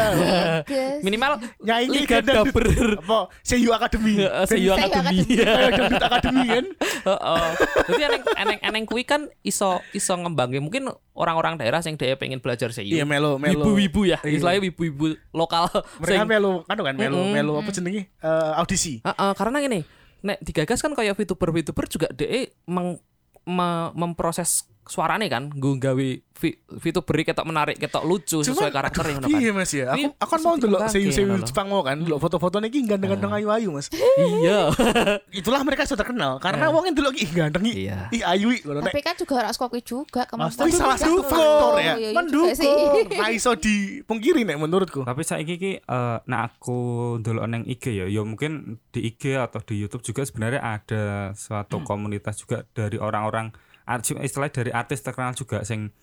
Speaker 2: Guys.
Speaker 3: minimal
Speaker 1: Nyai
Speaker 3: Liga eh, Dapur.
Speaker 1: Apa? Seiyu Academy.
Speaker 3: Heeh, Seiyu
Speaker 2: Seiyu
Speaker 3: Academy.
Speaker 1: Kayak dangdut Academy kan.
Speaker 3: Heeh. Jadi eneng eneng eneng kuwi kan iso iso ngembangin mungkin orang-orang daerah yang dia pengen belajar
Speaker 1: Iya,
Speaker 3: seiyu.
Speaker 1: melo, melo.
Speaker 3: Wibu-wibu ya,
Speaker 1: Iya.
Speaker 3: istilahnya wibu-wibu lokal.
Speaker 1: Mereka
Speaker 3: sing-
Speaker 1: melo, kan kan melo,
Speaker 3: Mm-mm.
Speaker 1: melo apa jenenge? Eh, audisi.
Speaker 3: Heeh, karena gini, nek digagas kan kayak VTuber VTuber juga DE meng, me- memproses suarane kan, gue gawe vi- VTuber ketok menarik, ketok lucu sesuai karakter yang
Speaker 1: aduh, Iya Mas ya. Aku
Speaker 3: Iya,
Speaker 1: aku kan mau
Speaker 3: seperti
Speaker 1: ndelok
Speaker 3: kembang
Speaker 1: Seiyu Seiyu
Speaker 3: kayak ngono. Ah.
Speaker 1: Jepang mau kan, ndelok foto-fotone iki ganteng-ganteng ayu-ayu Mas.
Speaker 3: Iya.
Speaker 1: Itulah mereka sudah terkenal karena wong ndelok iki ganteng iki.
Speaker 3: Iya.
Speaker 1: Ih ayu iki ngono nek
Speaker 2: Tapi kan juga ora skoki juga kemampuan.
Speaker 1: Tapi salah satu faktor
Speaker 2: Iya,
Speaker 1: ya. Mendukung. Ra iso dipungkiri nek menurutku.
Speaker 5: Tapi saiki iki eh, nah aku ndelok neng IG ya, ya mungkin di IG atau di YouTube juga sebenarnya ada suatu komunitas juga dari orang-orang ar- istilah dari artis terkenal juga sing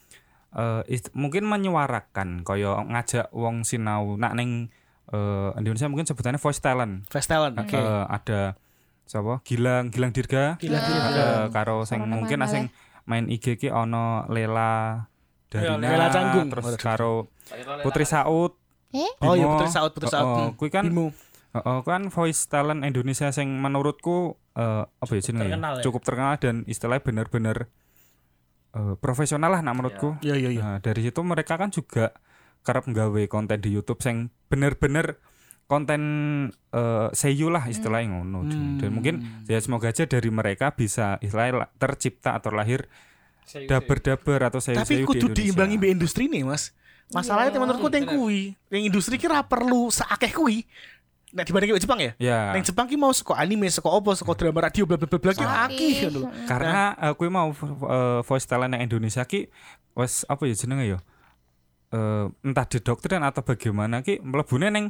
Speaker 5: eh, ist- mungkin menyuarakan koyo ngajak wong sinau nak neng eh, Indonesia mungkin sebutannya voice talent.
Speaker 1: Fast talent.
Speaker 5: Eh, ada siapa? Gilang, Gilang Dirga.
Speaker 4: Gila gila.
Speaker 5: Ada karo sing
Speaker 2: Corona
Speaker 5: mungkin
Speaker 2: mana
Speaker 5: asing main IG ki ono Lela
Speaker 4: Iya,
Speaker 5: Darina
Speaker 1: Lela Canggung.
Speaker 5: terus karo Putri Saud
Speaker 2: Eh?
Speaker 1: Oh iya
Speaker 5: Bimo.
Speaker 1: Putri Saud, Putri Saud.
Speaker 5: Oh, oh,
Speaker 1: Hmm.
Speaker 5: kui kan
Speaker 1: Bimo.
Speaker 5: oh, kui kan voice talent Indonesia sing menurutku eh, apa ya jenenge ya?
Speaker 4: terkenal ya.
Speaker 5: cukup terkenal dan istilahnya bener-bener eh, profesional lah nak menurutku.
Speaker 1: Iya iya iya.
Speaker 5: Nah, dari situ mereka kan juga kerap nggawe konten di YouTube sing bener-bener konten eh seiyu lah istilahnya ngono.
Speaker 1: Hmm.
Speaker 5: Dan mungkin ya semoga aja dari mereka bisa istilahnya la- tercipta atau lahir daber-daber atau seiyu
Speaker 1: Tapi kudu diimbangi be industri nih, Mas. Masalahnya
Speaker 2: Iya.
Speaker 1: menurutku teng kuwi, yang industri kira perlu seakeh kuwi. Nek dibanding Jepang ya?
Speaker 5: Ya.
Speaker 1: Neng Jepang ki mau saka anime, saka opo, saka drama radio bla bla bla bla ki akeh ngono.
Speaker 5: karena aku mau eh, voice talent yang Indonesia ki wes apa ya jenenge ya Eh, entah di dokteran atau bagaimana ki mlebune neng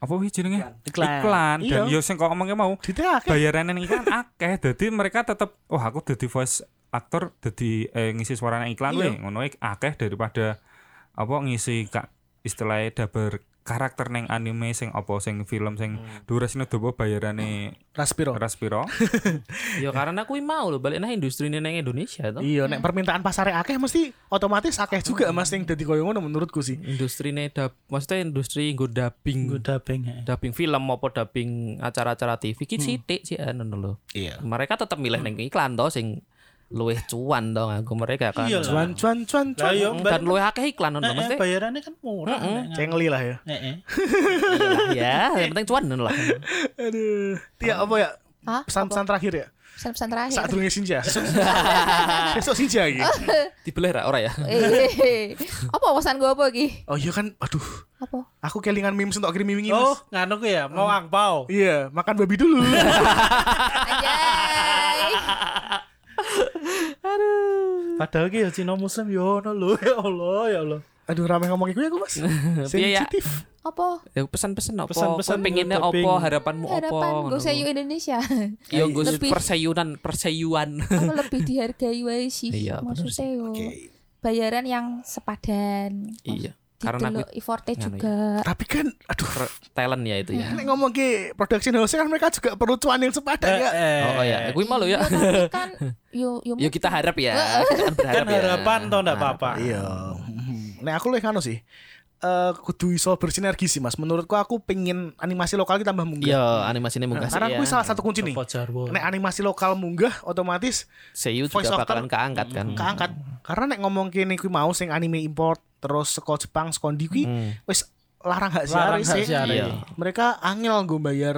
Speaker 5: apa wih jenenge
Speaker 1: Iklan.
Speaker 5: dan
Speaker 1: Iya.
Speaker 5: yo sing kok ngomongnya mau
Speaker 1: Dite akeh.
Speaker 5: bayaran yang iklan akeh jadi mereka tetap wah aku jadi voice aktor jadi eh, ngisi suara nang iklan
Speaker 1: Iya.
Speaker 5: weh ngono iki akeh daripada apa ngisi kak istilahnya daber karakter neng anime sing apa sing film sing durasinya dobo bayarane
Speaker 1: Raspiro.
Speaker 5: raspiro
Speaker 3: Yo Ya, karena kuwi mau lho balik nah industri ini nang Indonesia to.
Speaker 1: Iya, nek permintaan pasarnya akeh mesti otomatis akeh juga Mas yang dadi koyo ngono menurutku sih.
Speaker 3: Industri ini dab, maksudnya industri nggo
Speaker 4: Gue
Speaker 3: dubbing,
Speaker 4: dubbing ya.
Speaker 3: dubbing film maupun dubbing acara-acara TV
Speaker 4: Hmm.
Speaker 3: ki sithik sih anu lho.
Speaker 1: Iya.
Speaker 3: Mereka tetap milih nang iklan to sing luwih cuan to nganggo mereka kan.
Speaker 4: Iya,
Speaker 1: Cuan cuan cuan
Speaker 4: Lah
Speaker 1: cuan.
Speaker 4: yo
Speaker 3: Dan luwih akeh iklan ngono mesti.
Speaker 4: eh, bayarannya kan murah.
Speaker 3: Nah.
Speaker 4: Nek- Eh,
Speaker 1: Cengli lah ya.
Speaker 4: nek- nek.
Speaker 3: ya yang penting cuan lah
Speaker 1: Aduh. Tia apa ya?
Speaker 2: Hah?
Speaker 1: Pesan-pesan terakhir ya?
Speaker 2: Pesan-pesan terakhir.
Speaker 1: Saat durungnya Sinja. Besok besok Sinja iki.
Speaker 3: Oh. dibeleh ra ora ya
Speaker 2: Eh, apa wawasan gue apa iki?
Speaker 1: Oh iya kan, aduh.
Speaker 2: Apa?
Speaker 1: Aku kelingan memes untuk kirim mimpi
Speaker 4: Oh,
Speaker 1: mas.
Speaker 4: nganu ku ya, mau angpau.
Speaker 1: Iya, makan babi dulu.
Speaker 2: Anjay.
Speaker 4: Padahal ki ya Cina muslim yo ono lho. Ya Allah, ya Allah.
Speaker 1: aduh, ramai ngomong iku ya aku mas.
Speaker 3: Iya, ya.
Speaker 1: Sensitif.
Speaker 2: apa?
Speaker 3: Ya, pesan-pesan apa
Speaker 4: Pesan-pesan
Speaker 3: Kowe pengennya
Speaker 4: untuk
Speaker 3: apa
Speaker 4: dubbing.
Speaker 3: harapanmu apa
Speaker 2: Harapan gue sayu Indonesia.
Speaker 3: ya gue
Speaker 2: Lebih-
Speaker 3: perseyunan perseyuan
Speaker 2: apa lebih dihargai wae sih.
Speaker 3: Iya, bener
Speaker 2: maksudnya yo. Bayaran yang sepadan.
Speaker 3: iya karena
Speaker 2: Karena
Speaker 3: aku
Speaker 2: effortnya
Speaker 3: nganu ya.
Speaker 2: juga.
Speaker 1: Tapi kan, aduh.
Speaker 3: talent ya itu ya
Speaker 1: Nek ngomong ke production house kan mereka juga perlu cuan yang sepadan ya.
Speaker 4: Eh,
Speaker 3: oh, oh ya gue malu ya
Speaker 2: tapi kan yo yo
Speaker 3: Yuk kita harap ya kita kan berharap
Speaker 4: Kan harapan
Speaker 3: ya.
Speaker 4: toh enggak apa-apa.
Speaker 1: Hmm. Iya. Nah aku lebih kano sih. eh, kudu iso bersinergi sih Mas. Menurutku aku pengen animasi lokal kita tambah munggah.
Speaker 3: Iya, animasinya munggah sih
Speaker 1: Nah, Karena
Speaker 3: ya.
Speaker 1: aku salah satu kunci nih.
Speaker 4: Apa Jarwo?
Speaker 1: Nek animasi lokal munggah otomatis
Speaker 3: Seiyu
Speaker 1: voice
Speaker 3: juga
Speaker 1: actor.
Speaker 3: bakalan keangkat kan.
Speaker 1: keangkat. Karena nek ngomong kene kuwi mau sing anime import terus seko Jepang seko ndi kuwi
Speaker 3: Hmm.
Speaker 1: wis larang hak siaran
Speaker 4: Larang
Speaker 1: sih.
Speaker 4: hak siaran.
Speaker 3: Iya.
Speaker 1: Mereka angel gue bayar.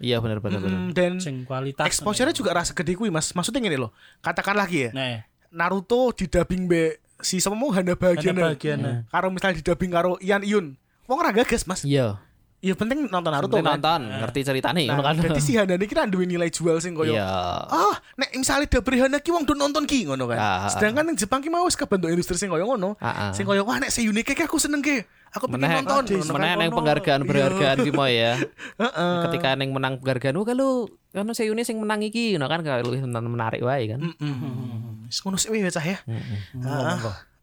Speaker 3: Iya benar benar benar.
Speaker 1: Mm, dan
Speaker 4: Sing kualitas.
Speaker 1: exposure-nya juga rasa gede kuwi Mas. Maksudnya gini loh. Katakan lagi ya.
Speaker 4: Nah,
Speaker 1: Naruto didubbing be si sama mau Hana Bagiana.
Speaker 4: bagian.
Speaker 1: Karo misalnya didubbing karo Ian Iyun. Wong ora gagas, Mas.
Speaker 3: Iya.
Speaker 1: Ya penting nonton Naruto kan.
Speaker 3: Penting nonton, ngerti ceritane
Speaker 1: Nah,
Speaker 3: ngono kan.
Speaker 1: berarti si Hana ini kan duwe nilai jual sing koyo
Speaker 3: Iya.
Speaker 1: Ah, nek misalnya dubber Hana ki wong do nonton ki ngono kan.
Speaker 3: Ah, ah,
Speaker 1: Sedangkan yang Jepang ki mau wis kebentuk industri sing koyo ngono.
Speaker 3: Ah, ah.
Speaker 1: Sing koyo wah nek seunique ki aku seneng ki. Aku pengen
Speaker 3: Meneh
Speaker 1: nonton. ngono kan.
Speaker 3: meneh neng
Speaker 1: Kono.
Speaker 3: penghargaan
Speaker 1: Iya.
Speaker 3: penghargaan ki mau ya.
Speaker 1: Heeh.
Speaker 3: Ketika neng menang penghargaan, wah kalau kan Seiyune sing menang iki ngono kan kalau lebih men- menarik
Speaker 1: Hmm.
Speaker 3: wae kan.
Speaker 1: Mm-mm. Wis ngono sih weh, cah ya.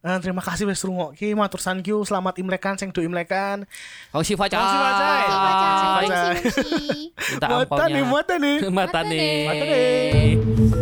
Speaker 1: Ah, ah, terima kasih wis rungokke matur sankiu selamat imlekan sing do imlekan.
Speaker 3: Oh si Facai.
Speaker 1: Oh, si Facai.
Speaker 2: Coba,
Speaker 1: Ah,
Speaker 2: coy.
Speaker 1: Coy.
Speaker 2: Mungsi, mungsi.
Speaker 3: Minta
Speaker 1: Mata nih,
Speaker 3: ampaunya.
Speaker 1: mata nih.
Speaker 3: Mata nih.
Speaker 1: Mata nih.